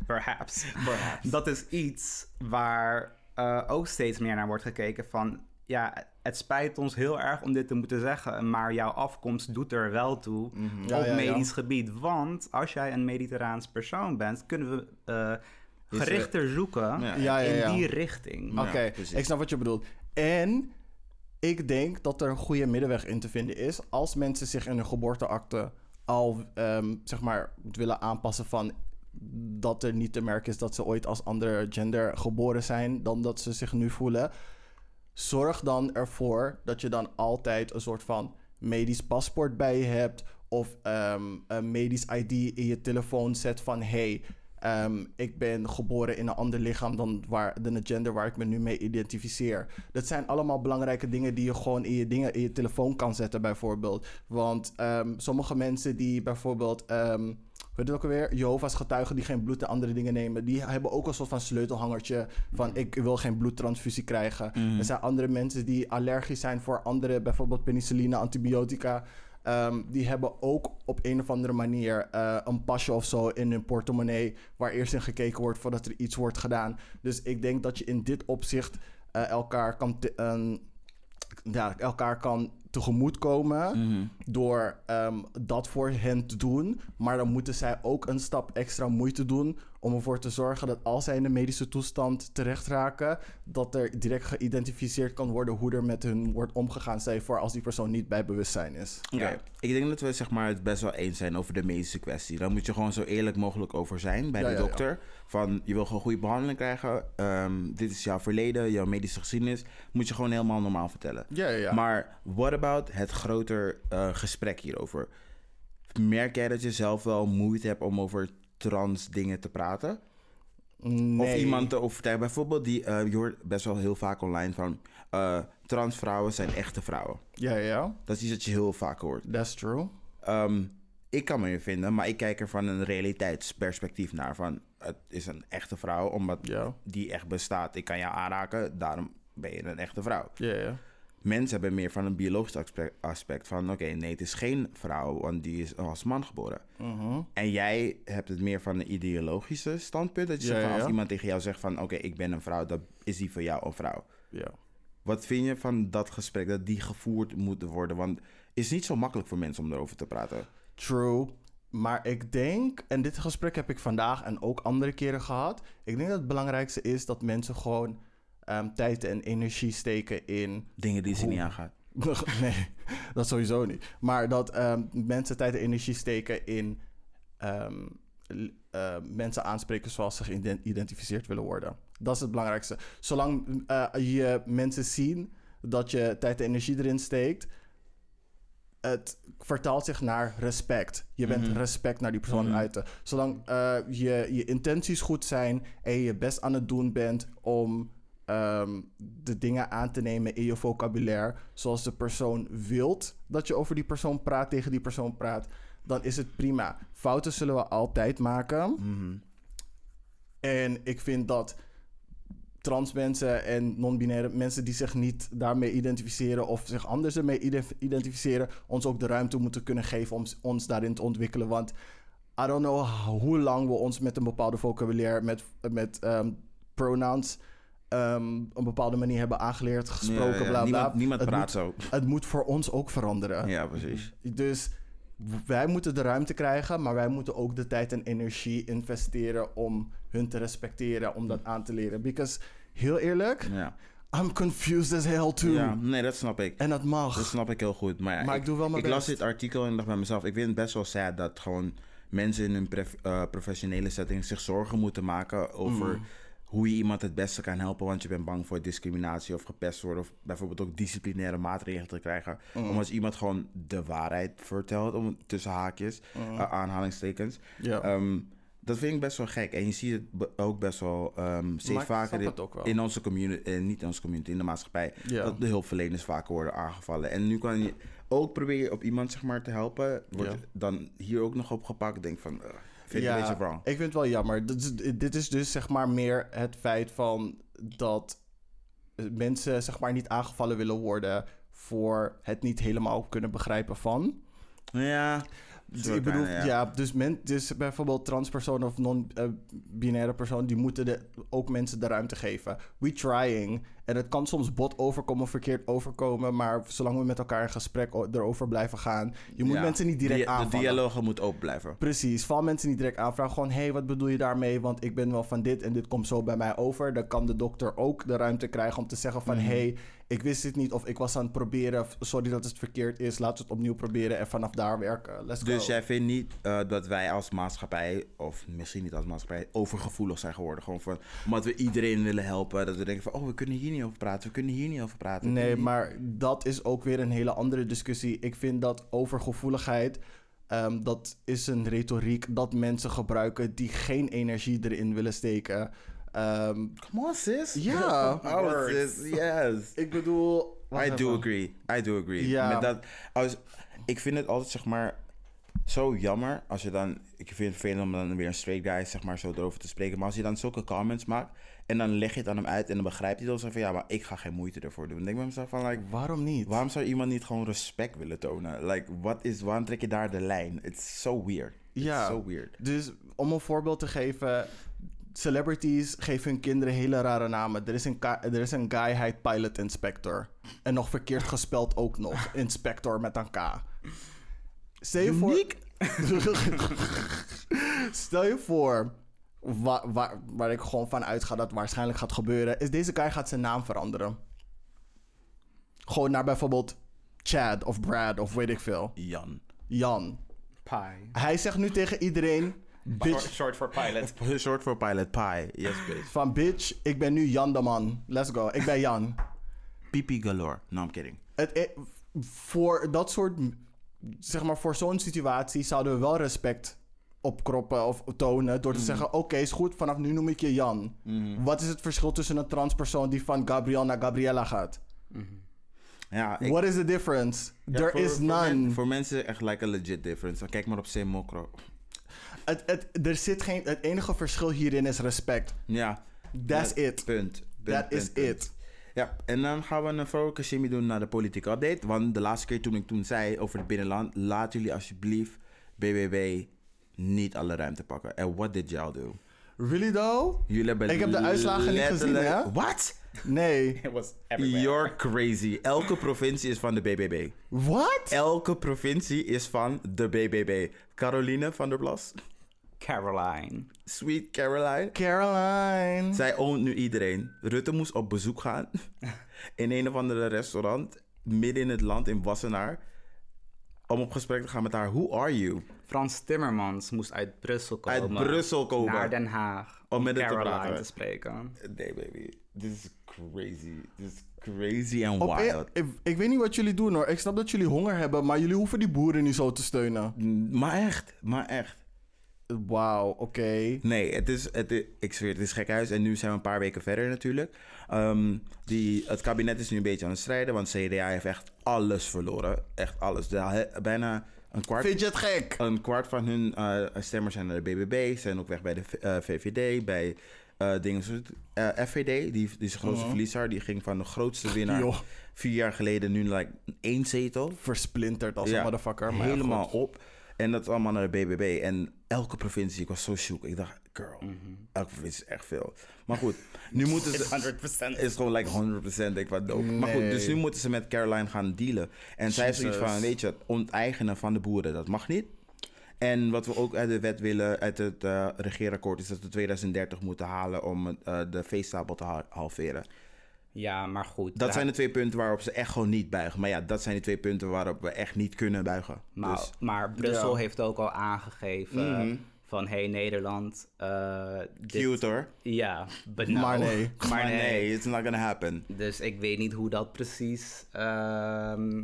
Speaker 3: Perhaps. Dat is iets waar eh, ook steeds meer naar wordt gekeken van... Ja, het spijt ons heel erg om dit te moeten zeggen, maar jouw afkomst doet er wel toe
Speaker 1: Mhm. Ja, ja,
Speaker 3: op
Speaker 1: ja.
Speaker 3: medisch gebied. Want als jij een mediterraans persoon bent, kunnen we eh, gerichter zoeken
Speaker 2: Ja,
Speaker 1: Dus, ja, ja, ja.
Speaker 3: in die richting.
Speaker 1: Oké,
Speaker 2: precies.
Speaker 1: ik snap wat je bedoelt. En ik denk dat er een goede middenweg in te vinden is als mensen zich in hun geboorteakte al ehm, zeg maar willen aanpassen van dat er niet te merken is dat ze ooit als ander gender geboren zijn dan dat ze zich nu voelen. Zorg dan ervoor dat je dan altijd een soort van medisch paspoort bij je hebt of ehm, een medisch ID in je telefoon zet van hey, ehm, ik ben geboren in een ander lichaam dan waar, dan het gender waar ik me nu mee identificeer. Dat zijn allemaal belangrijke dingen die je gewoon in je dingen in je telefoon kan zetten bijvoorbeeld. Want ehm, sommige mensen die bijvoorbeeld ehm Weet je ook alweer? Jehovah's getuigen die geen bloed en andere dingen nemen. Die hebben ook een soort van sleutelhangertje. Van ik wil geen bloedtransfusie krijgen. Er zijn andere mensen die allergisch zijn voor andere, bijvoorbeeld penicilline, antibiotica. Ehm, die hebben ook op een of andere manier eh, een pasje of zo in hun portemonnee. Waar eerst in gekeken wordt voordat er iets wordt gedaan. Dus ik denk dat je in dit opzicht eh, elkaar kan. te- een- ja, elkaar kan tegemoetkomen
Speaker 2: Mhm.
Speaker 1: door ehm, dat voor hen te doen. Maar dan moeten zij ook een stap extra moeite doen om ervoor te zorgen dat als zij in de medische toestand terecht raken, dat er direct geïdentificeerd kan worden hoe er met hun wordt omgegaan. Zij voor als die persoon niet bij bewustzijn is.
Speaker 2: Oké, ik denk dat we zeg maar, het best wel eens zijn over de medische kwestie. Daar moet je gewoon zo eerlijk mogelijk over zijn bij
Speaker 1: Ja,
Speaker 2: de
Speaker 1: ja, ja.
Speaker 2: dokter. Van je wil gewoon goede behandeling krijgen. ehm, dit is jouw verleden, jouw medische geschiedenis. Moet je gewoon helemaal normaal vertellen.
Speaker 1: Ja, ja, ja.
Speaker 2: Maar what about het groter eh, gesprek hierover? Merk jij dat je zelf wel moeite hebt om over trans dingen te praten?
Speaker 1: Nee.
Speaker 2: Of iemand te overtuigen. Bijvoorbeeld, die, eh, je hoort best wel heel vaak online van... eh, trans vrouwen zijn echte vrouwen.
Speaker 1: Ja, ja, ja.
Speaker 2: Dat is iets dat je heel vaak hoort.
Speaker 1: That's true.
Speaker 2: Ehm, ik kan me in vinden, maar ik kijk er van een realiteitsperspectief naar. Van, het is een echte vrouw, omdat
Speaker 1: Ja.
Speaker 2: die echt bestaat. Ik kan jou aanraken, daarom ben je een echte vrouw.
Speaker 1: Ja, ja.
Speaker 2: Mensen hebben meer van een biologisch aspe- aspect van... oké, nee, het is geen vrouw, want die is als man geboren.
Speaker 1: Mhm.
Speaker 2: En jij hebt het meer van een ideologische standpunt. Dat je
Speaker 1: Ja,
Speaker 2: zegt van,
Speaker 1: ja,
Speaker 2: als
Speaker 1: ja.
Speaker 2: iemand tegen jou zegt van... oké, ik ben een vrouw, dan is die voor jou een vrouw.
Speaker 1: Ja.
Speaker 2: Wat vind je van dat gesprek, dat die gevoerd moet worden? Want het is niet zo makkelijk voor mensen om erover te praten.
Speaker 1: True. Maar ik denk, en dit gesprek heb ik vandaag en ook andere keren gehad. Ik denk dat het belangrijkste is dat mensen gewoon ehm, tijd en energie steken in
Speaker 2: Dingen die ze niet aangaat.
Speaker 1: nee, dat sowieso niet. Maar dat ehm, mensen tijd en energie steken in ehm, l- eh, mensen aanspreken zoals ze geïdentificeerd willen worden. Dat is het belangrijkste. Zolang eh, je mensen zien dat je tijd en energie erin steekt, het vertaalt zich naar respect. Je bent respect naar die persoon uiten. Zolang eh, je, je intenties goed zijn en je je best aan het doen bent om ehm, de dingen aan te nemen in je vocabulaire, zoals de persoon wilt dat je over die persoon praat, tegen die persoon praat, dan is het prima. Fouten zullen we altijd maken. En ik vind dat trans mensen en non-binaire mensen die zich niet daarmee identificeren of zich anders ermee ide- identificeren, ons ook de ruimte moeten kunnen geven om s- ons daarin te ontwikkelen. Want I don't know hoe lang we ons met een bepaalde vocabulaire, met, met ehm, pronouns, ehm, een bepaalde manier hebben aangeleerd, gesproken,
Speaker 2: Ja, ja,
Speaker 1: bla bla.
Speaker 2: Niemand, niemand
Speaker 1: Het
Speaker 2: praat
Speaker 1: moet-
Speaker 2: zo.
Speaker 1: het moet voor ons ook veranderen.
Speaker 2: Ja, precies.
Speaker 1: Dus wij moeten de ruimte krijgen, maar wij moeten ook de tijd en energie investeren om hun te respecteren, om dat aan te leren. Because, heel eerlijk,
Speaker 2: Ja.
Speaker 1: I'm confused as hell too.
Speaker 2: ja, nee, dat snap ik.
Speaker 1: En dat
Speaker 2: Dat
Speaker 1: mag.
Speaker 2: snap ik heel goed. Maar, ja,
Speaker 1: Maar ik doe wel mijn
Speaker 2: Ik las
Speaker 1: best.
Speaker 2: dit artikel en dacht bij mezelf, ik vind het best wel sad dat gewoon mensen in hun pref- eh, professionele setting zich zorgen moeten maken over
Speaker 1: Mm.
Speaker 2: hoe je iemand het beste kan helpen, want je bent bang voor discriminatie of gepest worden of bijvoorbeeld ook disciplinaire maatregelen te krijgen.
Speaker 1: Mm.
Speaker 2: Omdat iemand gewoon de waarheid vertelt, om, tussen haakjes, eh, aanhalingstekens.
Speaker 1: Mm. Ja.
Speaker 2: Ehm, Dat vind ik best wel gek. En je ziet het be- ook best wel ehm steeds
Speaker 1: Maar ik
Speaker 2: vaker
Speaker 1: snap
Speaker 2: in,
Speaker 1: het ook wel.
Speaker 2: in onze community, eh, niet in onze community, in de maatschappij,
Speaker 1: Ja.
Speaker 2: dat de hulpverleners vaker worden aangevallen. En nu kan je ook proberen op iemand zeg maar, te helpen, wordt
Speaker 1: Ja.
Speaker 2: dan hier ook nog opgepakt. Denk van, eh, vind ik
Speaker 1: ja,
Speaker 2: een beetje wrong.
Speaker 1: ik vind het wel jammer. Dit is, dit is dus zeg maar meer het feit van dat mensen zeg maar niet aangevallen willen worden voor het niet helemaal kunnen begrijpen van.
Speaker 2: Ja,
Speaker 1: Dus
Speaker 2: Zo
Speaker 1: ik bedoel,
Speaker 2: bijna,
Speaker 1: ja,
Speaker 2: ja.
Speaker 1: dus, men, dus bijvoorbeeld transpersonen of non-binaire personen, die moeten de, ook mensen de ruimte geven. We trying. En het kan soms bot overkomen of verkeerd overkomen, maar zolang we met elkaar in gesprek o- erover blijven gaan, je moet
Speaker 2: Ja.
Speaker 1: mensen niet direct
Speaker 2: Die- De
Speaker 1: aanvallen.
Speaker 2: dialoog moet open blijven.
Speaker 1: Precies, val mensen niet direct aan. Vraag gewoon, hé, hey, wat bedoel je daarmee? Want ik ben wel van dit en dit komt zo bij mij over. Dan kan de dokter ook de ruimte krijgen om te zeggen van...
Speaker 2: Mhm.
Speaker 1: hé, hey, ik wist dit niet of ik was aan het proberen. F- Sorry dat het verkeerd is. Laten we het opnieuw proberen en vanaf daar werken. Let's
Speaker 2: Dus
Speaker 1: go.
Speaker 2: jij vindt niet eh, dat wij als maatschappij, of misschien niet als maatschappij, overgevoelig zijn geworden? Gewoon van, omdat we iedereen willen helpen, dat we denken van, oh, we kunnen hier niet over praten, we kunnen hier niet over praten. we
Speaker 1: Nee,
Speaker 2: kunnen hier-
Speaker 1: maar dat is ook weer een hele andere discussie. Ik vind dat overgevoeligheid... ehm, dat is een retoriek dat mensen gebruiken... die geen energie erin willen steken. Ehm,
Speaker 2: Come on, sis.
Speaker 1: Ja,
Speaker 2: oh,
Speaker 1: words.
Speaker 2: sis, yes.
Speaker 1: ik bedoel... wacht
Speaker 2: I do
Speaker 1: even.
Speaker 2: agree. I do agree.
Speaker 1: Ja.
Speaker 2: Met dat, als, ik vind het altijd zeg maar zo jammer als je dan. Ik vind het vervelend om dan weer een straight guy zeg maar zo erover te spreken. Maar als je dan zulke comments maakt en dan leg je het aan hem uit en dan begrijpt hij dan zo van ja, maar ik ga geen moeite ervoor doen. Dan denk ik bij mezelf van like.
Speaker 1: Waarom niet?
Speaker 2: Waarom zou iemand niet gewoon respect willen tonen? Like, wat is, waarom trek je daar de lijn? It's so weird. It's
Speaker 1: Ja.
Speaker 2: so weird.
Speaker 1: Dus om een voorbeeld te geven. Celebrities geven hun kinderen hele rare namen. Er is een, ka- er is een guy, hij heet Pilot Inspector. En nog verkeerd gespeld ook nog. Inspector met een K. Stel je voor... Stel je voor... Waar, waar, waar ik gewoon van uitga dat waarschijnlijk gaat gebeuren... is deze guy gaat zijn naam veranderen. Gewoon naar bijvoorbeeld Chad of Brad of weet ik veel.
Speaker 2: Jan.
Speaker 1: Jan.
Speaker 3: Pie.
Speaker 1: Hij zegt nu tegen iedereen...
Speaker 3: Short,
Speaker 1: Bitch,
Speaker 3: short for pilot.
Speaker 2: Short voor pilot pie. Yes, bitch.
Speaker 1: van bitch, ik ben nu Jan de man. Let's go, ik ben Jan.
Speaker 2: Pipi galore. No, I'm kidding.
Speaker 1: Het, eh, voor dat soort, zeg maar, voor zo'n situatie zouden we wel respect opkroppen of tonen
Speaker 2: Mm.
Speaker 1: door te zeggen: Oké, is goed, vanaf nu noem ik je Jan. Wat is het verschil tussen een transpersoon die van Gabriel naar Gabriella gaat?
Speaker 2: Ja, ik-
Speaker 1: What is the difference?
Speaker 2: Ja,
Speaker 1: There
Speaker 2: voor-
Speaker 1: is
Speaker 2: voor men-
Speaker 1: none.
Speaker 2: Voor mensen echt like a legit difference. Kijk maar op Sim Mokro.
Speaker 1: Het, het, er zit geen, het enige verschil hierin is respect.
Speaker 2: Ja.
Speaker 1: That's
Speaker 2: Ja,
Speaker 1: it.
Speaker 2: Punt. Punt,
Speaker 1: That
Speaker 2: punt,
Speaker 1: is
Speaker 2: punt.
Speaker 1: it.
Speaker 2: Ja, en dan gaan we een vrolijke shimmy doen naar de politieke update. Want de laatste keer toen ik toen zei over het binnenland, laat jullie alsjeblieft BBB niet alle ruimte pakken. En what did y'all do?
Speaker 1: Really though?
Speaker 2: Jullie hebben
Speaker 1: Ik heb de uitslagen niet gezien,
Speaker 2: letterlijk-
Speaker 1: hè?
Speaker 2: What?
Speaker 1: Nee.
Speaker 3: It was everywhere.
Speaker 2: You're crazy. Elke provincie is van de BBB.
Speaker 1: What?
Speaker 2: Elke provincie is van de BBB. Caroline van der Plas,
Speaker 3: Caroline.
Speaker 2: Sweet Caroline,
Speaker 1: Caroline.
Speaker 2: Zij oont nu iedereen. Rutte moest op bezoek gaan in een of andere restaurant midden in het land in Wassenaar. Om op gesprek te gaan met haar. Who are you?
Speaker 3: Frans Timmermans moest uit Brussel komen.
Speaker 2: Uit Brussel komen.
Speaker 3: Naar Den Haag. Om,
Speaker 2: Om met haar te
Speaker 3: Caroline
Speaker 2: praten.
Speaker 3: te spreken.
Speaker 2: Nee, baby. This is crazy. This is crazy and
Speaker 1: Op-
Speaker 2: wild.
Speaker 1: Eh, ik, ik weet niet wat jullie doen hoor. Ik snap dat jullie honger hebben, maar jullie hoeven die boeren niet zo te steunen.
Speaker 2: Maar echt, maar echt.
Speaker 1: Wauw, oké.
Speaker 2: Nee, het is, het is- ik zweer, het is gekhuis. En nu zijn we een paar weken verder natuurlijk. Ehm, die, het kabinet is nu een beetje aan het strijden. Want CDA heeft echt alles verloren. Echt alles. De- he- bijna een kwart...
Speaker 1: Vind je het gek?
Speaker 2: Een kwart van hun eh, stemmers zijn naar de BBB, zijn ook weg bij de V- eh, VVD, bij eh, dingen zoals eh, FVD, die, die is de grootste verliezer. Die ging van de grootste winnaar
Speaker 1: Joh.
Speaker 2: vier jaar geleden nu like één zetel.
Speaker 1: Versplinterd als
Speaker 2: Ja,
Speaker 1: een motherfucker. Maar ja,
Speaker 2: helemaal
Speaker 1: goed.
Speaker 2: op. En dat is allemaal naar de BBB. En elke provincie, ik was zo zoek. Ik dacht, girl,
Speaker 1: Mhm.
Speaker 2: elke provincie is echt veel. Maar goed, nu moeten ze...
Speaker 3: 100%.
Speaker 2: is gewoon like 100% denk ik wat dope. Maar goed, dus nu moeten ze met Caroline gaan dealen. En zij heeft zoiets van, weet je, het onteigenen van de boeren, dat mag niet. En wat we ook uit de wet willen, uit het eh, regeerakkoord, is dat we 2030 moeten halen om eh, de veestapel te ha- halveren.
Speaker 3: Ja, maar goed. eh,
Speaker 2: Dat
Speaker 3: daar-
Speaker 2: zijn de twee punten waarop ze echt gewoon niet buigen. Maar ja, dat zijn de twee punten waarop we echt niet kunnen buigen.
Speaker 1: Nou,
Speaker 3: Maar,
Speaker 2: Dus Mhm.
Speaker 3: maar Brussel heeft ook al aangegeven van... Hé, hey, Nederland. eh, dit-
Speaker 2: cute hoor.
Speaker 3: Ja, but no.
Speaker 1: Maar nee.
Speaker 3: Maar
Speaker 2: Maar
Speaker 3: nee.
Speaker 2: nee, it's not gonna happen.
Speaker 3: Dus ik weet niet hoe dat precies ehm,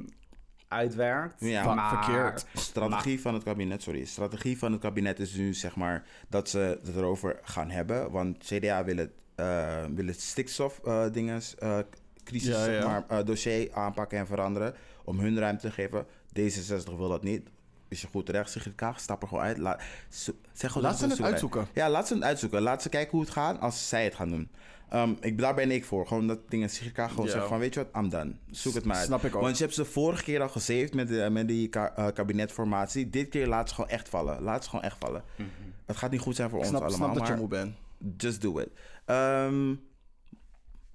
Speaker 3: uitwerkt.
Speaker 2: Ja,
Speaker 1: Van-
Speaker 3: maar,
Speaker 1: verkeerd.
Speaker 2: Strategie van het kabinet, sorry. Strategie van het kabinet is nu zeg maar dat ze het erover gaan hebben. Want CDA wil het, eh, wil het stikstof eh, dinges, eh, crisis,
Speaker 1: Ja,
Speaker 2: zeg
Speaker 1: ja.
Speaker 2: maar, eh, dossier aanpakken en veranderen. Om hun ruimte te geven. D66 wil dat niet. Is je goed terecht, Sigrid Kaag? Stap er gewoon uit. Laat, zo- zeg gewoon
Speaker 1: Laat
Speaker 2: dat
Speaker 1: ze het
Speaker 2: zo blijft.
Speaker 1: uitzoeken.
Speaker 2: Ja, laat ze het uitzoeken. Laat ze kijken hoe het gaat als zij het gaan doen. Ehm, ik, daar ben ik voor. Gewoon dat dingen Sigrid Kaag gewoon
Speaker 1: Ja.
Speaker 2: zegt van, weet je wat, I'm done. Zoek het maar uit.
Speaker 1: Snap ik ook.
Speaker 2: Want je hebt ze vorige keer al gesaved met, de- met die ka- eh, kabinetformatie. Dit keer laat ze gewoon echt vallen. Laat ze gewoon echt vallen. Het gaat niet goed zijn voor
Speaker 1: Mhm. Ik
Speaker 2: ons
Speaker 1: snap,
Speaker 2: allemaal,
Speaker 1: snap dat je
Speaker 2: maar
Speaker 1: moe bent.
Speaker 2: just do it. Ehm,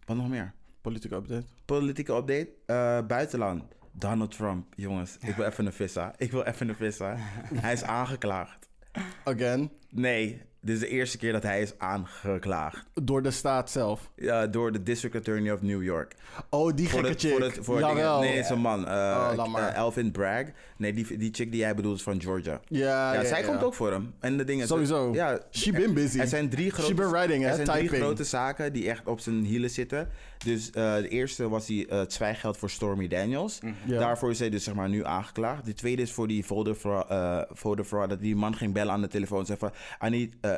Speaker 2: wat nog meer?
Speaker 1: Politieke update.
Speaker 2: Politieke update. Eh, buitenland. Donald Trump, jongens. Ik wil even een vissa. Ik wil even een vissa. Hij is aangeklaagd.
Speaker 1: Again,
Speaker 2: Nee, dit is de eerste keer dat hij is aangeklaagd.
Speaker 1: door de staat zelf.
Speaker 2: Ja, door de District Attorney of New York.
Speaker 1: Oh, die
Speaker 2: Voor
Speaker 1: gekke
Speaker 2: het,
Speaker 1: chick.
Speaker 2: voor het, voor het ding-
Speaker 1: Jawel. Oh,
Speaker 2: Nee, het is een man. Eh
Speaker 1: laat
Speaker 2: eh,
Speaker 1: maar.
Speaker 2: Alvin Bragg. Nee, die, die chick die jij bedoelt is van Georgia.
Speaker 1: Ja,
Speaker 2: ja,
Speaker 1: ja,
Speaker 2: zij
Speaker 1: ja.
Speaker 2: komt ook voor hem. En de dingen.
Speaker 1: Sowieso.
Speaker 2: Ja,
Speaker 1: She been busy.
Speaker 2: Er zijn drie
Speaker 1: She been
Speaker 2: grote,
Speaker 1: riding, hè,
Speaker 2: er zijn drie
Speaker 1: typing.
Speaker 2: grote zaken die echt op zijn hielen zitten. Dus eh, de eerste was die, eh, het zwijgeld voor Stormy Daniels.
Speaker 1: Ja.
Speaker 2: Daarvoor is hij dus zeg maar nu aangeklaagd. De tweede is voor die folder fra- eh, folder fraud. Dat die man ging bellen aan de telefoon en zei van... I need eh,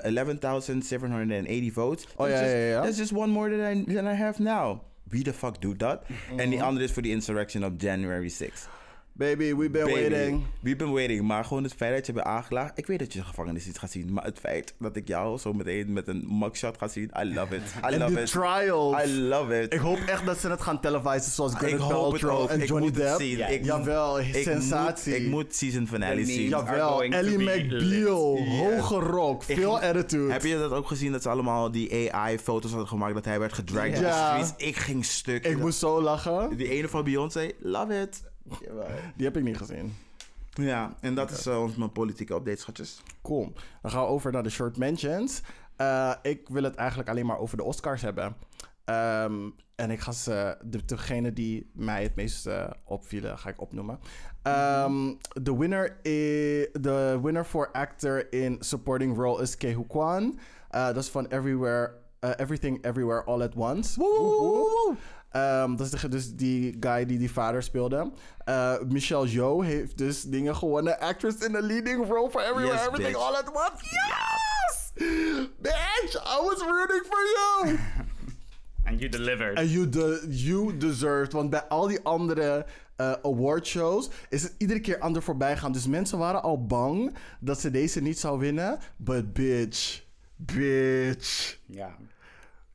Speaker 2: 11.780 votes.
Speaker 1: Oh, ja,
Speaker 2: That's just-
Speaker 1: ja, ja.
Speaker 2: That's just one more than I, than I have now. Wie the fuck doet dat? En die andere is voor die insurrection op January 6th.
Speaker 1: Baby, we been
Speaker 2: Baby,
Speaker 1: waiting.
Speaker 2: We've been waiting. Maar gewoon het feit dat je bent aangeklaagd. Ik weet dat je de gevangenis niet gaat zien. Maar het feit dat ik jou zo meteen met een mugshot ga zien. I love it. I
Speaker 1: En
Speaker 2: love
Speaker 1: de
Speaker 2: it.
Speaker 1: trials.
Speaker 2: I love it.
Speaker 1: Ik hoop echt dat ze het gaan televisen zoals Gwyneth Paltrow en
Speaker 2: Ik
Speaker 1: Johnny
Speaker 2: moet het
Speaker 1: Depp.
Speaker 2: zien.
Speaker 3: Ja.
Speaker 2: Ik-
Speaker 1: Jawel, sensatie.
Speaker 2: Moet, ik moet season finale
Speaker 3: The
Speaker 2: zien.
Speaker 3: memes. are
Speaker 1: Jawel,
Speaker 3: going to
Speaker 1: Ellie
Speaker 3: be
Speaker 1: McBeal,
Speaker 2: lit.
Speaker 1: hoge rock, veel attitude.
Speaker 2: Heb je dat ook gezien dat ze allemaal die AI-foto's hadden gemaakt dat hij werd gedragged op
Speaker 1: Ja.
Speaker 2: de streets? Ik ging stuk.
Speaker 1: Ik moest zo lachen.
Speaker 2: Die ene van Beyoncé, love it.
Speaker 1: Die heb ik niet gezien.
Speaker 2: Ja, en dat is eh, ons mijn politieke update, schatjes.
Speaker 1: Kom, dan gaan we over naar de short mentions. Eh, ik wil het eigenlijk alleen maar over de Oscars hebben. Ehm, en ik ga ze, de, degene die mij het meest eh, opvielen, ga ik opnoemen. Ehm, De winner, i- de winner for actor in supporting role is Kehu Kwan. Eh, dat is van Everywhere, eh, Everything Everywhere All at Once. Ehm, dat is de- dus die guy die die vader speelde. Eh, Michelle Yeoh heeft dus dingen gewonnen. Actress in a leading role for Everywhere
Speaker 2: Yes,
Speaker 1: Everything
Speaker 2: bitch.
Speaker 1: All at Once. Yes! Bitch, I was rooting for you!
Speaker 3: And you delivered.
Speaker 1: En you, de- you deserved. Want bij al die andere eh, award awardshows is het iedere keer ander voorbij gaan. Dus mensen waren al bang dat ze deze niet zou winnen. But bitch, bitch.
Speaker 3: ja.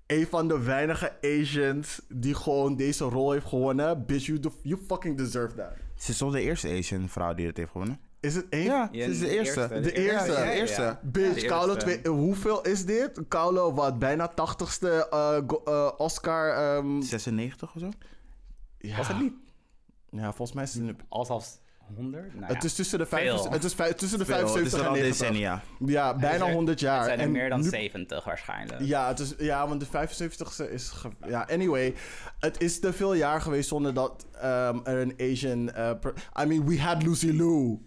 Speaker 1: Een van de weinige Asians die gewoon deze rol heeft gewonnen. Bitch, you, de- you fucking deserve that.
Speaker 2: Ze is toch de eerste Asian vrouw die het heeft gewonnen?
Speaker 1: Is het één?
Speaker 2: ze is de
Speaker 3: de
Speaker 2: eerste.
Speaker 3: eerste.
Speaker 1: De eerste.
Speaker 2: Ja,
Speaker 3: ja,
Speaker 2: de
Speaker 3: ja.
Speaker 2: eerste.
Speaker 1: Bitch,
Speaker 3: Ja,
Speaker 1: Carlo,
Speaker 3: eerste.
Speaker 1: twee- hoeveel is dit? Carlo, wat, bijna 80ste eh, go- eh, Oscar. ehm,
Speaker 2: 96 of zo?
Speaker 1: ja.
Speaker 3: Was het niet?
Speaker 1: Ja, volgens mij is het nu
Speaker 3: Als als 100? Nou,
Speaker 1: Het is tussen de, vijf,
Speaker 3: Veel.
Speaker 1: het is vij- tussen de
Speaker 2: Veel, het is
Speaker 1: 75
Speaker 2: al
Speaker 1: en 90.
Speaker 2: decennia.
Speaker 1: Ja, bijna 100 jaar.
Speaker 3: Het zijn er
Speaker 1: Ah, En
Speaker 3: meer dan
Speaker 1: nu-
Speaker 3: 70 waarschijnlijk.
Speaker 1: Ja, het is, ja, want de 75ste is... ge- ja, anyway. Het is te veel jaar geweest zonder dat ehm, er een Asian... eh, per- I mean, we had Lucy Liu.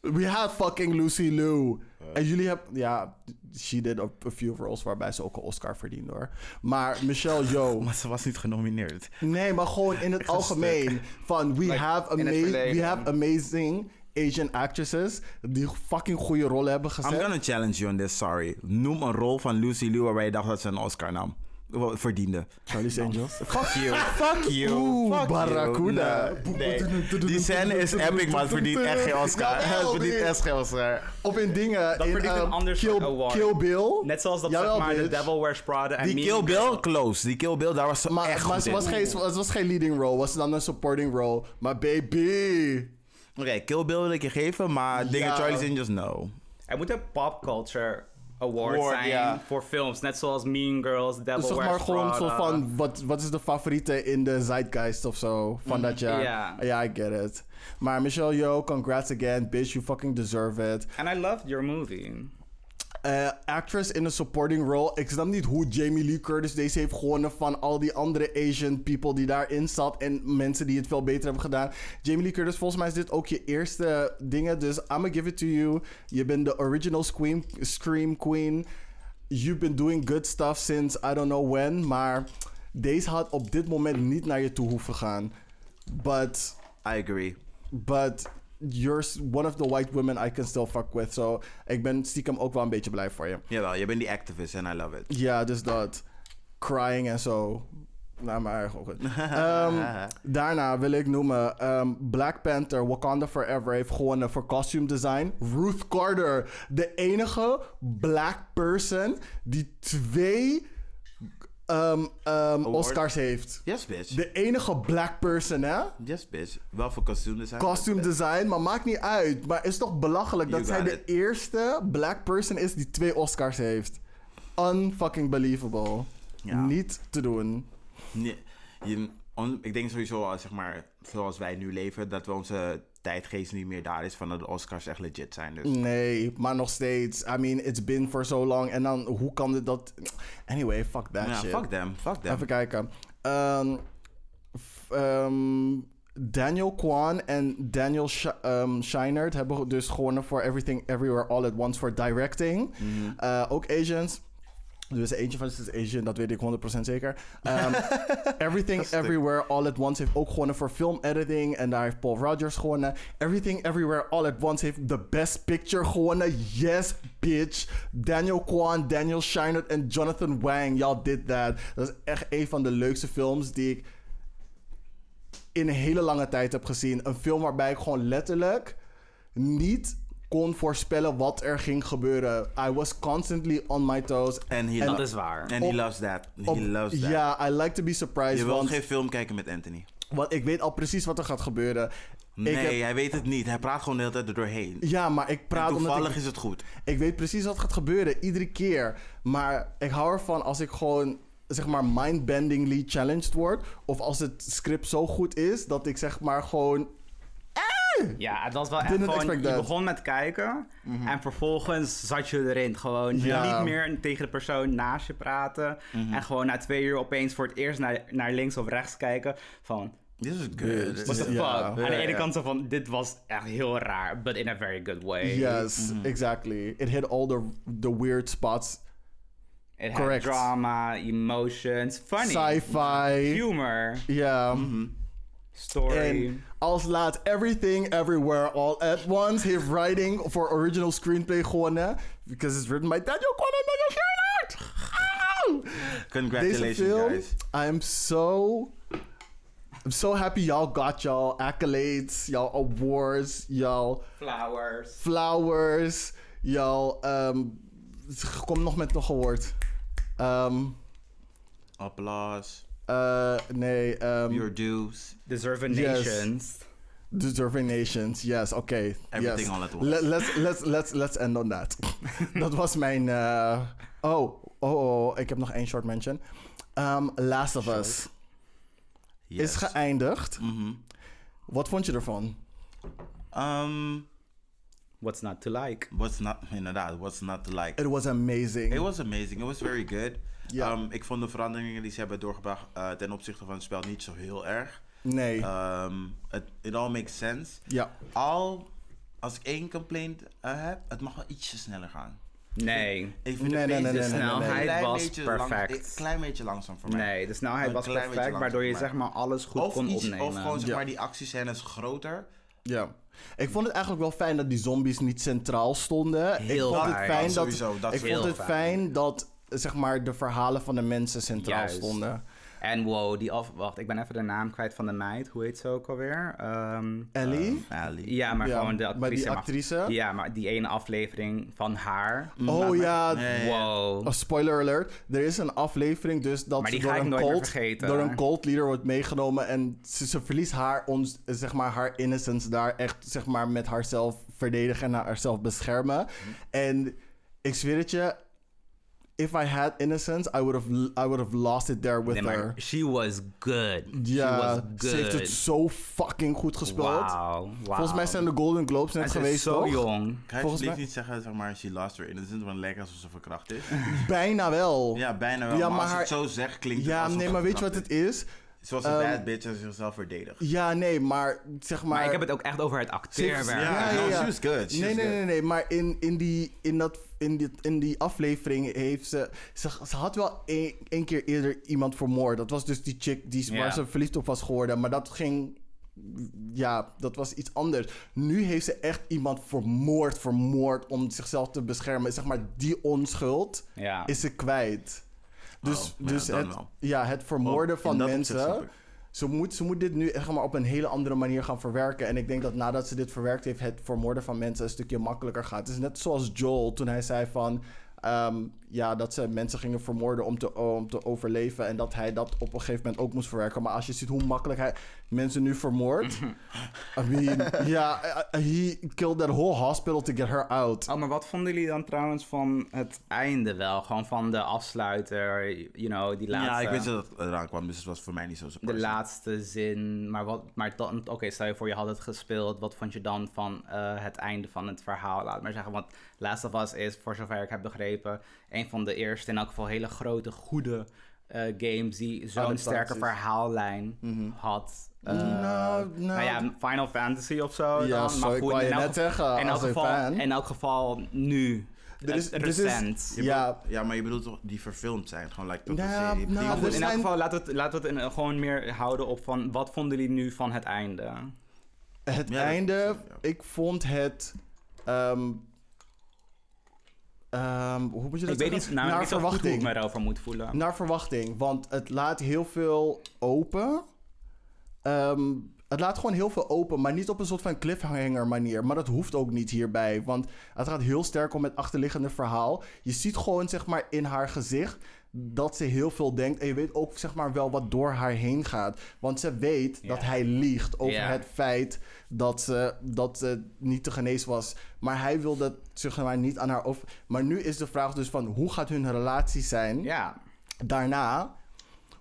Speaker 1: We had fucking Lucy Liu. En jullie hebben... Ja, she did a, a few roles waarbij ze ook een Oscar verdiende hoor. Maar Michelle Yeoh...
Speaker 2: Maar ze was niet genomineerd.
Speaker 1: Nee, maar gewoon in het algemeen. Van we, have
Speaker 3: in
Speaker 1: ama-
Speaker 3: het
Speaker 1: we
Speaker 3: verleden.
Speaker 1: have amazing Asian actresses die fucking goede rollen hebben
Speaker 2: I'm
Speaker 1: gezet.
Speaker 2: gonna challenge you on this, sorry. Noem een rol van Lucy Liu waarbij je dacht dat ze een Oscar nam. Wel, Verdiende.
Speaker 1: Charlie's Angels.
Speaker 2: Fuck you. Fuck you.
Speaker 1: Oeh,
Speaker 2: Fuck you.
Speaker 1: Barracuda.
Speaker 2: Nee, nee. Die scène is epic, maar het verdient echt geen Oscar.
Speaker 1: Jawel,
Speaker 2: Het verdient
Speaker 1: die-
Speaker 2: echt geen Oscar.
Speaker 1: Of in dingen.
Speaker 3: Dat
Speaker 1: in,
Speaker 3: verdient een
Speaker 1: ehm,
Speaker 3: ander
Speaker 1: Kill,
Speaker 3: soort award.
Speaker 1: Kill Bill.
Speaker 3: Net zoals dat
Speaker 1: Jawel,
Speaker 3: zeg maar de
Speaker 1: bitch.
Speaker 3: Devil Wears Prada en
Speaker 2: Die
Speaker 3: Mean
Speaker 2: Kill Bill, close. Die Kill Bill, daar was ze echt
Speaker 1: Maar, maar
Speaker 2: goed
Speaker 1: ze
Speaker 2: in.
Speaker 1: was geen, het was geen leading role, was dan een supporting role. Maar baby.
Speaker 2: Oké, Kill Bill wil ik je geven, maar dingen
Speaker 1: Ja.
Speaker 2: Charlie's Angels, no.
Speaker 3: Er moet een pop culture award
Speaker 2: Award,
Speaker 3: zijn
Speaker 2: ja.
Speaker 3: voor films. Net zoals Mean Girls, Devil
Speaker 1: Dus zeg
Speaker 3: Wears
Speaker 1: maar gewoon zo
Speaker 3: Prada.
Speaker 1: van, wat, wat is de favoriete in de zeitgeist of zo van dat jaar?
Speaker 3: Mm, Ja.
Speaker 1: Ja, I get it. Maar Michelle Yeoh, congrats again, bitch, you fucking deserve it.
Speaker 3: And I loved your movie.
Speaker 1: Eh, actress in a supporting role. Ik snap niet hoe Jamie Lee Curtis deze heeft gewonnen van al die andere Asian people die daarin zat. En mensen die het veel beter hebben gedaan. Jamie Lee Curtis, volgens mij is dit ook je eerste dingen. Dus I'ma give it to you. Je bent de original scream, scream queen. You've been doing good stuff since I don't know when. Maar deze had op dit moment niet naar je toe hoeven gaan. But
Speaker 2: I agree.
Speaker 1: But you're s- one of the white women I can still fuck with. So ik ben stiekem ook wel een beetje blij voor je.
Speaker 2: Jawel, je bent die activist en I love it.
Speaker 1: Ja, dus dat. Crying en zo. Nou, maar eigenlijk ook goed. Ehm, daarna wil ik noemen... ehm, Black Panther Wakanda Forever heeft gewonnen voor costume design. Ruth Carter, de enige black person die twee ehm, ehm, Oscars heeft.
Speaker 2: Yes, bitch.
Speaker 1: De enige black person, hè?
Speaker 2: Yes, bitch. Wel voor kostuum design.
Speaker 1: Costume design, maar maakt niet uit. Maar is toch belachelijk
Speaker 2: You
Speaker 1: dat zij
Speaker 2: got
Speaker 1: de
Speaker 2: it.
Speaker 1: eerste black person is die twee Oscars heeft. Unfucking believable.
Speaker 2: Ja.
Speaker 1: Niet te doen.
Speaker 2: Nee, je- on- ik denk sowieso, als, zeg maar, zoals wij nu leven, dat we onze tijdgeest niet meer daar is van dat de Oscars echt legit zijn.
Speaker 1: Mm,
Speaker 2: Dus.
Speaker 1: Nee, maar nog steeds. I mean, it's been for so long. En dan, hoe kan dit dat... Anyway, fuck that
Speaker 2: Ja,
Speaker 1: shit.
Speaker 2: fuck them, fuck them.
Speaker 1: Even kijken. Ehm, f- ehm, Daniel Kwan en Daniel Sh ehm, Scheinert hebben dus gewonnen voor Everything Everywhere All at Once voor directing.
Speaker 2: Mhm.
Speaker 1: Eh, ook Asians. Dus eentje van ze is Asian, dat weet ik 100% zeker. Ehm, Everything Everywhere All at Once heeft ook gewonnen voor film editing. En daar heeft Paul Rogers gewonnen. Everything Everywhere All at Once heeft The Best Picture gewonnen. Yes, bitch. Daniel Kwan, Daniel Scheinert en Jonathan Wang. Y'all did that. Dat is echt een van de leukste films die ik in een hele lange tijd heb gezien. Een film waarbij ik gewoon letterlijk niet kon voorspellen wat er ging gebeuren. I was constantly on my toes.
Speaker 2: En he,
Speaker 3: Dat
Speaker 2: lo-
Speaker 3: is waar.
Speaker 2: and he loves that. He
Speaker 1: Op-
Speaker 2: loves that.
Speaker 1: Ja, I like to be surprised.
Speaker 2: je wil
Speaker 1: want,
Speaker 2: geen film kijken met Anthony.
Speaker 1: want ik weet al precies wat er gaat gebeuren.
Speaker 2: Nee,
Speaker 1: heb-
Speaker 2: hij weet het niet. Hij praat gewoon de hele tijd er doorheen.
Speaker 1: Ja, maar ik praat omdat
Speaker 2: Toevallig
Speaker 1: ik,
Speaker 2: is het goed.
Speaker 1: ik weet precies wat gaat gebeuren. Iedere keer. Maar ik hou ervan als ik gewoon zeg maar mindbendingly challenged word. Of als het script zo goed is dat ik zeg maar gewoon...
Speaker 3: Ja, het was wel echt
Speaker 1: Didn't
Speaker 3: gewoon... Je
Speaker 1: expect that. Mhm.
Speaker 3: begon met kijken en vervolgens zat je erin. Gewoon
Speaker 1: Ja. Mhm.
Speaker 3: niet meer tegen de persoon naast je praten. En gewoon na twee uur opeens voor het eerst naar, naar links of rechts kijken. Van,
Speaker 2: Dit is
Speaker 3: what
Speaker 2: good.
Speaker 3: the fuck?
Speaker 1: Ja.
Speaker 3: Aan de ene kant zo van, dit was echt heel raar, but in a very good way.
Speaker 1: Yes,
Speaker 2: mhm.
Speaker 1: exactly. It hit all the, the weird spots.
Speaker 3: It had
Speaker 1: Correct.
Speaker 3: drama, emotions, funny,
Speaker 1: Sci-fi.
Speaker 3: humor,
Speaker 1: Ja.
Speaker 2: Mhm.
Speaker 3: story.
Speaker 1: En als laat Everything Everywhere All at Once heeft writing voor original screenplay gewonnen. Because it's written by Daniel Kwan en Daniel Gerhardt. Deze
Speaker 2: Congratulations,
Speaker 1: Ah! film,
Speaker 2: guys.
Speaker 1: I'm so... I'm so happy y'all got y'all accolades, y'all awards, y'all
Speaker 3: Flowers.
Speaker 1: flowers, y'all... ehm, kom nog met nog een woord. Ehm,
Speaker 2: Applaus.
Speaker 1: eh, nee, ehm,
Speaker 2: Your dues.
Speaker 3: Deserving
Speaker 1: Yes.
Speaker 3: Nations.
Speaker 1: Deserving Nations, yes, oké.
Speaker 2: Everything
Speaker 1: yes.
Speaker 2: all at once.
Speaker 1: Let- let's, let's, let's, let's end on that. Dat was mijn... eh, oh, oh, oh, ik heb nog één short mention. Ehm, Last of Us
Speaker 2: Yes.
Speaker 1: is geëindigd.
Speaker 2: Mhm.
Speaker 1: Wat vond je ervan?
Speaker 2: Ehm,
Speaker 3: What's not to like?
Speaker 2: what's not, inderdaad, what's not to like.
Speaker 1: It was amazing.
Speaker 2: It was amazing. It was very good.
Speaker 1: Ja.
Speaker 2: Um, ik vond de veranderingen die ze hebben doorgebracht eh, ten opzichte van het spel niet zo heel erg.
Speaker 1: nee,
Speaker 2: Ehm, het- it all makes sense.
Speaker 1: ja.
Speaker 2: Al, als ik één complaint eh, heb, het mag wel ietsje sneller gaan.
Speaker 3: Nee.
Speaker 2: Ik vind
Speaker 1: Nee,
Speaker 2: het
Speaker 1: nee,
Speaker 2: pace
Speaker 1: nee,
Speaker 2: is
Speaker 1: nee, nee,
Speaker 2: een
Speaker 1: nee.
Speaker 2: klein
Speaker 3: Snelheid was
Speaker 2: beetje lang-
Speaker 3: perfect.
Speaker 2: Een klein beetje langzaam voor mij.
Speaker 3: Nee, de snelheid
Speaker 2: Een
Speaker 3: Dus nou, was
Speaker 2: klein beetje langzaam
Speaker 3: perfect, waardoor je
Speaker 2: voor mij.
Speaker 3: zeg maar alles goed
Speaker 2: Of,
Speaker 3: kon
Speaker 2: iets,
Speaker 3: opnemen.
Speaker 2: of gewoon zeg
Speaker 1: Ja.
Speaker 2: maar die actiescènes groter.
Speaker 1: Ja. Ik vond het eigenlijk wel fijn dat die zombies niet centraal stonden.
Speaker 3: Heel
Speaker 1: ik vond het
Speaker 3: fijn.
Speaker 1: fijn dat,
Speaker 2: Dat sowieso, dat
Speaker 1: ik
Speaker 2: heel
Speaker 1: vond het
Speaker 3: fijn.
Speaker 1: fijn dat zeg maar de verhalen van de mensen centraal
Speaker 3: Juist.
Speaker 1: stonden.
Speaker 3: En wow, die af... Wacht, ik ben even de naam kwijt van de meid. Hoe heet ze ook alweer? Ehm,
Speaker 2: Eh.
Speaker 1: Ellie?
Speaker 2: Mm, Ali.
Speaker 3: ja, maar
Speaker 1: Ja,
Speaker 3: gewoon de
Speaker 1: maar
Speaker 3: actrice.
Speaker 1: die
Speaker 3: mag-
Speaker 1: actrice?
Speaker 3: Ja, maar die ene aflevering van haar.
Speaker 1: oh ja,
Speaker 3: Wow.
Speaker 1: Oh, spoiler alert. Er is een aflevering dus dat
Speaker 3: Maar
Speaker 1: ze
Speaker 3: die
Speaker 1: door
Speaker 3: ga ik
Speaker 1: een,
Speaker 3: nooit meer
Speaker 1: cult,
Speaker 3: vergeten.
Speaker 1: door een cult leader wordt meegenomen. En ze, ze verliest haar, ons, zeg maar, haar innocence daar echt zeg maar, met haarzelf verdedigen en haarzelf beschermen.
Speaker 3: Mhm.
Speaker 1: En ik zweer het je, if I had innocence, I would have, I would have lost it there with
Speaker 3: Nee,
Speaker 1: her.
Speaker 3: maar she was good. she was
Speaker 1: Ja,
Speaker 3: good.
Speaker 1: ze heeft het zo fucking goed gespeeld.
Speaker 3: Wauw, wauw.
Speaker 1: Volgens mij zijn de Golden Globes net
Speaker 3: En ze is
Speaker 1: geweest,
Speaker 3: zo
Speaker 1: toch?
Speaker 3: jong.
Speaker 2: Kan je
Speaker 1: Volgens
Speaker 2: alsjeblieft
Speaker 1: mij-
Speaker 2: niet zeggen, zeg maar, she lost her innocence, want lijkt alsof ze verkracht is.
Speaker 1: Bijna wel.
Speaker 2: ja, bijna wel.
Speaker 1: Ja,
Speaker 2: maar als
Speaker 1: maar
Speaker 2: je het zo zegt, klinkt het
Speaker 1: Ja,
Speaker 2: alsof
Speaker 1: nee,
Speaker 2: ze
Speaker 1: maar weet je wat
Speaker 2: verkracht
Speaker 1: het is?
Speaker 2: is? Ze was een
Speaker 1: Ehm,
Speaker 2: bad bitch en ze zichzelf verdedigt.
Speaker 1: Ja, nee, maar zeg maar...
Speaker 3: Maar ik heb het ook echt over het
Speaker 1: Ze
Speaker 3: acteerwerk.
Speaker 1: heeft-
Speaker 2: Ja,
Speaker 1: ja,
Speaker 2: no,
Speaker 1: ja.
Speaker 2: she was good. She
Speaker 1: Nee,
Speaker 2: was
Speaker 1: nee, nee,
Speaker 2: good.
Speaker 1: nee, maar in, in, die, in, dat, in, die, in die aflevering heeft ze... Ze, ze had wel één één keer eerder iemand vermoord. Dat was dus die chick die,
Speaker 3: Ja.
Speaker 1: waar ze verliefd op was geworden. Maar dat ging Ja, dat was iets anders. Nu heeft ze echt iemand vermoord, vermoord om zichzelf te beschermen. Zeg maar, die onschuld
Speaker 3: Ja.
Speaker 1: is ze kwijt. Dus,
Speaker 2: Oh, ja,
Speaker 1: dus
Speaker 2: dan
Speaker 1: het,
Speaker 2: wel.
Speaker 1: ja, het vermoorden
Speaker 2: Oh, in
Speaker 1: van
Speaker 2: dat opzicht snap
Speaker 1: mensen.
Speaker 2: ik.
Speaker 1: Ze moet, ze moet dit nu echt maar op een hele andere manier gaan verwerken. En ik denk dat nadat ze dit verwerkt heeft, het vermoorden van mensen een stukje makkelijker gaat. Het is net zoals Joel toen hij zei van. ehm, ja, dat ze mensen gingen vermoorden om te, om te overleven. En dat hij dat op een gegeven moment ook moest verwerken. Maar als je ziet hoe makkelijk hij mensen nu vermoordt. I
Speaker 2: Mhm.
Speaker 1: mean, ja, eh, he killed that whole hospital to get her out.
Speaker 3: Oh, maar wat vonden jullie dan trouwens van het einde wel? Gewoon van de afsluiter, you know, die laatste...
Speaker 2: Ja, ik wist dat het eraan kwam, dus het was voor mij niet zo
Speaker 3: eh, De
Speaker 2: surprising.
Speaker 3: laatste zin, maar wat, maar dan, oké, stel je voor je had het gespeeld, wat vond je dan van eh, het einde van het verhaal? Laat maar zeggen, want Last of Us is, voor zover ik heb begrepen, een van de eerste, in elk geval hele grote, goede eh, games die zo'n
Speaker 1: Adaptaties. Mhm.
Speaker 3: sterke verhaallijn had. Eh,
Speaker 1: Nou, nou.
Speaker 3: ja, Final Fantasy of zo.
Speaker 1: Ja,
Speaker 3: dan,
Speaker 1: zo,
Speaker 3: maar
Speaker 1: ik
Speaker 3: goed,
Speaker 1: wou
Speaker 3: in
Speaker 1: je
Speaker 3: elk
Speaker 1: net
Speaker 3: geval-
Speaker 1: zeggen,
Speaker 3: In elk
Speaker 1: als een
Speaker 3: geval,
Speaker 1: fan.
Speaker 3: in elk geval nu.
Speaker 1: Er is-
Speaker 3: eh,
Speaker 1: er is-
Speaker 3: recent.
Speaker 1: Ja,
Speaker 2: Ja, maar je bedoelt toch die verfilmd zijn? Gewoon like tot
Speaker 1: Nou,
Speaker 2: een serie.
Speaker 1: nou, dus-
Speaker 2: Die-
Speaker 3: Goed,
Speaker 1: Er
Speaker 3: in elk
Speaker 1: zijn-
Speaker 3: geval laten we het, laten we het in- gewoon meer houden op van wat vonden jullie nu van het einde?
Speaker 1: Het
Speaker 2: Ja, dat-
Speaker 1: einde,
Speaker 2: ja.
Speaker 1: ik vond het. ehm, ehm, hoe moet je dat zeggen?
Speaker 3: ik weet niet, namelijk
Speaker 1: naar
Speaker 3: niet zo goed hoe ik
Speaker 1: verwachting.
Speaker 3: me erover moet voelen.
Speaker 1: Naar verwachting, want het laat heel veel open. Ehm, het laat gewoon heel veel open, maar niet op een soort van cliffhanger manier. Maar dat hoeft ook niet hierbij, want het gaat heel sterk om het achterliggende verhaal. Je ziet gewoon zeg maar in haar gezicht dat ze heel veel denkt. En je weet ook zeg maar wel wat door haar heen gaat. Want ze weet
Speaker 3: Ja.
Speaker 1: dat hij liegt over
Speaker 3: Ja.
Speaker 1: het feit dat ze, dat ze niet te genezen was. Maar hij wilde het zeg maar niet aan haar over. Maar nu is de vraag dus van hoe gaat hun relatie zijn?
Speaker 3: Ja,
Speaker 1: daarna.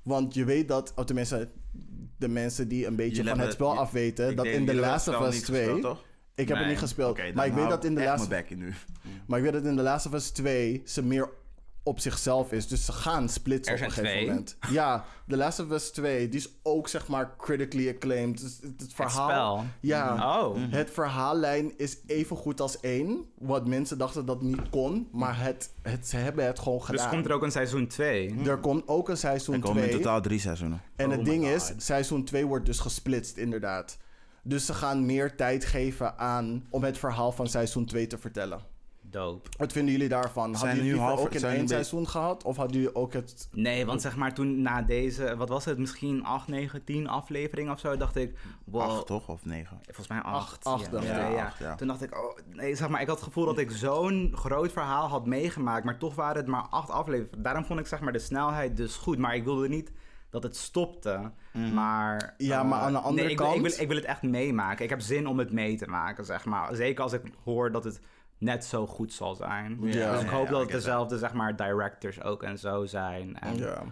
Speaker 1: Want je weet dat, of tenminste, de mensen die een beetje
Speaker 2: Jullie
Speaker 1: van het
Speaker 2: hebben-
Speaker 1: spel
Speaker 2: je-
Speaker 1: afweten,
Speaker 2: ik
Speaker 1: dat
Speaker 2: denk-
Speaker 1: in The
Speaker 2: jullie
Speaker 1: Last of
Speaker 2: hebben
Speaker 1: Us
Speaker 2: het spel niet
Speaker 1: 2.
Speaker 2: gespeeld, toch?
Speaker 1: Ik heb het
Speaker 3: Nee.
Speaker 1: niet gespeeld.
Speaker 2: Oké, dan
Speaker 1: maar ik weet
Speaker 2: hou
Speaker 1: dat in The
Speaker 2: echt
Speaker 1: Last
Speaker 2: mijn bek in nu.
Speaker 1: Maar ik weet dat in The Last of Us 2 ze meer op zichzelf is. Dus ze gaan splitsen
Speaker 3: Er
Speaker 1: op een
Speaker 3: zijn
Speaker 1: gegeven
Speaker 3: twee.
Speaker 1: moment. Ja, The Last of Us 2, die is ook zeg maar critically acclaimed. Dus het, het verhaal.
Speaker 3: spel.
Speaker 1: Ja.
Speaker 2: Mhm.
Speaker 3: Oh.
Speaker 1: Het verhaallijn is even goed als één. Wat mensen dachten dat niet kon. Maar het, het, ze hebben het gewoon
Speaker 3: dus
Speaker 1: gedaan.
Speaker 3: komt er ook een seizoen 2.
Speaker 1: er komt ook een
Speaker 2: Hm? Er
Speaker 1: seizoen 2.
Speaker 2: komen in totaal drie seizoenen.
Speaker 1: En
Speaker 3: Oh
Speaker 1: het
Speaker 3: my
Speaker 1: ding
Speaker 3: God.
Speaker 1: is, seizoen 2 wordt dus gesplitst, inderdaad. Dus ze gaan meer tijd geven aan om het verhaal van seizoen 2 te vertellen.
Speaker 3: Dope.
Speaker 1: Wat vinden jullie daarvan? Hadden
Speaker 2: Zijn
Speaker 1: jullie
Speaker 2: nu
Speaker 1: liever
Speaker 2: half-
Speaker 1: ook in
Speaker 2: zijn
Speaker 1: één
Speaker 2: een beetje-
Speaker 1: seizoen gehad? Of hadden jullie ook het...
Speaker 3: Nee, want zeg maar toen na deze, wat was het, misschien 8, 9, 10 afleveringen of zo, dacht ik, wow.
Speaker 2: Acht toch? Of negen?
Speaker 3: Volgens mij
Speaker 1: Acht,
Speaker 3: acht.
Speaker 1: acht,
Speaker 3: ja.
Speaker 1: dacht
Speaker 3: Ja,
Speaker 2: ik.
Speaker 3: ja.
Speaker 2: Acht, ja.
Speaker 3: Toen dacht ik, oh, nee, zeg maar, ik had het gevoel dat ik zo'n groot verhaal had meegemaakt, maar toch waren het maar acht afleveringen. Daarom vond ik zeg maar de snelheid dus goed, maar ik wilde niet dat het stopte. Maar
Speaker 1: Ja, maar
Speaker 3: eh,
Speaker 1: aan de andere
Speaker 3: nee, ik wil- ik,
Speaker 1: kant-
Speaker 3: wil, ik wil het echt meemaken. Ik heb zin om het mee te maken, zeg maar. Zeker als ik hoor dat het net zo goed zal zijn.
Speaker 1: Ja.
Speaker 3: Dus ik hoop
Speaker 2: Ja,
Speaker 3: dat
Speaker 2: ik get
Speaker 3: het dezelfde zeg maar directors ook en zo zijn. En
Speaker 1: Ja.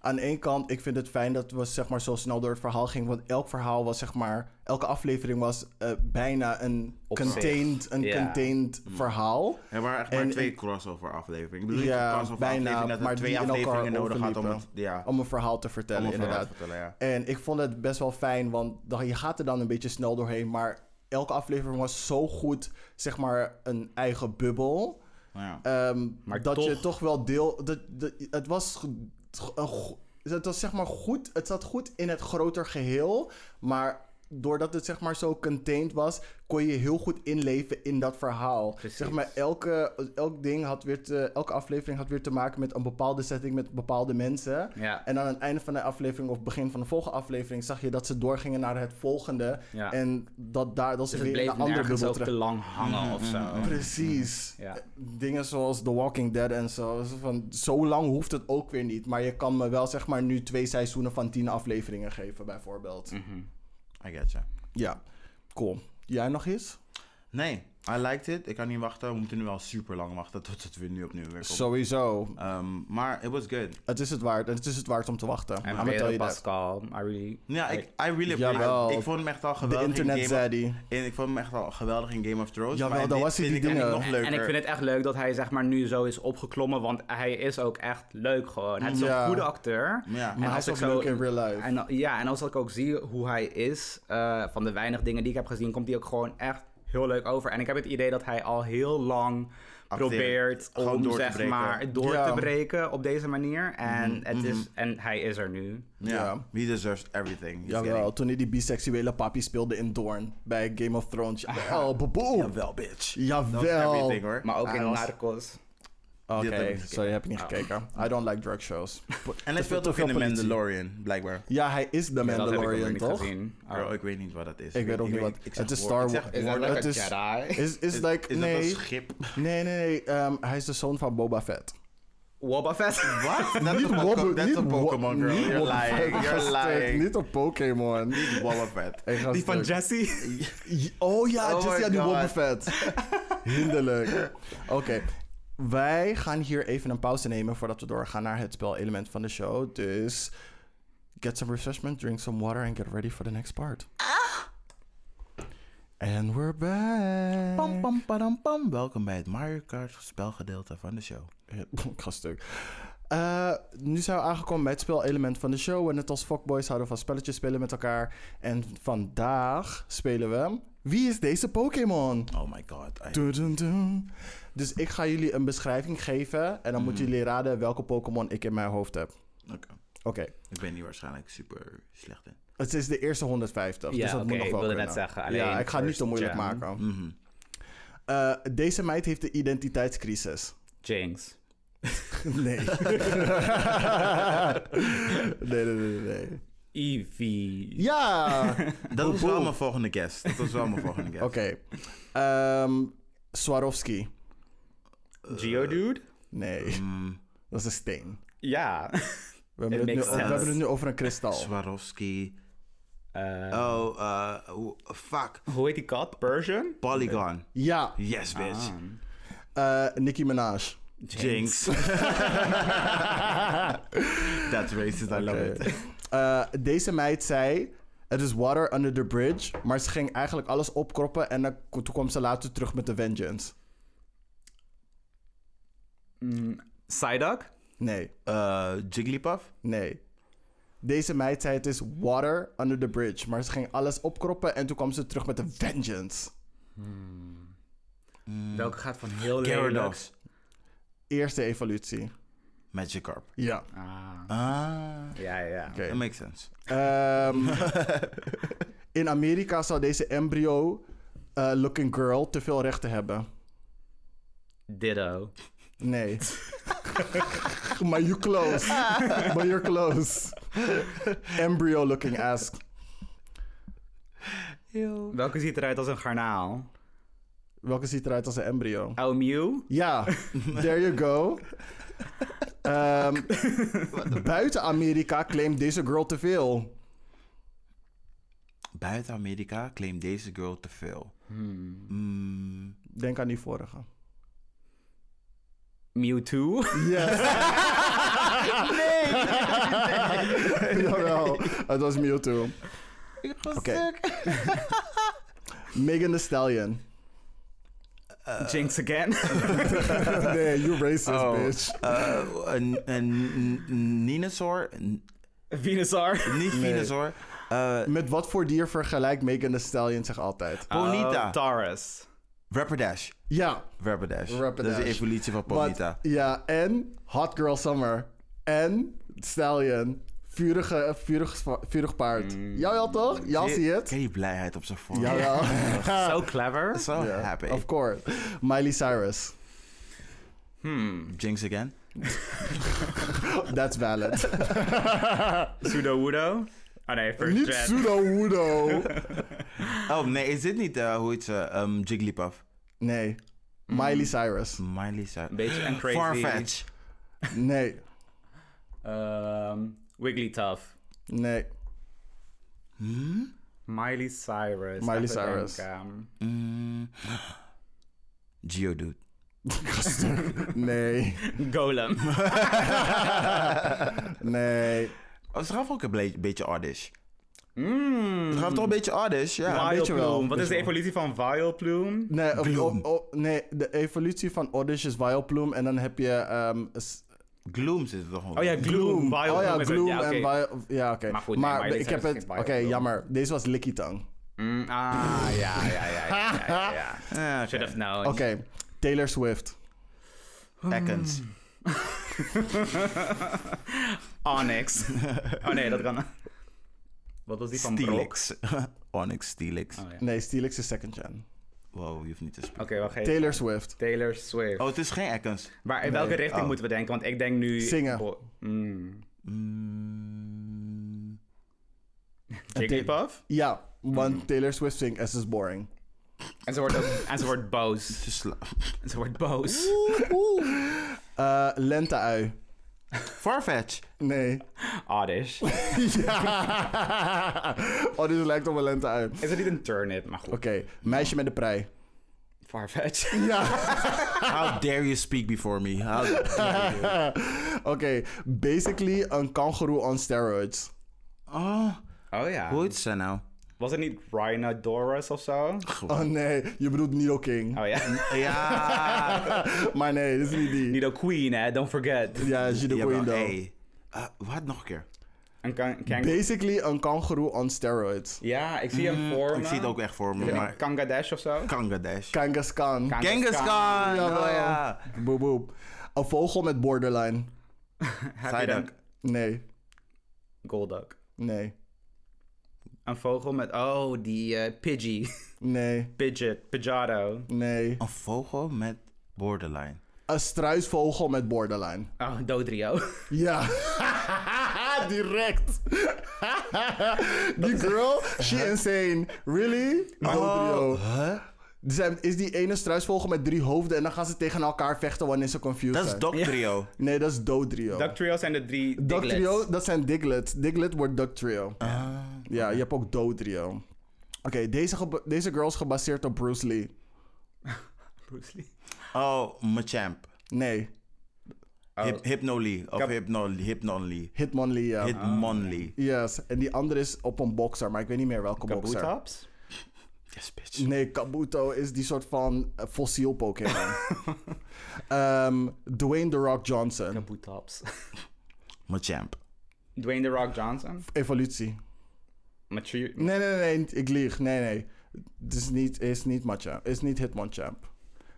Speaker 1: Aan de ene kant, ik vind het fijn dat we zeg maar, zo snel door het verhaal gingen. Want elk verhaal was, zeg maar... Elke aflevering was eh, bijna een
Speaker 3: Op
Speaker 1: contained, een
Speaker 3: Ja. Hm.
Speaker 1: contained verhaal.
Speaker 2: Er waren echt maar
Speaker 1: En-
Speaker 2: twee
Speaker 1: en-
Speaker 2: crossover afleveringen. Ik bedoel, niet
Speaker 1: Ja,
Speaker 2: crossover
Speaker 1: bijna,
Speaker 2: afleveringen, dat
Speaker 1: maar
Speaker 2: er twee
Speaker 1: die in elkaar
Speaker 2: afleveringen nodig had om het,
Speaker 1: overliepen.
Speaker 2: ja, om
Speaker 1: Om een verhaal te vertellen,
Speaker 2: het verhaal
Speaker 1: inderdaad.
Speaker 2: te vertellen. Ja.
Speaker 1: En ik vond het best wel fijn, want dan, je gaat er dan een beetje snel doorheen. Maar elke aflevering was zo goed, zeg maar, een eigen bubbel.
Speaker 2: Nou Ja.
Speaker 1: ehm,
Speaker 3: Maar
Speaker 1: dat je
Speaker 3: toch-
Speaker 1: toch wel deel. Dat, dat- het was. ge- een go- het was zeg maar goed. Het zat goed in het groter geheel. Maar doordat het zeg maar zo contained was, kon je heel goed inleven in dat verhaal.
Speaker 3: Precies.
Speaker 1: Zeg maar, elke, elk ding had weer te- elke aflevering had weer te maken met een bepaalde setting met bepaalde mensen.
Speaker 3: Ja.
Speaker 1: En aan het einde van de aflevering of begin van de volgende aflevering zag je dat ze doorgingen naar het volgende.
Speaker 3: Ja.
Speaker 1: En dat daar dat ze
Speaker 3: dus
Speaker 1: weer
Speaker 3: het
Speaker 1: in
Speaker 3: bleef
Speaker 1: een andere Mhm,
Speaker 3: nergens
Speaker 1: bubbel
Speaker 3: ook te
Speaker 1: terecht.
Speaker 3: lang hangen of zo.
Speaker 1: Precies.
Speaker 3: Ja.
Speaker 1: Eh, Dingen zoals The Walking Dead en zo. Zo Van, zo lang hoeft het ook weer niet. Maar je kan me wel zeg maar nu twee seizoenen van tien afleveringen geven, bijvoorbeeld.
Speaker 3: Mhm.
Speaker 2: I get you.
Speaker 1: Ja, cool. Jij nog eens?
Speaker 2: Nee, I liked it. Ik kan niet wachten. We moeten nu wel super lang wachten tot het weer nu opnieuw weer komt.
Speaker 1: Sowieso.
Speaker 2: Ehm, maar it was good.
Speaker 1: Het is het waard. Het is het waard om te wachten.
Speaker 3: En
Speaker 1: I'm gonna tell
Speaker 3: Pedro
Speaker 1: you that.
Speaker 3: Pascal, I really...
Speaker 2: Ja, ik, I really
Speaker 1: Jawel.
Speaker 2: appreciate it. Ik vond hem echt al
Speaker 1: De
Speaker 2: geweldig
Speaker 1: internet
Speaker 2: in Game
Speaker 1: zei
Speaker 2: of,
Speaker 1: die.
Speaker 2: en Ik vond hem echt al geweldig in Game of Thrones.
Speaker 1: Jawel,
Speaker 2: maar in
Speaker 1: daar
Speaker 2: dit
Speaker 1: was hij,
Speaker 2: vind
Speaker 1: die
Speaker 2: ik eigenlijk
Speaker 1: dingen.
Speaker 2: nog
Speaker 3: En ik
Speaker 2: leuker.
Speaker 3: vind het echt leuk dat hij zeg maar nu zo is opgeklommen, want hij is ook echt leuk gewoon. Hij is
Speaker 1: Ja.
Speaker 3: een goede acteur.
Speaker 2: Ja.
Speaker 1: Maar hij
Speaker 3: als
Speaker 1: is ook
Speaker 3: ik zo-
Speaker 1: leuk in real life.
Speaker 3: En, ja, en als ik ook zie hoe hij is, eh, van de weinig dingen die ik heb gezien, komt hij ook gewoon echt heel leuk over. En ik heb het idee dat hij al heel lang
Speaker 2: Acteert.
Speaker 3: probeert
Speaker 2: Gewoon
Speaker 3: om
Speaker 2: door te
Speaker 3: zeg
Speaker 2: breken.
Speaker 3: maar door
Speaker 1: Ja. Mhm.
Speaker 3: te breken op deze manier. En, het is, en hij is er nu.
Speaker 2: Ja. He deserves everything. He's
Speaker 1: Jawel, toen hij die biseksuele papi speelde in Doorn bij Game of Thrones.
Speaker 3: Ah.
Speaker 1: Oh, baboe. Jawel, bitch.
Speaker 2: getting
Speaker 1: Jawel.
Speaker 2: everything hoor.
Speaker 3: Maar ook
Speaker 1: Hij
Speaker 3: in
Speaker 1: was-
Speaker 3: Narcos.
Speaker 1: Oké,
Speaker 2: Dit heb ik niet gekeken.
Speaker 1: sorry, heb ik niet gekeken. I don't like drug shows.
Speaker 2: En hij speelt
Speaker 1: te
Speaker 2: ook
Speaker 1: veel
Speaker 2: in The
Speaker 1: politie.
Speaker 2: Mandalorian, blijkbaar.
Speaker 1: Ja, hij is de
Speaker 3: dat heb ik ook nog
Speaker 1: Mandalorian,
Speaker 3: niet
Speaker 1: toch?
Speaker 3: gezien. Oh.
Speaker 2: Girl, ik weet niet wat dat is.
Speaker 1: Ah. Ik weet ook niet wat. Het is Star Wars.
Speaker 3: Is dat
Speaker 1: Het
Speaker 3: like a
Speaker 1: is-
Speaker 3: Jedi?
Speaker 1: Is, is like,
Speaker 2: is dat
Speaker 1: nee,
Speaker 2: een schip?
Speaker 1: nee, nee, nee. ehm, hij is de zoon van Boba Fett.
Speaker 3: Wobba Fett.
Speaker 2: Wat? Dat is een
Speaker 1: Wobbe-
Speaker 2: Pokémon- dat is
Speaker 1: niet
Speaker 2: een Pokémon
Speaker 1: Wo-
Speaker 2: girl.
Speaker 1: niet
Speaker 2: You're
Speaker 1: Boba Fett,
Speaker 2: lying. You're
Speaker 1: gast,
Speaker 2: lying.
Speaker 1: Niet op Pokémon.
Speaker 2: Niet Boba Fett.
Speaker 1: Hey, gast,
Speaker 3: Die van
Speaker 1: leuk.
Speaker 3: Jesse.
Speaker 1: Oh ja,
Speaker 2: Oh
Speaker 1: just
Speaker 2: my
Speaker 1: ja, die
Speaker 2: God.
Speaker 1: Boba Fett. Hinderlijk. Oké. Wij gaan hier even een pauze nemen voordat we doorgaan naar het spelelement van de show. Dus get some refreshment, drink some water and get ready for the next part. And we're back.
Speaker 2: Pam, pam, padam, pam. Welkom bij het Mario Kart spelgedeelte van de show.
Speaker 1: Ik ga stuk. Eh, nu zijn we aangekomen bij het spelelement van de show. En net als fuckboys houden we van spelletjes spelen met elkaar. En vandaag spelen we... Wie is deze Pokémon?
Speaker 2: Oh my god. I-
Speaker 1: Dun, dun, dun. Dus ik ga jullie een beschrijving geven. En dan moeten
Speaker 3: Mhm.
Speaker 1: jullie raden welke Pokémon ik in mijn hoofd heb. Oké.
Speaker 2: Oké. Ik ben hier waarschijnlijk super slecht in.
Speaker 1: Het is de eerste 150.
Speaker 3: Ja,
Speaker 1: dus dat
Speaker 3: oké,
Speaker 1: moet nog
Speaker 3: ik
Speaker 1: wel
Speaker 3: wilde
Speaker 1: kunnen.
Speaker 3: net zeggen,
Speaker 1: ja,
Speaker 3: alleen
Speaker 1: ik ga het niet te
Speaker 3: first
Speaker 1: moeilijk
Speaker 3: gen. Mhm.
Speaker 1: maken. Eh, deze meid heeft de identiteitscrisis.
Speaker 3: Jinx.
Speaker 1: Nee. nee, nee, nee, nee.
Speaker 3: Evie.
Speaker 1: Ja!
Speaker 2: Dat is wel mijn volgende guest. Dat is wel mijn volgende guest.
Speaker 1: Oké. Ehm, Swarovski.
Speaker 3: Eh, Geodude? Mhm.
Speaker 1: Nee,
Speaker 2: Mm,
Speaker 1: dat is een steen.
Speaker 3: Ja.
Speaker 1: We hebben, het nu,
Speaker 3: makes
Speaker 1: we
Speaker 3: sense.
Speaker 1: hebben het nu over een kristal.
Speaker 2: Swarovski.
Speaker 3: Eh,
Speaker 2: Oh, eh, hoe- fuck.
Speaker 3: Hoe heet die kat? Persian?
Speaker 2: Polygon.
Speaker 1: Ja,
Speaker 2: Yes, bitch.
Speaker 1: eh Nicki Minaj.
Speaker 2: Jinx. That's racist, I love it.
Speaker 1: Eh, deze meid zei: Het is water under the bridge. Maar ze ging eigenlijk alles opkroppen. En dan, toen kwam ze later terug met de vengeance.
Speaker 3: Psyduck?
Speaker 1: Nee,
Speaker 2: Eh, Jigglypuff?
Speaker 1: nee. Deze meid zei: Het is water under the bridge. Maar ze ging alles opkroppen. En toen kwam ze terug met de vengeance.
Speaker 3: Welke gaat van heel lelijk...
Speaker 2: Gyarados.
Speaker 1: Eerste evolutie.
Speaker 2: Magikarp.
Speaker 1: Ja.
Speaker 3: Ah,
Speaker 2: Ah,
Speaker 3: ja, ja.
Speaker 1: Oké.
Speaker 2: that makes sense.
Speaker 1: Ehm, in Amerika zou deze embryo. eh, looking girl te veel rechten hebben.
Speaker 3: Ditto.
Speaker 1: Nee. maar you close. maar you're close. Embryo looking ass.
Speaker 3: Welke ziet eruit als een garnaal?
Speaker 1: Welke ziet eruit als een embryo?
Speaker 3: Oh, Mew?
Speaker 1: Ja, there you go. Ehm, buiten Amerika claimt deze girl te veel.
Speaker 2: Buiten Amerika claimt deze girl te veel. Mm,
Speaker 1: Denk aan die vorige.
Speaker 3: Mewtwo?
Speaker 1: Yes. nee. Jawel, het was Mewtwo. Ik was Megan Thee Stallion.
Speaker 3: Jinx again?
Speaker 1: Nee, you racist,
Speaker 2: Oh,
Speaker 1: bitch.
Speaker 2: eh, een- een een Ninosaur? N-
Speaker 3: Venusaur?
Speaker 2: Niet Venusaur.
Speaker 1: Oh,
Speaker 2: Eh,
Speaker 1: Met wat voor dier vergelijkt Megan Thee Stallion zich altijd?
Speaker 2: Bonita.
Speaker 3: Oh, Taurus.
Speaker 2: Rapperdash.
Speaker 1: Ja.
Speaker 2: Rapperdash.
Speaker 1: Rapperdash.
Speaker 2: Dat is de evolutie van
Speaker 1: wat-
Speaker 2: Bonita.
Speaker 1: ja, en Hot Girl Summer. En Stallion. Vurige, vurig, zwa- vurig paard. Jawel toch? Ja, zie je het?
Speaker 2: Mm. Ken je blijheid op zijn vorm?
Speaker 1: Jawel.
Speaker 3: Zo clever.
Speaker 2: Zo
Speaker 1: Ja,
Speaker 2: happy.
Speaker 1: Of course. Miley Cyrus.
Speaker 2: Jinx again.
Speaker 1: That's valid.
Speaker 3: Sudowoodo? Oh nee, first
Speaker 1: Niet
Speaker 3: gen.
Speaker 1: pseudo Wudo.
Speaker 2: Oh nee, is dit niet, eh, hoe heet ze? Ehm, Jigglypuff.
Speaker 1: Nee.
Speaker 2: Mm.
Speaker 1: Miley Cyrus.
Speaker 2: Miley Cyrus.
Speaker 3: Beetje en crazy.
Speaker 2: Farfetch.
Speaker 1: Nee.
Speaker 3: Ehm, Wigglytuff.
Speaker 1: Nee.
Speaker 3: Miley Cyrus.
Speaker 1: Miley
Speaker 3: Even
Speaker 1: Cyrus.
Speaker 3: denken.
Speaker 2: Mm. Geodude.
Speaker 1: Nee.
Speaker 3: Golem.
Speaker 1: Nee.
Speaker 2: Oh, ze gaf ook een ble- beetje oddish.
Speaker 3: Mm.
Speaker 2: Ze gaf toch een beetje oddish, ja.
Speaker 1: Ja. beetje wel,
Speaker 3: Vileplume. Wat
Speaker 1: beetje
Speaker 3: is de
Speaker 1: wel.
Speaker 3: evolutie van Vileplume?
Speaker 1: Nee, of-
Speaker 2: Gloom.
Speaker 1: of- of- nee, de evolutie van Oddish is Wileplume en dan heb je... ehm, s-
Speaker 2: Gloom zit er toch gewoon.
Speaker 3: Oh ja, Gloom. Vileplume
Speaker 1: oh ja,
Speaker 3: is het.
Speaker 1: Gloom
Speaker 3: oké.
Speaker 1: en Wild... Ja, oké.
Speaker 3: Maar goed, nee,
Speaker 1: maar
Speaker 3: Miley
Speaker 1: ik heb
Speaker 3: Cyrus is
Speaker 1: het...
Speaker 3: geen
Speaker 1: Oké,
Speaker 3: Wileplume.
Speaker 1: jammer. Deze was Licky Tang.
Speaker 3: Mm, ah, ja, ja, ja. ja, ja, ja.
Speaker 4: Ah,
Speaker 3: Should have known.
Speaker 1: Oké, Taylor Swift.
Speaker 4: Atkins.
Speaker 3: Hmm. Onyx. Oh nee, dat kan. Wat was die van Brok?
Speaker 2: Steelix. Onyx Steelix.
Speaker 3: Oh, ja.
Speaker 1: Nee, Steelix is second gen.
Speaker 2: Wow, je hoeft niet te spelen.
Speaker 3: Oké, wacht even.
Speaker 1: Taylor Swift.
Speaker 3: Taylor Swift.
Speaker 2: Oh, het is geen Atkins.
Speaker 3: Maar in welke richting
Speaker 2: Oh.
Speaker 3: moeten we denken? Want ik denk nu...
Speaker 1: Zingen.
Speaker 3: Bo- Mm.
Speaker 2: Mm,
Speaker 3: Jigglypuff?
Speaker 1: Ja, want
Speaker 3: Mhm.
Speaker 1: Taylor Swift zingt as is boring.
Speaker 3: En ze wordt, ook- en ze wordt boos.
Speaker 2: het is sla-
Speaker 3: En ze wordt boos.
Speaker 1: Eh Lente-ui.
Speaker 2: Farfetch.
Speaker 1: Nee.
Speaker 3: Oddish.
Speaker 1: ja. Oh, dit lijkt op een lente-ui. Oké,
Speaker 3: Is het niet een turnip? Maar goed.
Speaker 1: meisje met de prei.
Speaker 3: Farfetch.
Speaker 1: Ja.
Speaker 2: How dare you speak before me? How dare you?
Speaker 1: Oké, basically een kangoeroe on steroids.
Speaker 2: Oh,
Speaker 3: Oh ja.
Speaker 2: hoe heet ze nou?
Speaker 3: Was het niet Rhinodorus of zo?
Speaker 1: Oh nee, je bedoelt Nido King.
Speaker 3: Oh ja.
Speaker 2: Ja.
Speaker 1: Maar nee, dit is niet die.
Speaker 3: Nido Queen, hè? Don't forget.
Speaker 1: Ja, Gido
Speaker 2: Ja, maar,
Speaker 1: Guindo.
Speaker 2: hey. Eh, wat nog een keer?
Speaker 3: Een kan- kang-
Speaker 1: Basically een kangoeroe on steroids.
Speaker 3: ja, ik zie hem voor me.
Speaker 2: Mm, Ik zie het ook echt voor me,
Speaker 3: Is het
Speaker 2: maar
Speaker 3: niet Kangadash of zo?
Speaker 2: Kangadesh.
Speaker 1: Kangaskhan.
Speaker 3: Kang-
Speaker 2: Genghis
Speaker 3: Khan.
Speaker 2: Khan!
Speaker 1: Jawel.
Speaker 2: Oh ja.
Speaker 1: Boep boep. Een vogel met borderline.
Speaker 3: Heb je dan-
Speaker 2: Psyduck.
Speaker 1: Nee,
Speaker 3: Golduck.
Speaker 1: nee,
Speaker 3: Een vogel met... Oh, die eh, Pidgey.
Speaker 1: nee,
Speaker 3: Pidget. Pidgeotto.
Speaker 1: nee.
Speaker 2: Een vogel met borderline.
Speaker 1: Een struisvogel met borderline.
Speaker 3: Oh, Dodrio.
Speaker 1: Ja. Direct. die girl, she insane. Really?
Speaker 2: Oh.
Speaker 1: Dodrio.
Speaker 2: huh?
Speaker 1: Er zijn- Is die ene struisvogel met drie hoofden en dan gaan ze tegen elkaar vechten wanneer ze confused
Speaker 2: Dat is
Speaker 1: zijn.
Speaker 2: Doctrio.
Speaker 1: Nee, dat is Dodrio.
Speaker 3: Ducktrio zijn de drie Diglets.
Speaker 1: Ductrio, dat zijn Diglets. Diglet wordt Ductrio.
Speaker 2: Ah.
Speaker 1: Ja, je hebt ook Dodrio. Oké, deze, geba- deze girl is gebaseerd op Bruce Lee.
Speaker 3: Bruce Lee.
Speaker 2: Oh, Machamp.
Speaker 1: Nee,
Speaker 3: Oh.
Speaker 2: Hyp- Hypnolee. Of
Speaker 3: Kap-
Speaker 2: Hypnolee. Hypnolee.
Speaker 1: Hitmonlee, ja.
Speaker 2: Hitmonlee.
Speaker 1: Yes, en die andere is op een boxer, maar ik weet niet meer welke boxer.
Speaker 3: Kabutops?
Speaker 2: Yes, bitch.
Speaker 1: Nee, Kabuto is die soort van eh, fossiel Pokémon. Ehm, Dwayne The Rock Johnson.
Speaker 3: Kabutops.
Speaker 2: Machamp.
Speaker 3: Dwayne The Rock Johnson?
Speaker 1: Evolutie.
Speaker 3: Machu...
Speaker 2: Mm.
Speaker 1: Nee, nee, nee, nee, ik lieg. Nee, nee. Het is niet, is niet Machamp. is niet Hitmonchamp.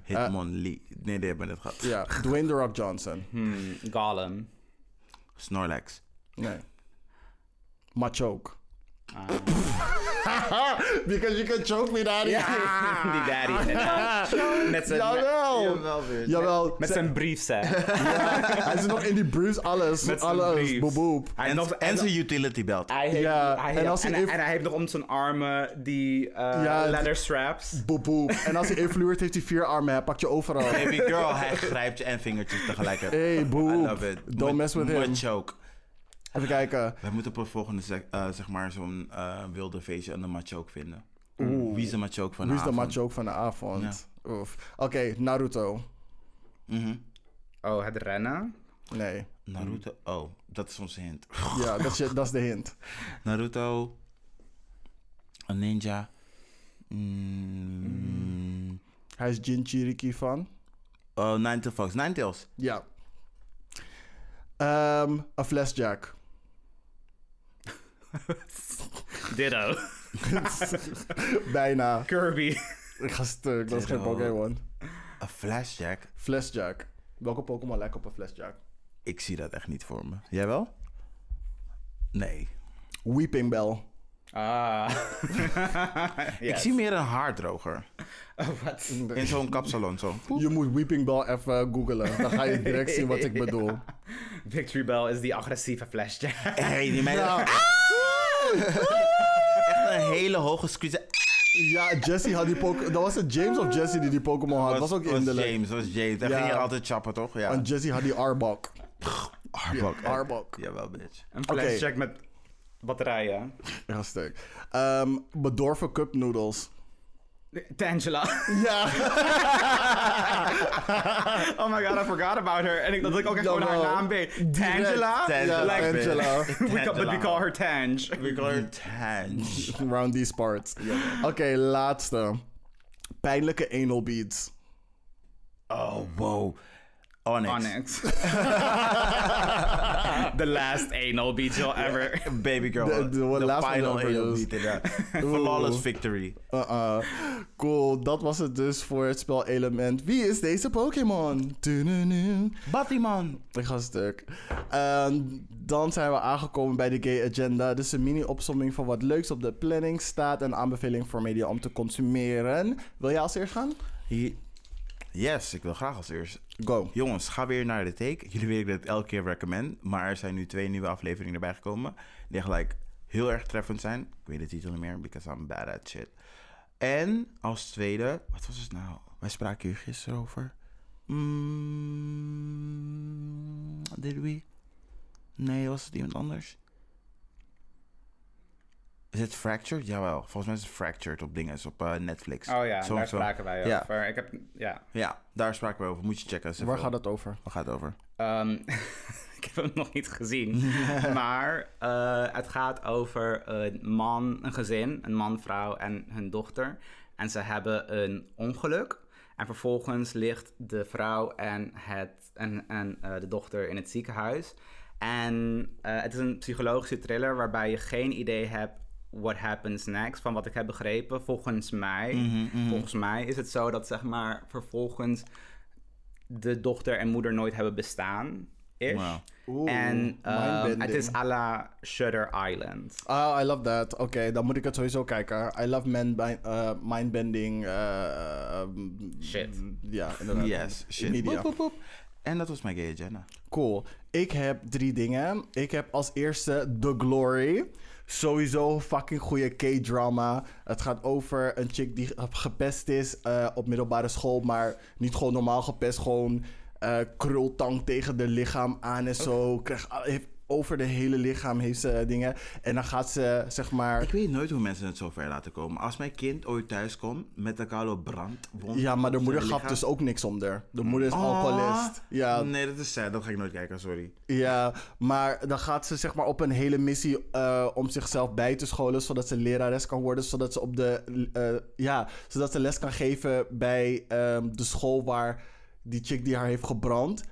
Speaker 2: Hitmonlee. Nee, die hebben we net gehad.
Speaker 1: Ja, Dwayne The Rock Johnson.
Speaker 3: Hmm, Gollum.
Speaker 2: Snorlax.
Speaker 1: Nee. Machoke.
Speaker 3: Ah.
Speaker 1: Ah. Because you can choke me, daddy.
Speaker 3: die daddy. Met zijn...
Speaker 1: Jawel. Oh. Jawel.
Speaker 3: Met
Speaker 1: Ze-
Speaker 3: zijn briefs, hè.
Speaker 1: Hij is nog in die bruise, alles.
Speaker 3: Met zijn
Speaker 1: alles.
Speaker 3: briefs.
Speaker 1: Boep, boep.
Speaker 3: Hij
Speaker 2: En,
Speaker 3: heeft nog- Ah.
Speaker 2: en zijn utility belt.
Speaker 3: Hij heeft,
Speaker 1: Ja,
Speaker 3: hij
Speaker 1: en
Speaker 3: heeft-
Speaker 1: als hij
Speaker 3: en,
Speaker 1: even-
Speaker 3: en hij heeft nog om zijn armen die eh
Speaker 1: Ja, het-
Speaker 3: leather straps.
Speaker 1: Boep, boep. En als hij evolueert, heeft hij vier armen. Hij pakt je overal.
Speaker 2: Baby girl, hij grijpt je en vingertjes tegelijk.
Speaker 1: Hey, boep.
Speaker 2: I love it.
Speaker 1: Don't mess with him.
Speaker 2: Machoke.
Speaker 1: Even kijken.
Speaker 2: Wij moeten op het volgende, zeg, eh, zeg maar, zo'n eh, wilde feestje aan de machoke vinden. Wie is de machoke van
Speaker 1: Wie is de
Speaker 2: avond?
Speaker 1: macho ook van de avond? Oef. Oké, Naruto.
Speaker 2: Mhm.
Speaker 3: Oh, het rennen.
Speaker 1: Nee.
Speaker 2: Naruto. Oh, dat is onze hint.
Speaker 1: Ja, dat is, je- dat is de hint.
Speaker 2: Naruto. Een ninja. Mm.
Speaker 1: Hij is Jinchiriki van.
Speaker 2: Oh, Ninetales Fox. Ninetales.
Speaker 1: Ja. Ehm, een flesjack.
Speaker 3: Ditto.
Speaker 1: Bijna.
Speaker 3: Kirby.
Speaker 1: Ik ga stuk, dat is geen
Speaker 2: Ditto.
Speaker 1: Pokémon.
Speaker 2: Een flashjack.
Speaker 1: Flesjack. Welke Pokémon lijkt op een flesjack?
Speaker 2: Ik zie dat echt niet voor me. Jij wel? Nee.
Speaker 1: Weeping Bell.
Speaker 3: Ah.
Speaker 2: Ik zie meer een haardroger.
Speaker 3: Oh, wat?
Speaker 2: In zo'n kapsalon zo.
Speaker 1: Je moet Weeping Bell even googlen. Dan ga je direct zien wat ik bedoel.
Speaker 3: Victory Bell is die agressieve flashjack.
Speaker 2: hey, die meid
Speaker 1: Ja,
Speaker 2: echt een hele hoge squeeze.
Speaker 1: ja Jesse had die Pokémon. Dat was het James of Jesse die die Pokémon had. Dat was ook
Speaker 2: was
Speaker 1: inderdaad.
Speaker 2: James, was James. Daar
Speaker 1: Ja.
Speaker 2: ging je altijd chappen, toch? Ja.
Speaker 1: Want Jesse had die Arbok.
Speaker 2: Arbok.
Speaker 1: Arbok.
Speaker 2: Jawel, bitch.
Speaker 3: Een
Speaker 1: Oké.
Speaker 3: flashjack met batterijen.
Speaker 1: Ja, stuk. Ehm, bedorven cup noodles.
Speaker 3: Tangela.
Speaker 1: Ja,
Speaker 3: Oh my god, I forgot about her. En ik, dat ik ook echt gewoon haar
Speaker 1: Jawel.
Speaker 3: naam weet. Tangela?
Speaker 2: Tangela,
Speaker 3: Like,
Speaker 2: bitch.
Speaker 1: Angela.
Speaker 2: Tangela.
Speaker 3: we call, but we call her Tange.
Speaker 2: We call her Tange.
Speaker 1: round these parts. Oké, laatste. Pijnlijke anal beads.
Speaker 2: Oh, wow. Onyx.
Speaker 3: Onyx. The last anal beat you'll ever.
Speaker 2: Baby girl.
Speaker 1: De-
Speaker 2: The,
Speaker 1: de- dus. wat laatst van
Speaker 2: final
Speaker 1: de
Speaker 2: heel
Speaker 1: overuse.
Speaker 2: beat inderdaad. Flawless victory.
Speaker 1: Uh-uh. Cool, dat was het dus voor het spelelement. Wie is deze Pokémon? Dununu.
Speaker 2: Batman.
Speaker 1: Ik ga stuk. Ehm, dan zijn we aangekomen bij de Gay Agenda. Dus een mini-opsomming van wat leuks op de planning staat. En aanbeveling voor media om te consumeren. Wil jij als eerst gaan?
Speaker 2: Hier- Yes, ik wil graag als eerst.
Speaker 1: Go.
Speaker 2: Jongens, ga weer naar de take. Jullie weten dat ik elke keer recommend. Maar er zijn nu twee nieuwe afleveringen erbij gekomen. Die echt like, heel erg treffend zijn. Ik weet de titel niet meer, because I'm bad at shit. En als tweede, wat was het nou? Wij spraken hier gisteren over. Mm, did we? Nee, was het iemand anders? Is het Fractured? Jawel, volgens mij is het Fractured op dingen, is op eh, Netflix.
Speaker 3: Oh ja,
Speaker 2: Zo'n
Speaker 3: daar
Speaker 2: film.
Speaker 3: spraken wij
Speaker 2: Ja.
Speaker 3: over. Ik heb, ja.
Speaker 2: Ja, daar spraken we over. Moet je checken.
Speaker 1: Waar gaat het over?
Speaker 2: Waar gaat het over?
Speaker 3: Ehm, ik heb hem nog niet gezien. maar eh, het gaat over een man, een gezin, een man, vrouw en hun dochter. En ze hebben een ongeluk. En vervolgens ligt de vrouw en, het, en, en eh, de dochter in het ziekenhuis. En eh, het is een psychologische thriller waarbij je geen idee hebt what happens next. Van wat ik heb begrepen, volgens mij, volgens mij is het zo dat zeg maar vervolgens de dochter en moeder nooit hebben bestaan. Is.
Speaker 2: Wauw.
Speaker 3: en ehm,
Speaker 1: mindbending.
Speaker 3: het is à la Shutter Island.
Speaker 1: Oh, I love that. Oké, dan moet ik het sowieso kijken. I love man bi- eh, mindbending. eh, ehm,
Speaker 3: Shit.
Speaker 1: Ja, inderdaad.
Speaker 2: Yes, shit.
Speaker 1: Media.
Speaker 2: Boep, boep, boep. En dat was mijn gay agenda.
Speaker 1: Cool. Ik heb drie dingen. Ik heb als eerste The Glory. Sowieso fucking goede K-drama. Het gaat over een chick die gepest is eh, op middelbare school, maar niet gewoon normaal gepest. Gewoon eh, krultang tegen de lichaam aan en zo.
Speaker 2: Oh.
Speaker 1: Krijgt, heeft, over de hele lichaam heeft ze dingen. En dan gaat ze, zeg maar.
Speaker 2: Ik weet nooit hoe mensen het zo ver laten komen. Als mijn kind ooit thuis komt met een koude brandwond...
Speaker 1: Ja, maar de
Speaker 2: op
Speaker 1: moeder
Speaker 2: zijn
Speaker 1: gaf
Speaker 2: lichaam-
Speaker 1: dus ook niks om haar. De moeder is
Speaker 2: Ah.
Speaker 1: alcoholist. Ja,
Speaker 2: Nee, dat is sad. Dat ga ik nooit kijken, sorry.
Speaker 1: Ja, maar dan gaat ze zeg maar op een hele missie eh, om zichzelf bij te scholen, zodat ze lerares kan worden, zodat ze op de eh, ja, zodat ze les kan geven bij ehm, de school waar die chick die haar heeft gebrand,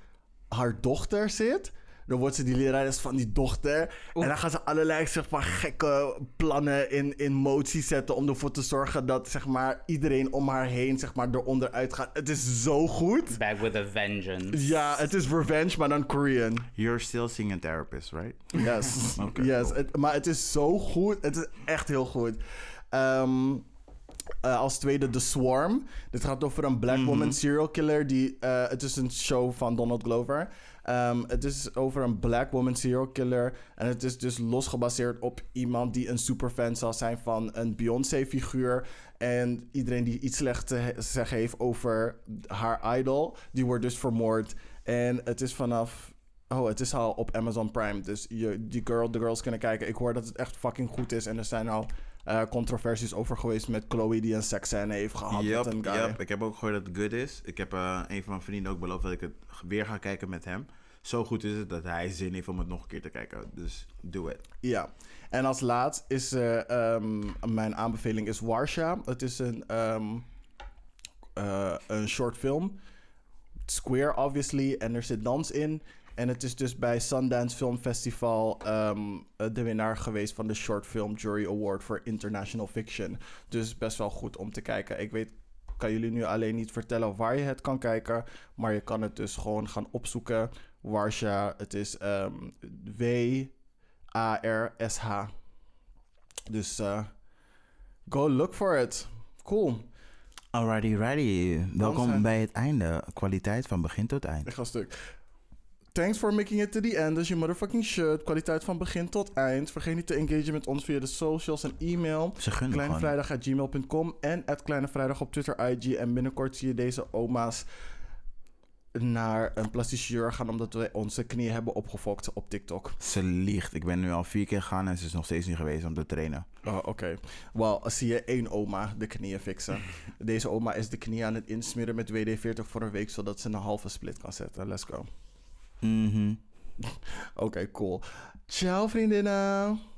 Speaker 1: haar dochter zit. Dan wordt ze die lerares van die dochter. En dan gaan ze allerlei zeg maar, gekke plannen in, in motie zetten. om ervoor te zorgen dat zeg maar, iedereen om haar heen zeg maar, eronder uitgaat. Het is zo goed.
Speaker 3: Back with a vengeance.
Speaker 1: Ja, het is revenge, maar dan Korean.
Speaker 2: You're still seeing a therapist, right?
Speaker 1: Yes.
Speaker 2: Oké,
Speaker 1: yes.
Speaker 2: cool.
Speaker 1: Het- maar het is zo goed. Het is echt heel goed. Ehm, eh, als tweede The Swarm. Dit gaat over een black woman serial killer. Die, eh, het is een show van Donald Glover. Ehm, het is over een black woman serial killer. En het is dus losgebaseerd op iemand die een superfan zal zijn van een Beyoncé-figuur. En iedereen die iets slecht te he- zeggen heeft over haar idol, die wordt dus vermoord. En het is vanaf Oh, het is al op Amazon Prime. Dus je, die girl, de girls kunnen kijken. Ik hoor dat het echt fucking goed is. En er zijn al eh, controversies over geweest met Chloe die een seksscène heeft gehad
Speaker 2: Yup,
Speaker 1: met een guy.
Speaker 2: yup. Ik heb ook gehoord dat het good is. Ik heb eh, een van mijn vrienden ook beloofd dat ik het weer ga kijken met hem. Zo goed is het dat hij zin heeft om het nog een keer te kijken. Dus do it.
Speaker 1: Ja. En als laatst is eh, ehm, mijn aanbeveling is Warsha. Het is een, ehm, eh, een short film. Square, obviously. En er zit dans in. En het is dus bij Sundance Film Festival ehm, eh, de winnaar geweest van de Short Film Jury Award voor International Fiction. Dus best wel goed om te kijken. Ik weet, kan jullie nu alleen niet vertellen waar je het kan kijken. Maar je kan het dus gewoon gaan opzoeken. Warsha, het is ehm, W. A-R-S-H. Dus eh, go look for it. Cool.
Speaker 2: Alrighty, righty.
Speaker 1: zijn-
Speaker 2: Welkom bij het einde. Kwaliteit van begin tot eind.
Speaker 1: Ik ga stuk. Thanks for making it to the end. Dus je motherfucking shit. Kwaliteit van begin tot eind. Vergeet niet te engagen met ons via de socials en e-mail.
Speaker 2: Ze gunnen gewoon.
Speaker 1: Kleinevrijdag.gmail.com en at Kleinevrijdag op Twitter, IG. En binnenkort zie je deze oma's naar een plastisch chirurg gaan... omdat wij onze knie hebben opgefokt op TikTok.
Speaker 2: Ze liegt. Ik ben nu al vier keer gegaan en ze is nog steeds niet geweest om te trainen.
Speaker 1: Oh, oké. Wel, zie je één oma de knieën fixen. Deze oma is de knieën aan het insmeren met WD-40 voor een week, zodat ze een halve split kan zetten. Let's go.
Speaker 2: Mhm.
Speaker 1: Oké, cool. Ciao, vriendinnen.